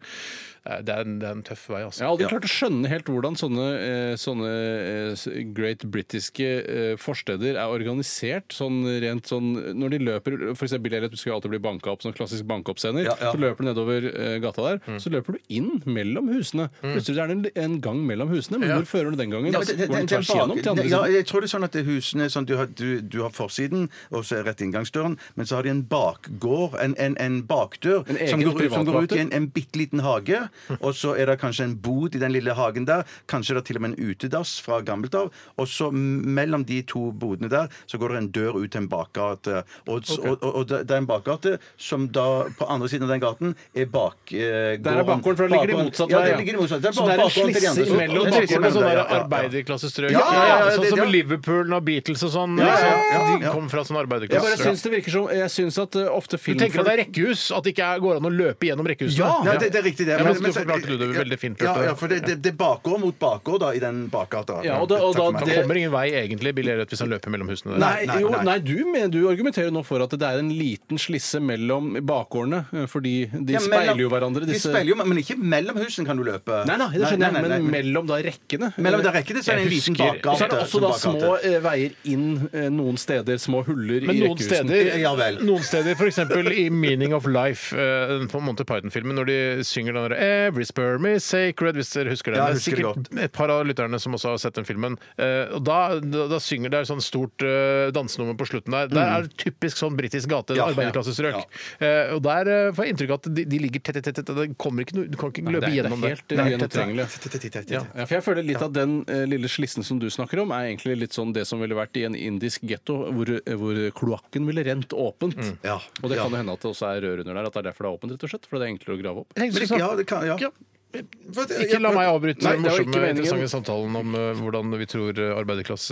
Speaker 2: Eh, Det er en, det er en tøff vei,
Speaker 4: Jeg
Speaker 2: altså.
Speaker 4: har aldri klart å skjønne helt hvordan sånne, eh, sånne eh, s- great britiske eh, forsteder er organisert. Sånn rent sånn Når de løper For eksempel Elliot skal jo alltid bli banka opp, sånn klassisk banka-opp-scener.
Speaker 3: Ja, Mm. ja.
Speaker 4: Så løper du nedover eh, gata der, så løper du inn mellom husene. Plutselig er det en, en gang mellom husene, men hvor fører du den gangen?
Speaker 3: Mm. Ja,
Speaker 4: Altså,
Speaker 3: men det- det-
Speaker 4: Går den
Speaker 3: det-
Speaker 4: tvers
Speaker 3: det er bak-
Speaker 4: igjennom til andre
Speaker 3: det- ja,
Speaker 4: siden?
Speaker 3: jeg tror det er sånn at det husene er sånn, du, har, du, du har forsiden, og så er rett inngangsdøren, men så har de en bakgård, en, en, en bakdør,
Speaker 4: En egen
Speaker 3: som, går, ut- som går ut
Speaker 4: privatbakdør?
Speaker 3: i en, en bitte liten hage. Og så er det kanskje en bod i den lille hagen der. Kanskje det er til og med en utedass fra gammelt av. Og så mellom de to bodene der så går det en dør ut til en bakgate. Og, s- og, og, og det det er en bakgate som da på andre siden av den gaten er eh, bakgården.
Speaker 4: Der er bakgården, for da ligger de motsatt
Speaker 3: ja,
Speaker 4: vei,
Speaker 3: der
Speaker 4: ja.
Speaker 3: ligger de motsatt. Det er
Speaker 4: Så
Speaker 3: bare
Speaker 4: det er en
Speaker 3: bakgården til de andre.
Speaker 4: slisse imellom,
Speaker 3: En
Speaker 2: Det
Speaker 4: bakgården
Speaker 2: er
Speaker 3: slisse
Speaker 2: trist med sånne
Speaker 3: der,
Speaker 2: der
Speaker 3: ja, ja, ja.
Speaker 2: arbeiderklassestrøk.
Speaker 3: Ja, ja, ja,
Speaker 2: sånn
Speaker 3: det-
Speaker 2: som
Speaker 3: det-
Speaker 2: Liverpool og Beatles og sånn.
Speaker 3: Ja, ja, ja,
Speaker 2: liksom.
Speaker 3: ja.
Speaker 2: De kom fra sånn
Speaker 4: Jeg bare
Speaker 2: arbeiderklassestrøk.
Speaker 4: syns det virker som Jeg syns at eh, ofte
Speaker 2: Du tenker at det
Speaker 4: filmfolk
Speaker 2: er rekkehus? At det ikke er- går an å løpe gjennom rekkehusene?
Speaker 3: Nei, det, det er riktig, det.
Speaker 2: Ja, men du forklarte du det veldig fint.
Speaker 3: Ja,
Speaker 2: Bjarte.
Speaker 3: ja, for det, det, det er bakgård mot bakgård da, i den bakgata.
Speaker 4: Ja, og da-
Speaker 3: Takk for
Speaker 4: og da-
Speaker 3: meg.
Speaker 2: Han
Speaker 4: det-
Speaker 2: kommer ingen vei egentlig, Billy Elliot, hvis han løper mellom husene. der.
Speaker 3: Nei,
Speaker 4: Nei,
Speaker 3: nei,
Speaker 4: jo,
Speaker 3: nei.
Speaker 4: nei du, mener, du argumenterer nå for at det er en liten slisse mellom bakgårdene, eh, fordi de
Speaker 3: Ja, mellom-
Speaker 4: speiler jo hverandre,
Speaker 3: De
Speaker 4: disse
Speaker 3: speiler jo, men ikke mellom husene kan du løpe.
Speaker 4: Nei, nei, det skjønner
Speaker 3: Nei, nei,
Speaker 4: jeg, men
Speaker 3: nei,
Speaker 4: mellom da rekkene.
Speaker 3: Mellom der rekkene så er det en
Speaker 2: Jeg
Speaker 3: liten
Speaker 2: husker-
Speaker 3: bakgate.
Speaker 4: Og så er det også
Speaker 3: som
Speaker 4: da
Speaker 3: bakgate.
Speaker 4: små eh, veier inn eh, noen steder, små huller
Speaker 2: Men
Speaker 4: i
Speaker 2: noen
Speaker 4: rekkehusene.
Speaker 2: steder,
Speaker 3: Ja vel.
Speaker 2: noen steder f.eks. i Meaning of Life, eh, på Monty Python-filmen, når de synger den der, Every sperm is sacred, hvis dere husker den.
Speaker 3: Ja,
Speaker 2: det
Speaker 3: jeg
Speaker 2: er
Speaker 3: husker
Speaker 2: sikkert et par av lytterne som også har sett den filmen. Eh, og da, da, da synger det et sånn stort eh, dansenummer på slutten der. Der er det typisk sånn britisk gate,
Speaker 3: Mm. Ja,
Speaker 2: arbeiderklassestrøk. Eh, og der eh, får jeg inntrykk av at de, de ligger tett, tett, tett, tett. Det kommer ikke noe, du kan ikke
Speaker 4: Det
Speaker 2: løpe
Speaker 4: er, det er
Speaker 2: gjennom det.
Speaker 4: helt eh, ugjennomtrengelig.
Speaker 3: Ja.
Speaker 4: Ja, for jeg føler litt at Den eh, lille slissen som du snakker om, er egentlig litt sånn det som ville vært i en indisk getto, hvor, eh, hvor kloakken ville rent åpent.
Speaker 3: Ja.
Speaker 4: Og det
Speaker 3: Ja.
Speaker 4: kan jo hende at det også er rør under der, at det er derfor det er åpent, rett og slett. For det er enklere å grave opp.
Speaker 3: Men
Speaker 2: Jeg tenkte
Speaker 4: liksom,
Speaker 2: vi
Speaker 3: det-
Speaker 2: skulle
Speaker 3: Ja, det kan, ja.
Speaker 2: snakke Ikke la meg avbryte
Speaker 4: Nei,
Speaker 2: den
Speaker 4: det var ikke
Speaker 2: morsomme,
Speaker 4: meningen.
Speaker 2: interessante samtalen om eh, hvordan vi tror eh,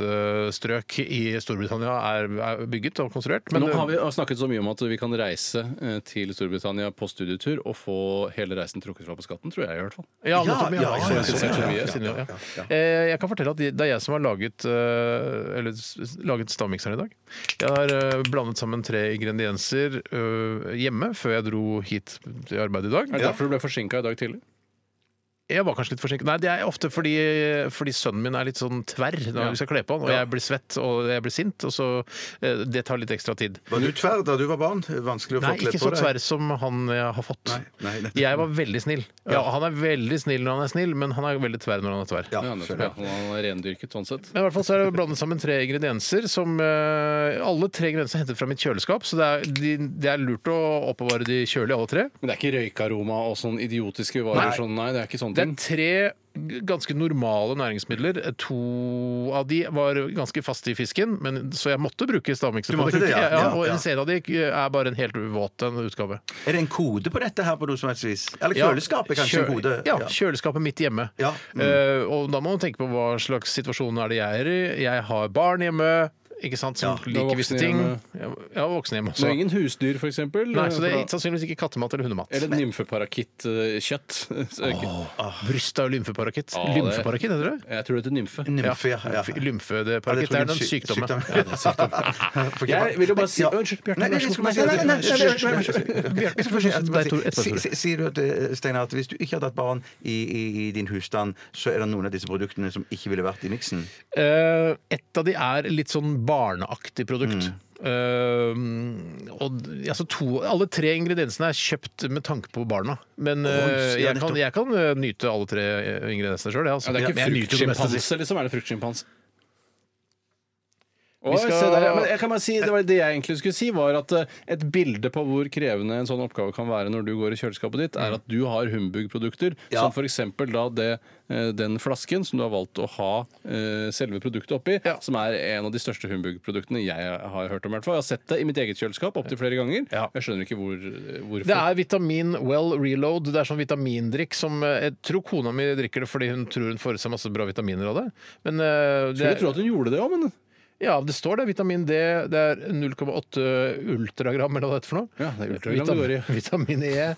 Speaker 2: arbeiderklassestrøk i Storbritannia er, er bygget og konstruert. Men
Speaker 4: Nå
Speaker 2: det-
Speaker 4: har vi snakket så mye om at vi kan reise eh, til Storbritannia på studietur og få hele reisen trukket fra på skatten, tror jeg i hvert fall.
Speaker 2: eh, Ja, nettopp,
Speaker 3: ja,
Speaker 2: ja, ja,
Speaker 3: ja,
Speaker 2: ja,
Speaker 3: ja,
Speaker 2: sånn,
Speaker 3: ja,
Speaker 2: ja,
Speaker 3: ja,
Speaker 2: sånn, ja,
Speaker 3: ja,
Speaker 2: ja.
Speaker 3: ja.
Speaker 2: Eh, Jeg kan fortelle at det er jeg som har laget eh, Eller s- laget stavmikseren i dag. Jeg har eh, blandet sammen tre ingredienser eh, hjemme før jeg dro hit til arbeid i dag.
Speaker 4: Er det derfor du ble forsinka i dag tidlig?
Speaker 2: Jeg var kanskje litt forsinket. Nei, det er ofte fordi, fordi sønnen min er litt sånn tverr når vi skal kle på han, og jeg blir svett og jeg blir sint, og så eh, Det tar litt ekstra tid.
Speaker 3: Var du tverr da du var barn? Vanskelig å få
Speaker 2: Nei,
Speaker 3: kledd
Speaker 2: ikke
Speaker 3: på
Speaker 2: så tverr som han jeg har fått.
Speaker 3: Nei, nei, nettopp.
Speaker 2: jeg var veldig snill. Ja, han er veldig snill når han er snill, men han er veldig tverr når han er tverr.
Speaker 3: Ja,
Speaker 4: Ja, nettopp,
Speaker 3: selvfølgelig.
Speaker 4: ja. Han er rendyrket sånn sett.
Speaker 2: Men i hvert fall så er det blandet sammen tre ingredienser som eh, Alle tre ingrediensene er hentet fra mitt kjøleskap, så det er, de, det er lurt å oppbevare de kjølig, alle tre.
Speaker 4: Men det er ikke røykaroma og sånn idiotiske varer? Nei, sånn, nei det er ikke sånne
Speaker 2: Det er
Speaker 4: ting.
Speaker 2: tre g- ganske normale næringsmidler. To av de var ganske faste i fisken, men, så jeg måtte bruke stavmikser.
Speaker 3: Du
Speaker 2: på
Speaker 3: måtte det,
Speaker 2: det.
Speaker 3: ja.
Speaker 2: Ja,
Speaker 3: Ja,
Speaker 2: og
Speaker 3: ja.
Speaker 2: en serie av de er bare en helt våt en utgave.
Speaker 3: Er det en kode på dette her på noe som helst vis? Eller
Speaker 2: Ja,
Speaker 3: kjøleskapet, kanskje?
Speaker 2: kjø-
Speaker 3: en kode?
Speaker 2: Ja, kjøleskapet mitt hjemme.
Speaker 3: Ja, mm.
Speaker 2: Eh, og da må man tenke på hva slags situasjon er det jeg er i. Jeg har barn hjemme. Ikke sant, som
Speaker 4: Du har
Speaker 2: liker visse
Speaker 4: voksne
Speaker 2: ting.
Speaker 4: hjemme.
Speaker 2: Ja, ja, voksne hjemme
Speaker 4: Så
Speaker 2: også.
Speaker 4: ingen husdyr, for eksempel.
Speaker 2: Nei, så det
Speaker 4: eh,
Speaker 2: er sannsynligvis ikke sånn- kattemat eller hundemat.
Speaker 4: Eller eh, nymfeparakitt-kjøtt.
Speaker 3: Ah.
Speaker 2: Bryst av lymfeparakitt.
Speaker 4: Ja, Ah, det-
Speaker 2: Lymfeparakitt, heter det?
Speaker 4: Jeg tror det heter nymfe.
Speaker 3: Nymfe, ja. ja.
Speaker 2: Lymfe, det,
Speaker 3: Ja,
Speaker 2: parakitt
Speaker 3: tror
Speaker 2: det
Speaker 3: jeg
Speaker 2: er den
Speaker 3: sy-
Speaker 2: sykdommen.
Speaker 3: Ja, det er sykdom. For ikke-
Speaker 4: Jeg vil jo bare si-
Speaker 3: Ja.
Speaker 4: Unnskyld, Bjarte,
Speaker 3: Nei, nei,
Speaker 4: vær så god.
Speaker 3: nei, nei, nei, nei, nei, nei, nei, nei, nei.
Speaker 2: Bjarte, skal få si-
Speaker 3: Jeg må bare
Speaker 2: deg, Tor, etterpå,
Speaker 3: si-
Speaker 2: Tore.
Speaker 3: si- Sier du at, eh, Steinar, at hvis du ikke hadde hatt barn i, i, i din husstand, så er det noen av disse produktene som ikke ville vært i miksen?
Speaker 2: Eh, et av de er litt sånn barneaktig produkt.
Speaker 3: Mm.
Speaker 2: Eh, og d- altså to, alle tre ingrediensene er kjøpt med tanke på barna. Men eh,
Speaker 3: ja,
Speaker 2: jeg, kan,
Speaker 3: nettopp.
Speaker 2: jeg kan eh, nyte alle tre eh, ingrediensene sjøl.
Speaker 4: Ja,
Speaker 2: Altså.
Speaker 4: det er ikke
Speaker 2: Men jeg nyter jo det meste sist.
Speaker 4: fruktsjimpanse, liksom? Er det fruktsjimpanse? Oi,
Speaker 2: skal-
Speaker 4: se der, ja. Men jeg kan bare si, det, var det jeg egentlig skulle si, var at eh, et bilde på hvor krevende en sånn oppgave kan være når du går i kjøleskapet ditt,
Speaker 2: Mm.
Speaker 4: er at du har humbug-produkter,
Speaker 3: Ja.
Speaker 4: som f.eks. da det, eh, den flasken som du har valgt å ha eh, selve produktet oppi, som er en av de største humbug-produktene jeg har hørt om. i hvert fall. Jeg har sett det i mitt eget kjøleskap opptil flere ganger.
Speaker 2: Ja.
Speaker 4: Jeg skjønner ikke hvor, eh, hvorfor.
Speaker 2: Det er vitamin well reload. Det er sånn vitamindrikk som eh, Jeg tror kona mi drikker det fordi hun tror hun får i seg masse bra vitaminer av det. Men eh, det,
Speaker 4: Skulle tro at hun gjorde det òg, men
Speaker 2: ja, det står det. Vitamin D. Det er 0,8 ultragram, eller hva det heter for noe.
Speaker 4: Ja, det er ultragram det går i.
Speaker 2: Vitamin E,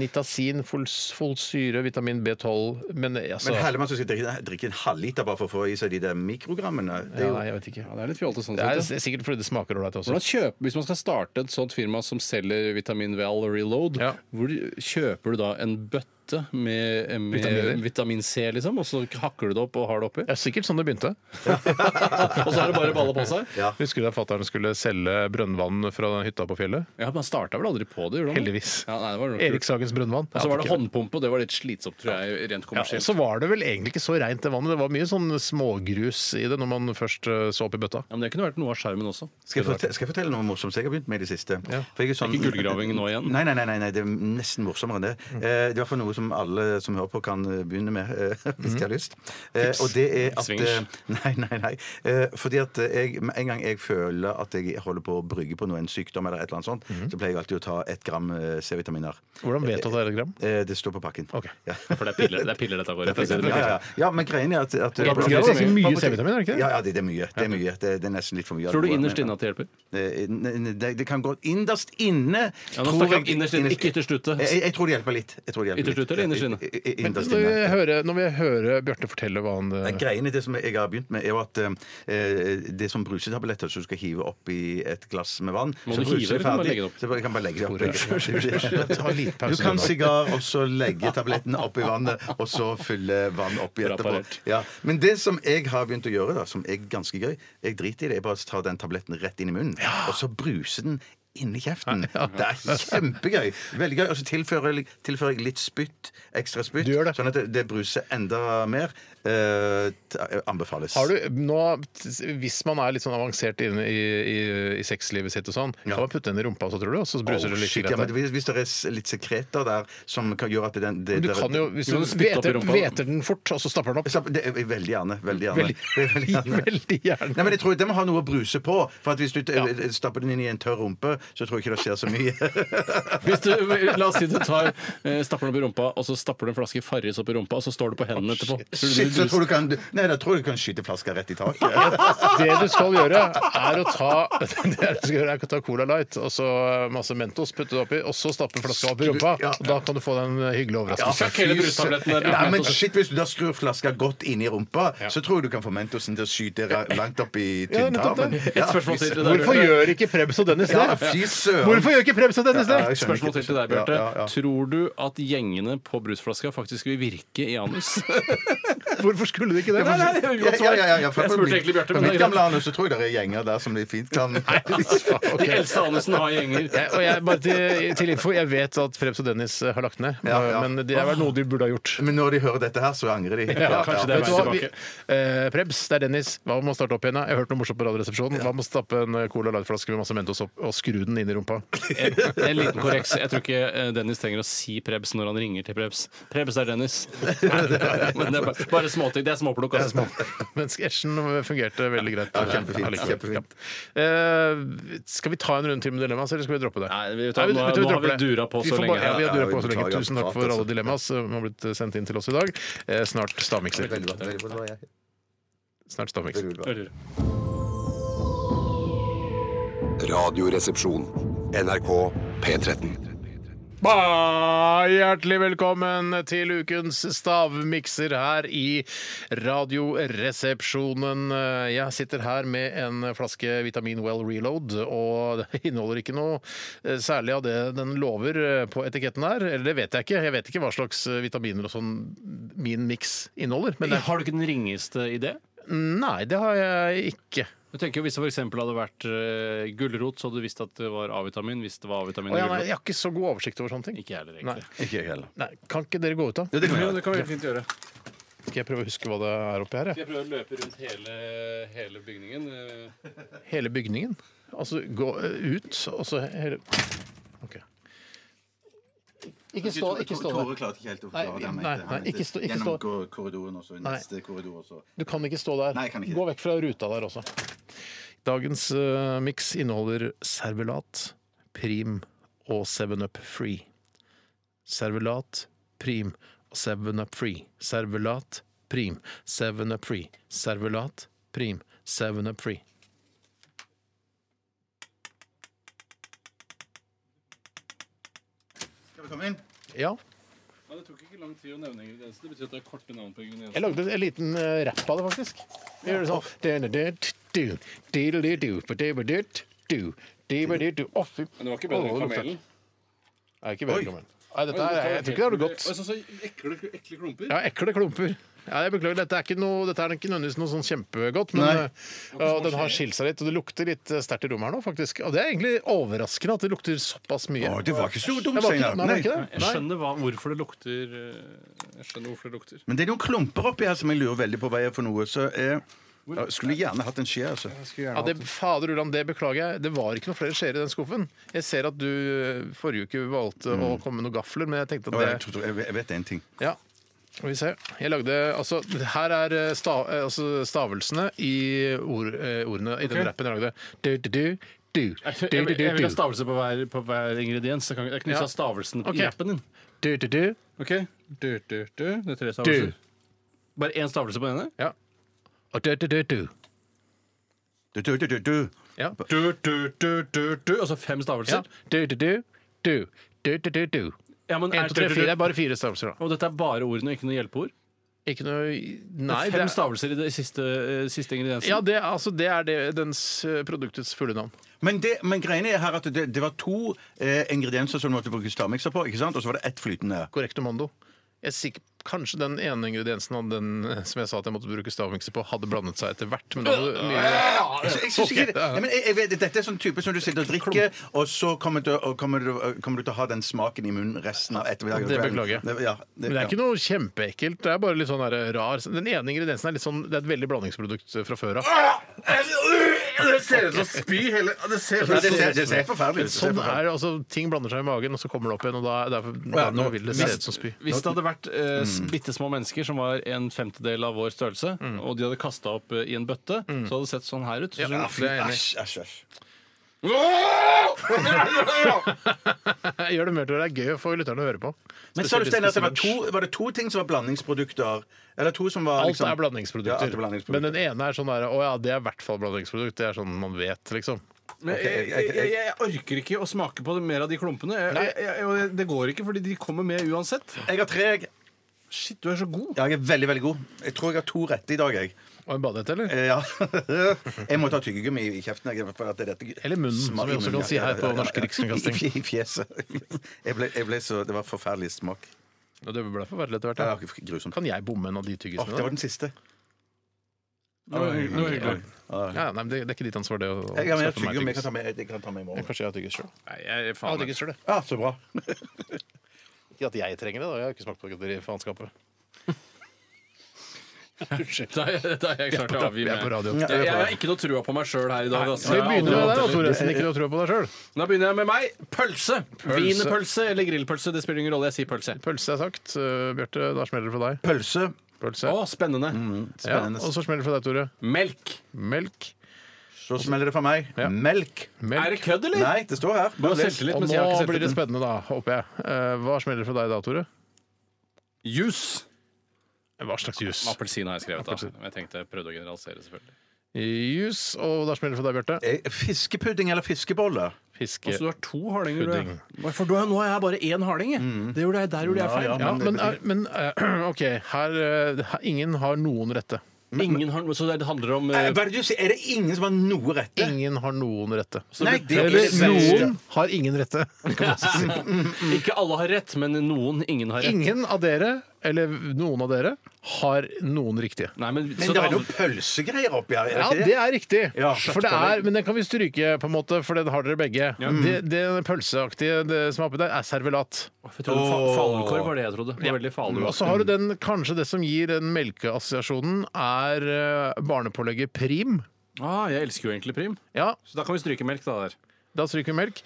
Speaker 2: nitasin, fols- folsyre, vitamin B12 Men eh, altså
Speaker 3: Men Hellemann som skal drikke, drikke en halvliter bare for å få i seg de der mikrogrammene det er
Speaker 2: ja,
Speaker 3: jo,
Speaker 2: Nei, jeg vet ikke.
Speaker 4: ja, det er litt fjolte sånn
Speaker 2: Det er
Speaker 4: sett. ja.
Speaker 2: s- sikkert fordi det smaker ålreit også.
Speaker 4: Hvordan kjøper, Hvis man skal starte et sånt firma som selger vitamin Val Reload,
Speaker 2: Ja.
Speaker 4: hvor kjøper du da en bøtte med,
Speaker 2: Vitaminer.
Speaker 4: med vitamin C, liksom, og så hakker du det opp og har det oppi?
Speaker 2: Det er sikkert sånn det begynte.
Speaker 4: og så er det bare å balle på seg?
Speaker 3: Ja.
Speaker 2: Husker du da fatter'n skulle selge brønnvann fra hytta på fjellet?
Speaker 4: Ja, Man starta vel aldri på det? gjorde man?
Speaker 2: Heldigvis.
Speaker 4: Ja, nei, det var
Speaker 2: Erik
Speaker 4: nok kult.
Speaker 2: Sagens brønnvann.
Speaker 4: Og så var det
Speaker 2: Ja,
Speaker 4: håndpumpe, og det var litt slitsomt, tror jeg,
Speaker 2: Ja,
Speaker 4: rent
Speaker 2: og
Speaker 4: kommersielt.
Speaker 2: så var det vel egentlig ikke så reint det vannet. Det var mye sånn smågrus i det når man først eh, så opp i bøtta.
Speaker 4: Ja, men det kunne vært noe av skjermen også.
Speaker 3: skal, jeg fortelle, skal jeg fortelle noe morsomt som jeg har begynt med i det siste? For jeg er sånn-
Speaker 4: Ikke gullgraving nå igjen.
Speaker 3: Nei, nei, nei, nei, nei, det er nesten morsommere enn det. Eh, Det er i hvert fall noe som alle som hører på, kan eh, begynne med eh, hvis de har lyst. Eh, Og det er at
Speaker 4: Swingers.
Speaker 3: eh, Nei, nei, nei. Eh, Fordi at eh, jeg, med en gang jeg føler at jeg holder på å brygge på noe, en sykdom eller et eller annet sånt, så pleier jeg alltid å ta ett gram eh, C-vitaminer.
Speaker 2: Hvordan vet du at det er et gram?
Speaker 3: Eh, Det står på pakken.
Speaker 2: Ok.
Speaker 3: Ja.
Speaker 4: For det er piller, det er piller dette går i. for å si
Speaker 3: Ja,
Speaker 4: det
Speaker 3: ja,
Speaker 4: mildt.
Speaker 3: ja. ja, men greien er at, at
Speaker 2: Ja, men det er ganske mye C-vitamin, er det ikke det?
Speaker 3: Ja, ja, det det er mye. Det er, mye. Det er, det er nesten litt for mye. av
Speaker 4: Tror du
Speaker 3: noe,
Speaker 4: innerst
Speaker 3: men-
Speaker 4: inne at det hjelper?
Speaker 3: Eh, ne- ne- Det, det kan gå innerst inne
Speaker 4: Ja, nå
Speaker 3: tror
Speaker 4: snakker
Speaker 3: jeg-
Speaker 4: han innerst inne, ikke ytterst ute.
Speaker 3: Jeg, jeg tror det hjelper litt. Jeg tror det hjelper
Speaker 4: Ytterst
Speaker 3: litt.
Speaker 4: ute eller innerst inne?
Speaker 3: I- i- i-
Speaker 2: Men eh,
Speaker 3: Innerst
Speaker 2: når vi
Speaker 3: inne.
Speaker 2: hører, når vi hører Bjarte fortelle hva han
Speaker 3: Nei,
Speaker 2: eh,
Speaker 3: Greiene, det som jeg har begynt med, er jo at eh, det er som brusetabletter som du skal hive oppi et glass med vann.
Speaker 4: Må
Speaker 3: Så
Speaker 4: du
Speaker 3: bruser
Speaker 4: hive, eller kan du bare legge det opp?
Speaker 3: Så jeg kan bare legge det
Speaker 2: Ta en liten
Speaker 3: opp.
Speaker 2: pause
Speaker 3: Du kan
Speaker 2: nå.
Speaker 3: sigar, og så legge tabletten oppi vannet, og så fylle vann oppi
Speaker 4: Bra
Speaker 3: etterpå.
Speaker 4: parert.
Speaker 3: Ja. Men det som jeg har begynt å gjøre, da, som er ganske gøy Jeg driter i det. Jeg bare tar den tabletten rett inn i munnen, og så bruser den inni kjeften. Det er kjempegøy. Veldig gøy. Og så tilfører, jeg- tilfører jeg litt spytt. Ekstra spytt.
Speaker 2: Du gjør det.
Speaker 3: Sånn at det, det bruser enda mer. Eh, t- anbefales.
Speaker 2: har du, nå, hvis man er litt sånn avansert inne i, i, i sexlivet sitt og sånn,
Speaker 3: Ja.
Speaker 2: kan man putte den i rumpa også, tror du? Og så bruser
Speaker 3: Oh,
Speaker 2: det litt
Speaker 3: shit, ja,
Speaker 2: greit
Speaker 3: men
Speaker 2: der.
Speaker 3: hvis, hvis det er s- litt sekreter der som kan gjøre at den det,
Speaker 2: Men Du
Speaker 3: det-
Speaker 2: kan jo, hvis
Speaker 4: Du
Speaker 2: du
Speaker 4: kan spytte opp i
Speaker 2: veter,
Speaker 4: rumpa.
Speaker 2: veter den fort, og så stapper den opp.
Speaker 3: Slapp- det, eh, Veldig gjerne. Veldig gjerne.
Speaker 2: Veldig, veldig gjerne.
Speaker 3: Nei, men jeg tror det må ha noe å bruse på. For at Hvis du eh, stapper den inn i en tørr rumpe, så tror jeg ikke det skjer så mye.
Speaker 4: Hvis du, la oss si du tar, eh, stapper den opp i rumpa, og så stapper du en flaske Farris opp i rumpa, og så står du på hendene etterpå.
Speaker 3: Shit, så tror du kan, nei, da tror jeg du kan skyte flaska rett i taket.
Speaker 2: Det du skal gjøre, er å ta det du skal gjøre er å ta Cola Light og så masse Mentos, putte det oppi, og så stappe flaska opp i rumpa.
Speaker 3: Ja.
Speaker 2: Og da kan du få den hyggelige overraskelsen.
Speaker 3: Altså,
Speaker 4: Fuck hele brustabletten der.
Speaker 3: Nei, men shit, Hvis du da skrur flaska godt inn i rumpa, så tror jeg du kan få Mentosen til å skyte ra- langt opp i
Speaker 2: Ja, nettopp
Speaker 3: tynntarmen.
Speaker 2: det.
Speaker 3: Ja,
Speaker 4: Et spørsmål til til deg,
Speaker 2: Hvorfor
Speaker 4: Bjarte.
Speaker 2: gjør ikke Prebz og Dennis
Speaker 3: Ja,
Speaker 2: det?
Speaker 3: fy søren.
Speaker 2: Hvorfor gjør ikke Prebz og Dennis det?
Speaker 3: Ja, jeg skjønner
Speaker 4: Spørsmål til til deg,
Speaker 3: Ja,
Speaker 4: Bjarte.
Speaker 3: ja, ja.
Speaker 4: Tror du at gjengene på brusflaska faktisk vil virke i anus?
Speaker 2: Hvorfor skulle de ikke det?
Speaker 4: det
Speaker 3: Ja, ja, ja, ja, for
Speaker 4: Jeg
Speaker 3: på
Speaker 4: spurte
Speaker 3: mitt-
Speaker 4: egentlig Bjarte,
Speaker 3: På
Speaker 4: men
Speaker 3: mitt
Speaker 4: det er
Speaker 3: gamle
Speaker 4: greit.
Speaker 3: anus så tror jeg det er altså. gjenger der som de fint kan
Speaker 4: De eldste anusene har gjenger.
Speaker 2: Jeg, og jeg, bare til, til info, jeg vet at Prebz og Dennis eh, har lagt ned,
Speaker 3: Ja, ja.
Speaker 2: men det er vel noe de burde ha gjort.
Speaker 3: Men når de hører dette her, så angrer de.
Speaker 2: Ja, kanskje det er
Speaker 3: Vet
Speaker 2: veien
Speaker 3: du hva?
Speaker 2: tilbake. Eh, Prebz, det er Dennis. Hva med å starte opp igjen? da? Jeg har hørt noe morsomt på Radioresepsjonen. Hva med å stappe en eh, Cola Light-flaske med masse Mentos opp og skru den inn i rumpa?
Speaker 4: En en liten korreks. Jeg tror ikke eh, Dennis trenger å si Prebz når han ringer til Prebz. Prebz er Dennis. Men det er bare, bare småting. Det er småplukk. Altså.
Speaker 2: Men sketsjen fungerte veldig greit.
Speaker 3: Ja, kjempefint,
Speaker 2: Allikevel.
Speaker 3: kjempefint.
Speaker 2: Ja. Eh, skal vi ta en runde til med dilemmas, eller skal vi droppe det?
Speaker 4: Nei, vi tar-
Speaker 2: vi-
Speaker 4: nå-
Speaker 2: vet du,
Speaker 4: nå har
Speaker 2: dropper
Speaker 4: vi
Speaker 2: det.
Speaker 4: dura på
Speaker 2: Vi
Speaker 4: så
Speaker 2: får
Speaker 4: lenge.
Speaker 2: bare- Ja, vi har dura
Speaker 3: Ja,
Speaker 2: på så lenge.
Speaker 3: beklager,
Speaker 2: Tusen takk
Speaker 3: prat,
Speaker 2: for alle
Speaker 3: altså.
Speaker 2: dilemmas som har blitt sendt inn til oss i dag. Eh, Snart stavmikser.
Speaker 3: Veldig bra, veldig bra, det var jeg.
Speaker 2: Snart stavmikser.
Speaker 3: Veldig bra.
Speaker 6: Radioresepsjon. NRK P13.
Speaker 2: Ba, hjertelig velkommen til ukens stavmikser her i Radioresepsjonen. Jeg sitter her med en flaske Vitamin Well Reload, og det inneholder ikke noe særlig av det den lover på etiketten her. Eller det vet jeg ikke. Jeg vet ikke hva slags vitaminer og sånn min miks inneholder. Men det,
Speaker 4: Har du ikke den ringeste idé?
Speaker 2: nei, det har jeg ikke.
Speaker 4: Jeg tenker jo Hvis det for eksempel hadde vært uh, gulrot, så hadde du visst at det var A-vitamin. Hvis det var
Speaker 2: Og
Speaker 4: A-vitamin i
Speaker 2: jeg, nei,
Speaker 4: gulrot.
Speaker 2: jeg har ikke så god oversikt over sånne ting.
Speaker 4: Ikke jeg heller,
Speaker 2: Nei.
Speaker 4: egentlig.
Speaker 3: Ikke jeg heller.
Speaker 2: nei, kan ikke dere gå ut, da?
Speaker 4: Det kan, vi, det kan vi fint gjøre.
Speaker 2: Skal jeg prøve å huske hva det er oppi her? jeg?
Speaker 4: Jeg prøver å løpe rundt hele, hele bygningen. eh.
Speaker 2: Hele bygningen? Altså gå eh, ut, og så hele OK. Ikke stå, ikke stå der.
Speaker 10: Tore klarte ikke helt å forklare
Speaker 2: Nei,
Speaker 10: det. Han
Speaker 2: nei,
Speaker 10: mente- han
Speaker 2: nei, ikke
Speaker 10: mente
Speaker 2: stå- ikke
Speaker 10: Gjennom
Speaker 2: stå.
Speaker 10: kor- korridoren og så i
Speaker 2: Nei.
Speaker 10: neste korridor og så
Speaker 2: Du kan ikke stå der.
Speaker 10: Nei, jeg kan ikke
Speaker 2: Gå vekk fra ruta der også. Dagens uh, miks inneholder servelat, prim og 7up Free. Servelat, prim og 7up Free. Servelat, prim, 7up Free. Servelat, prim, 7up Free.
Speaker 10: Skal vi komme inn?
Speaker 2: Ja.
Speaker 4: Ja, det tok ikke lang tid å nevne ingrediensene. Det betyr at det er korte navn på ingrediensene.
Speaker 2: Jeg lagde en liten eh, rapp av det, faktisk. Vi gjør det sånn Du-du-du-du, diddle-du-du, ba-du-ba-du-du, di-ba-du-du. Å, fy
Speaker 4: Men det var ikke bedre enn
Speaker 2: Å, det lukter-
Speaker 4: kamelen.
Speaker 2: Nei, ikke bedre enn kamelen. Nei, dette er, jeg, jeg tror ikke det er noe godt.
Speaker 4: Og så, så ekle, ekle klumper.
Speaker 2: Ja, ekle klumper. Ja, jeg beklager, dette er ikke, noe, dette er ikke nødvendigvis noe sånn kjempegodt, men
Speaker 3: Nei.
Speaker 2: eh, ja, den har skilt seg litt, og det lukter litt eh, sterkt i rommet her nå, faktisk. Og det er egentlig overraskende at det lukter såpass mye.
Speaker 3: Å, det var ikke så dumt,
Speaker 2: Det var ikke, nei, det var
Speaker 3: Steinar.
Speaker 2: ikke det.
Speaker 4: Jeg skjønner hva, hvorfor det lukter eh, Jeg skjønner hvorfor det lukter.
Speaker 3: Men det er noen klumper oppi her som jeg lurer veldig på hva er for noe. Så eh, jeg skulle gjerne hatt en skje, altså.
Speaker 2: Ja, det, fader Ulland, det beklager jeg. Det var ikke noen flere skjeer i den skuffen. Jeg ser at du eh, forrige uke valgte å
Speaker 4: Mm.
Speaker 2: komme med noen gafler, men jeg tenkte
Speaker 3: Å, Jeg,
Speaker 2: at det
Speaker 3: tror- tror- jeg vet- jeg vet én ting.
Speaker 2: Ja. Skal vi se. Jeg lagde Altså, her er eh, sta, eh, altså stavelsene i ord, eh, ordene i den rappen jeg lagde. Du, du, du, du, du,
Speaker 4: Jeg
Speaker 2: du,
Speaker 4: vil, jeg vil ha
Speaker 2: du,
Speaker 4: stavelse på hver, på hver ingrediens. Jeg kan ikke
Speaker 2: Ja.
Speaker 4: knuse stavelsen
Speaker 2: Ok.
Speaker 4: i rappen din.
Speaker 2: du, du, du.
Speaker 4: Ok? Du, du, du. Det er tre stavelser. Bare én stavelse på denne?
Speaker 2: Ja. Og du, du, du, du.
Speaker 3: Du, du, du, du, du.
Speaker 2: Ja.
Speaker 4: Du, du, du, du, du. Altså fem
Speaker 2: ja.
Speaker 4: stavelser?
Speaker 2: Du, du, du, du. Du, du, du, du.
Speaker 4: Ja, men
Speaker 2: En,
Speaker 4: er
Speaker 2: to, tre,
Speaker 4: du-
Speaker 2: fire. Det er bare fire stavelser, da.
Speaker 4: Og dette er bare ordene, ikke noe hjelpeord?
Speaker 2: Ikke noe Nei.
Speaker 4: fem
Speaker 2: det er-
Speaker 4: stavelser i det siste, eh, siste ingrediensen?
Speaker 2: Ja, det, er- altså, det er det, dens eh, produktets fulle navn.
Speaker 3: Men, det, men greiene er her at det, det var to eh, ingredienser som du måtte bruke stavmikser på, ikke sant? og så var det ett flytende.
Speaker 2: Correctomondo. Jeg er sikker, kanskje den ene ingrediensen av den eh, som jeg sa at jeg måtte bruke stavmikser på, hadde blandet seg etter hvert. Men da hadde du mye
Speaker 3: Jeg, jeg synes ikke, det- ja, men jeg, jeg vet, Dette er sånn type som du sitter og drikker, og så kommer du, og kommer, du, kommer du til å ha den smaken i munnen resten av ettermiddagen.
Speaker 2: Det beklager jeg.
Speaker 3: Det- Ja, det,
Speaker 2: Men det er
Speaker 3: ja.
Speaker 2: ikke noe kjempeekkelt. Det er bare litt sånn der rar Den ene ingrediensen er litt sånn Det er et veldig blandingsprodukt eh, fra før av.
Speaker 10: Det ser ut som spy hele Det ser
Speaker 3: Nei, det, ser, det ser forferdelig ut. Det ser
Speaker 2: Sånn
Speaker 3: forferdelig ut.
Speaker 2: er det, altså, Ting blander seg i magen, og så kommer det opp igjen, og da, derfor,
Speaker 3: Ja, nå-
Speaker 2: nå vil det se ut som spy.
Speaker 4: Hvis det hadde vært eh, bitte små mennesker som var en femtedel av vår størrelse, og de hadde kasta opp eh, i en bøtte, så hadde det sett sånn her ut. Så skjønner du?
Speaker 2: Det er jeg enig i.
Speaker 3: Æsj, æsj, æsj.
Speaker 2: Gjør det mer til det er gøy å få lytterne å høre på.
Speaker 3: Men sa du,
Speaker 2: Spesielt
Speaker 3: Steinar, at det var
Speaker 2: hvis det er
Speaker 3: to, var det to ting som var blandingsprodukter? Eller to som var
Speaker 2: Alt
Speaker 3: liksom-
Speaker 2: er blandingsprodukter.
Speaker 3: Ja, alt er
Speaker 2: Men
Speaker 3: blandingsprodukter.
Speaker 2: den ene er sånn der Å ja, det er i hvert fall blandingsprodukt. Det er sånn man vet, liksom.
Speaker 4: Men jeg, jeg, jeg, jeg orker ikke å smake på mer av de klumpene. Jeg, jeg, jeg, og det går ikke, fordi de kommer med uansett.
Speaker 3: Jeg har tre. Jeg,
Speaker 4: Shit, du er så god.
Speaker 3: Ja, jeg er veldig, veldig god. Jeg tror jeg har to rette i dag, jeg.
Speaker 2: Og en badehette, eller?
Speaker 3: Eh, Ja. Jeg må ta tyggegummi i kjeften. Jeg, for at dette,
Speaker 2: Eller munnen, som
Speaker 3: Smak-
Speaker 2: vi også
Speaker 3: i munnen,
Speaker 2: kan si
Speaker 3: ja,
Speaker 2: her
Speaker 3: ja,
Speaker 2: på
Speaker 3: ja, ja.
Speaker 2: Norsk Rikskringkasting.
Speaker 3: I, i fjeset. Jeg ble, jeg ble så, det var forferdelig smak.
Speaker 2: Ja, det ble forferdelig etter
Speaker 3: Det var
Speaker 2: hvert. da.
Speaker 3: grusomt.
Speaker 2: Kan jeg bomme en av de
Speaker 3: Åh, det var
Speaker 2: tyggisene? da?
Speaker 3: den siste.
Speaker 4: Det var hyggelig. Det var hyggelig.
Speaker 2: Ja, nei, men det, det er ikke ditt ansvar, det. Å, å
Speaker 3: Jeg har med
Speaker 2: skaffe meg
Speaker 3: tyggegummi. Jeg kan
Speaker 2: tyggis.
Speaker 3: ta med, jeg kan ta med i morgen.
Speaker 2: Kanskje jeg har tyggis sjøl.
Speaker 4: Nei, jeg,
Speaker 2: Ja,
Speaker 4: faen, meg.
Speaker 2: tyggis selv, det.
Speaker 3: Ja, så bra.
Speaker 2: Ikke at jeg trenger det, da. Jeg har ikke smakt på det i faenskapet.
Speaker 4: Da er da er jeg klar til å avgi
Speaker 2: Vi er på
Speaker 4: meg.
Speaker 2: radio.
Speaker 3: Ja,
Speaker 4: Jeg, jeg har ikke noe trua på meg sjøl her i dag. Altså.
Speaker 2: Skal vi begynne med
Speaker 4: Jeg har
Speaker 2: deg, da,
Speaker 4: aldri-
Speaker 2: Thoresen? Ikke noe tro på deg sjøl.
Speaker 4: Da begynner jeg med meg. Pølse.
Speaker 2: Pølse.
Speaker 4: Wienerpølse eller grillpølse. Det spiller ingen rolle, jeg sier pølse.
Speaker 2: Pølse er sagt. Uh, Bjarte, da smeller det for deg.
Speaker 3: Pølse.
Speaker 2: Pølse.
Speaker 4: Å, spennende.
Speaker 2: Ja,
Speaker 3: Spennende.
Speaker 2: og så smeller det for deg, Tore.
Speaker 4: Mm. Melk.
Speaker 2: Melk.
Speaker 3: Så smeller det for meg.
Speaker 2: Ja.
Speaker 3: Melk.
Speaker 4: Er det
Speaker 2: Melk.
Speaker 4: kødd, eller?
Speaker 3: Nei, det står her.
Speaker 4: Du
Speaker 3: Bare
Speaker 4: har
Speaker 3: les.
Speaker 4: selvtillit,
Speaker 2: Og
Speaker 4: mens jeg har
Speaker 2: nå
Speaker 4: ikke
Speaker 2: blir det
Speaker 4: selvtillit.
Speaker 2: spennende, da, håper jeg. Eh, hva smeller det for deg da, Tore?
Speaker 4: Juice.
Speaker 2: Hva slags jus?
Speaker 4: Appelsin har jeg skrevet, da. Men Jeg tenkte jeg prøvde å generalisere, selvfølgelig.
Speaker 2: Jus, og da smeller det for deg, Bjarte.
Speaker 3: Eh, Fiskepudding eller fiskebolle?
Speaker 2: Fiske.
Speaker 4: Altså, du har to hardinger,
Speaker 2: Pudding.
Speaker 4: du. Mm. For du har, nå har jeg bare én harding, jeg. Det gjorde jeg, der gjorde jeg feil.
Speaker 3: Ja,
Speaker 2: Ja,
Speaker 3: men-
Speaker 2: men, eh, men eh, OK, her eh, her- Ingen har noen rette.
Speaker 4: Ingen har, så det handler om eh,
Speaker 3: Eh, Hva er det du sier? Er det ingen som har noe rette?
Speaker 2: Ingen har noen rette.
Speaker 3: Nei, det er
Speaker 2: Eller
Speaker 3: ikke det
Speaker 2: noen
Speaker 3: verste.
Speaker 2: har ingen rette.
Speaker 4: Ikke alle har rett, men noen mm, ingen har rett.
Speaker 2: Ingen av dere, eller noen av dere, har noen riktige.
Speaker 4: Nei, men,
Speaker 3: Men
Speaker 4: så
Speaker 3: det
Speaker 4: det
Speaker 3: er
Speaker 4: handler-
Speaker 3: noen pølsegreier oppi her.
Speaker 2: Ja,
Speaker 3: ikke
Speaker 2: det er riktig.
Speaker 3: Ja.
Speaker 2: for det er, men den kan vi stryke, på en måte, for den har dere begge. Mm. Det, det pølseaktige det som er oppi der, er servelat.
Speaker 4: Jeg trodde fa- Falukorv var det jeg trodde. Det var veldig falu.
Speaker 2: Og så har du den, kanskje det som gir den melkeassosiasjonen, er eh, barnepålegget Prim.
Speaker 4: Ah, jeg elsker jo egentlig prim.
Speaker 2: Ja,
Speaker 4: Så da kan vi stryke melk, da. der
Speaker 2: Da stryker vi melk.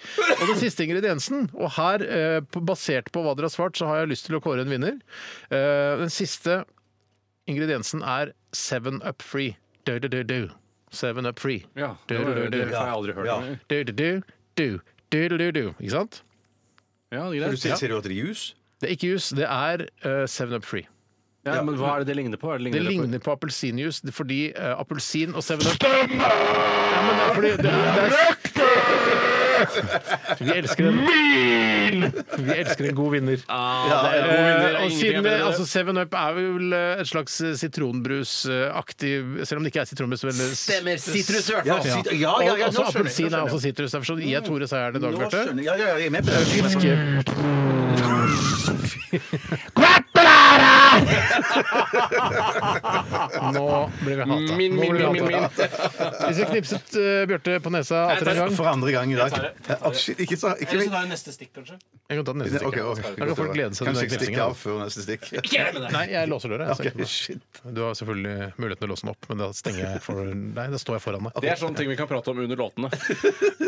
Speaker 2: Og den siste ingrediensen, og her, eh, på- basert på hva dere har svart, så har jeg lyst til å kåre en vinner. Eh, den siste ingrediensen er Seven Up Free. Du, du, du, du. Seven Up Free.
Speaker 4: Ja,
Speaker 2: Du,
Speaker 4: det, var,
Speaker 2: du, du,
Speaker 4: det
Speaker 2: du.
Speaker 4: har jeg aldri hørt.
Speaker 3: Ja.
Speaker 4: om.
Speaker 2: Du, du, du, du. Du, du, du, du. Ikke sant?
Speaker 4: Ja, det er
Speaker 3: Du
Speaker 4: greit.
Speaker 3: sier, sier du at det er juice?
Speaker 2: Det er ikke jus, det er eh, Seven Up Free.
Speaker 4: Ja, men hva er det det ligner på? Er det
Speaker 2: Det
Speaker 4: ligner på?
Speaker 2: ligner på appelsinjuice fordi eh, appelsin og Seven Up ja, men det er fordi det er, det er... Vi elsker en Vi elsker en god vinner.
Speaker 4: Ah, det er god
Speaker 2: Eh, og
Speaker 4: vinner. Ingenting er
Speaker 2: siden
Speaker 4: bedre.
Speaker 2: altså, Seven Up er vel eh, et slags eh, sitronbrusaktig Selv om det ikke er sitronbrus. Men,
Speaker 4: Stemmer. Sitrus, i hvert
Speaker 3: Ja,
Speaker 4: fall.
Speaker 3: sit- ja, ja, ja,
Speaker 2: også
Speaker 3: nå skjønner jeg,
Speaker 2: appelsin
Speaker 3: nå skjønner
Speaker 2: er
Speaker 3: jeg.
Speaker 2: også sitrus. Derfor så gir jeg Tore seieren i dag,
Speaker 3: Nå
Speaker 2: Bjarte.
Speaker 3: skjønner jeg. Ja, ja, ja, jeg er med på det.
Speaker 2: Nå blir vi hata.
Speaker 4: Min,
Speaker 2: Nå
Speaker 4: min,
Speaker 2: blir vi
Speaker 4: min, min,
Speaker 2: hatet.
Speaker 4: min.
Speaker 2: Hvis jeg knipset eh, Bjarte på nesa atter en gang
Speaker 3: For andre gang i dag.
Speaker 4: tar det. Jeg tar det.
Speaker 3: Å, shit, ikke så ikke
Speaker 4: tar jeg neste stikk, kanskje.
Speaker 2: Jeg kan ta den neste
Speaker 3: Ok,
Speaker 2: stikken.
Speaker 3: ok.
Speaker 2: Da kan folk glede seg til
Speaker 3: Kanskje
Speaker 2: den
Speaker 3: jeg stikker
Speaker 2: knipsingen.
Speaker 3: av før neste stikk.
Speaker 2: Nei, jeg låser døra. jeg, så jeg
Speaker 3: Ok,
Speaker 2: kan-
Speaker 3: shit.
Speaker 2: Du har selvfølgelig muligheten til å låse den opp, men da stenger jeg for Nei, da står jeg foran deg.
Speaker 4: Det er sånne ting vi kan prate om under låtene.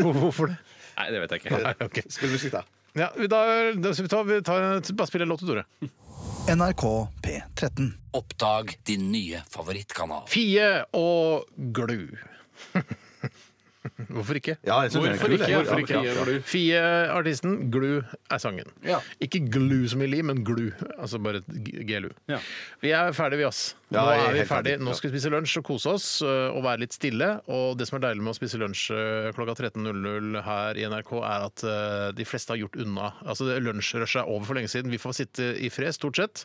Speaker 2: Hvorfor det?
Speaker 4: Nei, det vet jeg ikke.
Speaker 2: Nei, ok.
Speaker 3: Spill musikk, da.
Speaker 2: Ja, vi- da, da skal vi ta, vi tar, bare spille en låt til Tore.
Speaker 5: NRK P13.
Speaker 11: Oppdag din nye favorittkanal.
Speaker 2: Fie og glu. Hvorfor ikke?
Speaker 3: Ja, jeg synes den er kul, jeg.
Speaker 2: Hvorfor ikke?
Speaker 4: Fie og glu.
Speaker 2: Fie, artisten, glu er sangen.
Speaker 4: Ja.
Speaker 2: Ikke glu som i li, men glu. Altså bare g- glu.
Speaker 4: Ja.
Speaker 2: Vi er ferdige, vi, ass.
Speaker 3: Ja,
Speaker 2: Nå
Speaker 3: jeg er
Speaker 2: er vi
Speaker 3: helt
Speaker 2: ferdig.
Speaker 3: ferdig.
Speaker 2: Nå skal vi spise lunsj og kose oss øh, og være litt stille. Og det som er deilig med å spise lunsj øh, klokka 13.00 her i NRK, er at øh, de fleste har gjort unna. Altså det- Lunsjrushet er over for lenge siden. Vi får sitte i fred, stort sett.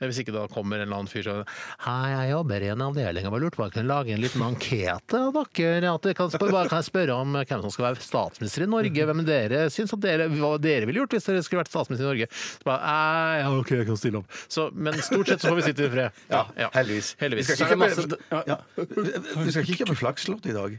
Speaker 2: Eh, Hvis ikke da kommer en eller annen fyr som Hei, jeg jobber i en avdeling og bare lurte på om jeg kunne lage en liten ankete av dere. At dere kan spørre, bare kan jeg spørre om hvem som skal være statsminister i Norge? Hvem dere syns at dere, hva dere ville gjort hvis dere skulle vært statsminister i Norge? Så bare, «Nei, ja, OK, jeg kan stille opp. Så, men stort sett så får vi sitte i fred.
Speaker 3: Ja, heldigvis.
Speaker 2: heldigvis.
Speaker 3: Vi skal
Speaker 4: Så er det
Speaker 3: ikke
Speaker 4: masse-
Speaker 3: kjøpe- ja. Vi skal ikke kjøpe flakslåt i dag.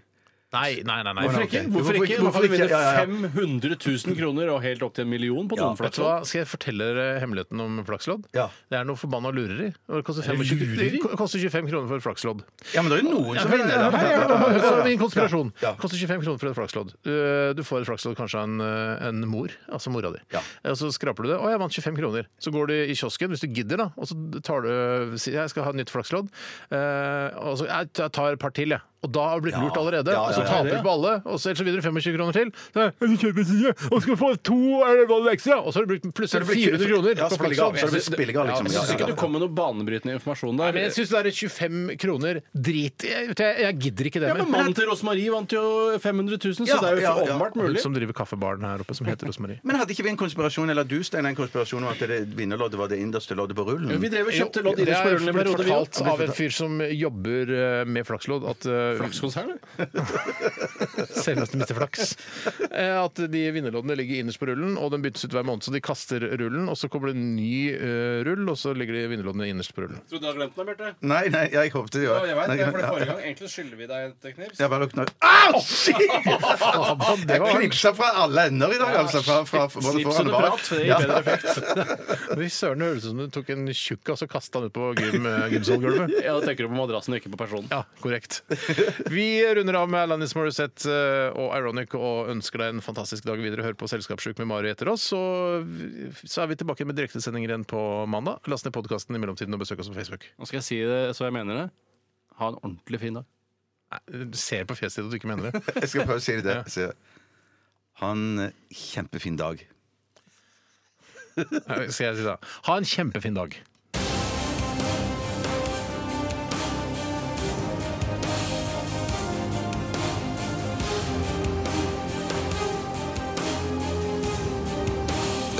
Speaker 2: Nei, nei, nei. nei.
Speaker 3: Hvorfor
Speaker 2: Ok.
Speaker 3: ikke?
Speaker 4: Hvorfor ikke? Hvorfor
Speaker 3: Hvorfor ikke?
Speaker 4: vinne
Speaker 3: Ja, ja, ja.
Speaker 4: 500 000 kroner og helt opp til en million på
Speaker 2: Vet du
Speaker 4: Donflaks?
Speaker 2: hva? Skal jeg fortelle dere hemmeligheten om flakslodd?
Speaker 3: Ja.
Speaker 2: Det er noe forbanna lureri. Og Det koster
Speaker 4: det
Speaker 2: 25,
Speaker 4: lureri?
Speaker 2: det koster 25 kroner for et flakslodd.
Speaker 3: Ja, men det er jo noen som vinner.
Speaker 2: Ja,
Speaker 3: da.
Speaker 2: ja, ja, ja, ja. Min konspirasjon.
Speaker 3: Ja.
Speaker 2: Koster 25 kroner for et flakslodd. Uh, Du får et flakslodd kanskje av en, uh, en mor, altså mora di.
Speaker 3: Ja.
Speaker 2: Og så skraper du det. 'Å, jeg vant 25 kroner.' Så går du i kiosken, hvis du gidder, Eh, da, og så tar du sier 'Jeg skal ha et nytt flakslodd'. Uh, Og så jeg, 'Jeg tar et par til, jeg'. Og da har du blitt
Speaker 9: Ja.
Speaker 2: lurt allerede.
Speaker 9: Ja, ja,
Speaker 2: og så
Speaker 9: ja,
Speaker 2: taper
Speaker 9: ja.
Speaker 2: du på alle, og så ellers så videre 25 kroner til. Så, er det, «Kan du kjøpe en side? og skal du få to eller hva det er ekstra, og så har du brukt
Speaker 4: Så det
Speaker 2: plutselig
Speaker 4: blir
Speaker 2: 400 kroner.
Speaker 4: Ja,
Speaker 2: på
Speaker 4: spilliga,
Speaker 2: Flaxland.
Speaker 4: så det blir spilliga, liksom.
Speaker 2: Ja,
Speaker 4: Jeg syns ikke du kom med noe banebrytende informasjon
Speaker 2: Nei,
Speaker 4: der.
Speaker 2: men jeg syns det er 25 kroner drit Jeg, jeg, jeg gidder ikke det
Speaker 4: ja,
Speaker 2: mer.
Speaker 4: men Mannen til Rosmarie vant jo 500 000, så det er jo åpenbart mulig.
Speaker 2: Som driver kaffebaren her oppe, som heter Rosmarie.
Speaker 3: Men hadde ikke vi en konspirasjon, eller du Stein, en konspirasjon om at det vinnerloddet var det innerste loddet på rullen?
Speaker 4: Jo, vi drev og kjøpte lodd
Speaker 2: Det er
Speaker 4: i
Speaker 2: blitt
Speaker 4: periode, vi
Speaker 2: fortalt
Speaker 4: også.
Speaker 2: av en fyr som jobber eh, med flakslodd at eh,
Speaker 4: Flakskonsern,
Speaker 2: Selveste Mr. Flaks. Eh, At de vinnerloddene ligger innerst på rullen, og den byttes ut hver måned. Så de kaster rullen, og så kommer det en ny eh, rull, og så ligger de vinnerloddene innerst på rullen.
Speaker 4: Tror du du har glemt noe, Bjarte?
Speaker 3: Nei, nei, jeg håpet det
Speaker 4: Ja,
Speaker 3: var
Speaker 4: jeg vet,
Speaker 3: Nei,
Speaker 4: det er for det
Speaker 3: ja.
Speaker 4: forrige gang. Egentlig skylder vi deg et knips.
Speaker 3: Jeg bare lukna Au! Shit!
Speaker 4: Faen,
Speaker 3: Jeg
Speaker 4: det var-
Speaker 3: knipsa fra alle ender i dag, altså. Fra, fra, fra både
Speaker 4: Snips
Speaker 3: foran
Speaker 4: og
Speaker 3: og bak.
Speaker 4: prat, det gir
Speaker 3: Ja.
Speaker 4: bedre effekt.
Speaker 2: Fy søren, det høres ut som du tok en tjukkas og kasta den ut på gym, eh, gymsalgulvet.
Speaker 4: Ja, da tenker du på madrassen og ikke på personen.
Speaker 2: Ja, korrekt. Vi runder av med Alanis Morissette eh, og Ironic og ønsker deg en fantastisk dag videre. Hør på Selskapssjuk med Mari etter oss. Og så er vi tilbake med direktesendinger igjen på mandag. Last ned podkasten i mellomtiden og besøk oss på Facebook.
Speaker 4: Nå skal jeg si det så jeg mener det. Ha en ordentlig fin dag.
Speaker 2: Nei, Du ser på fjeset ditt at du ikke mener det.
Speaker 3: Jeg skal prøve å si det. Si det. Ha en eh, kjempefin dag.
Speaker 2: Nei, Skal jeg si det? Ha en kjempefin dag.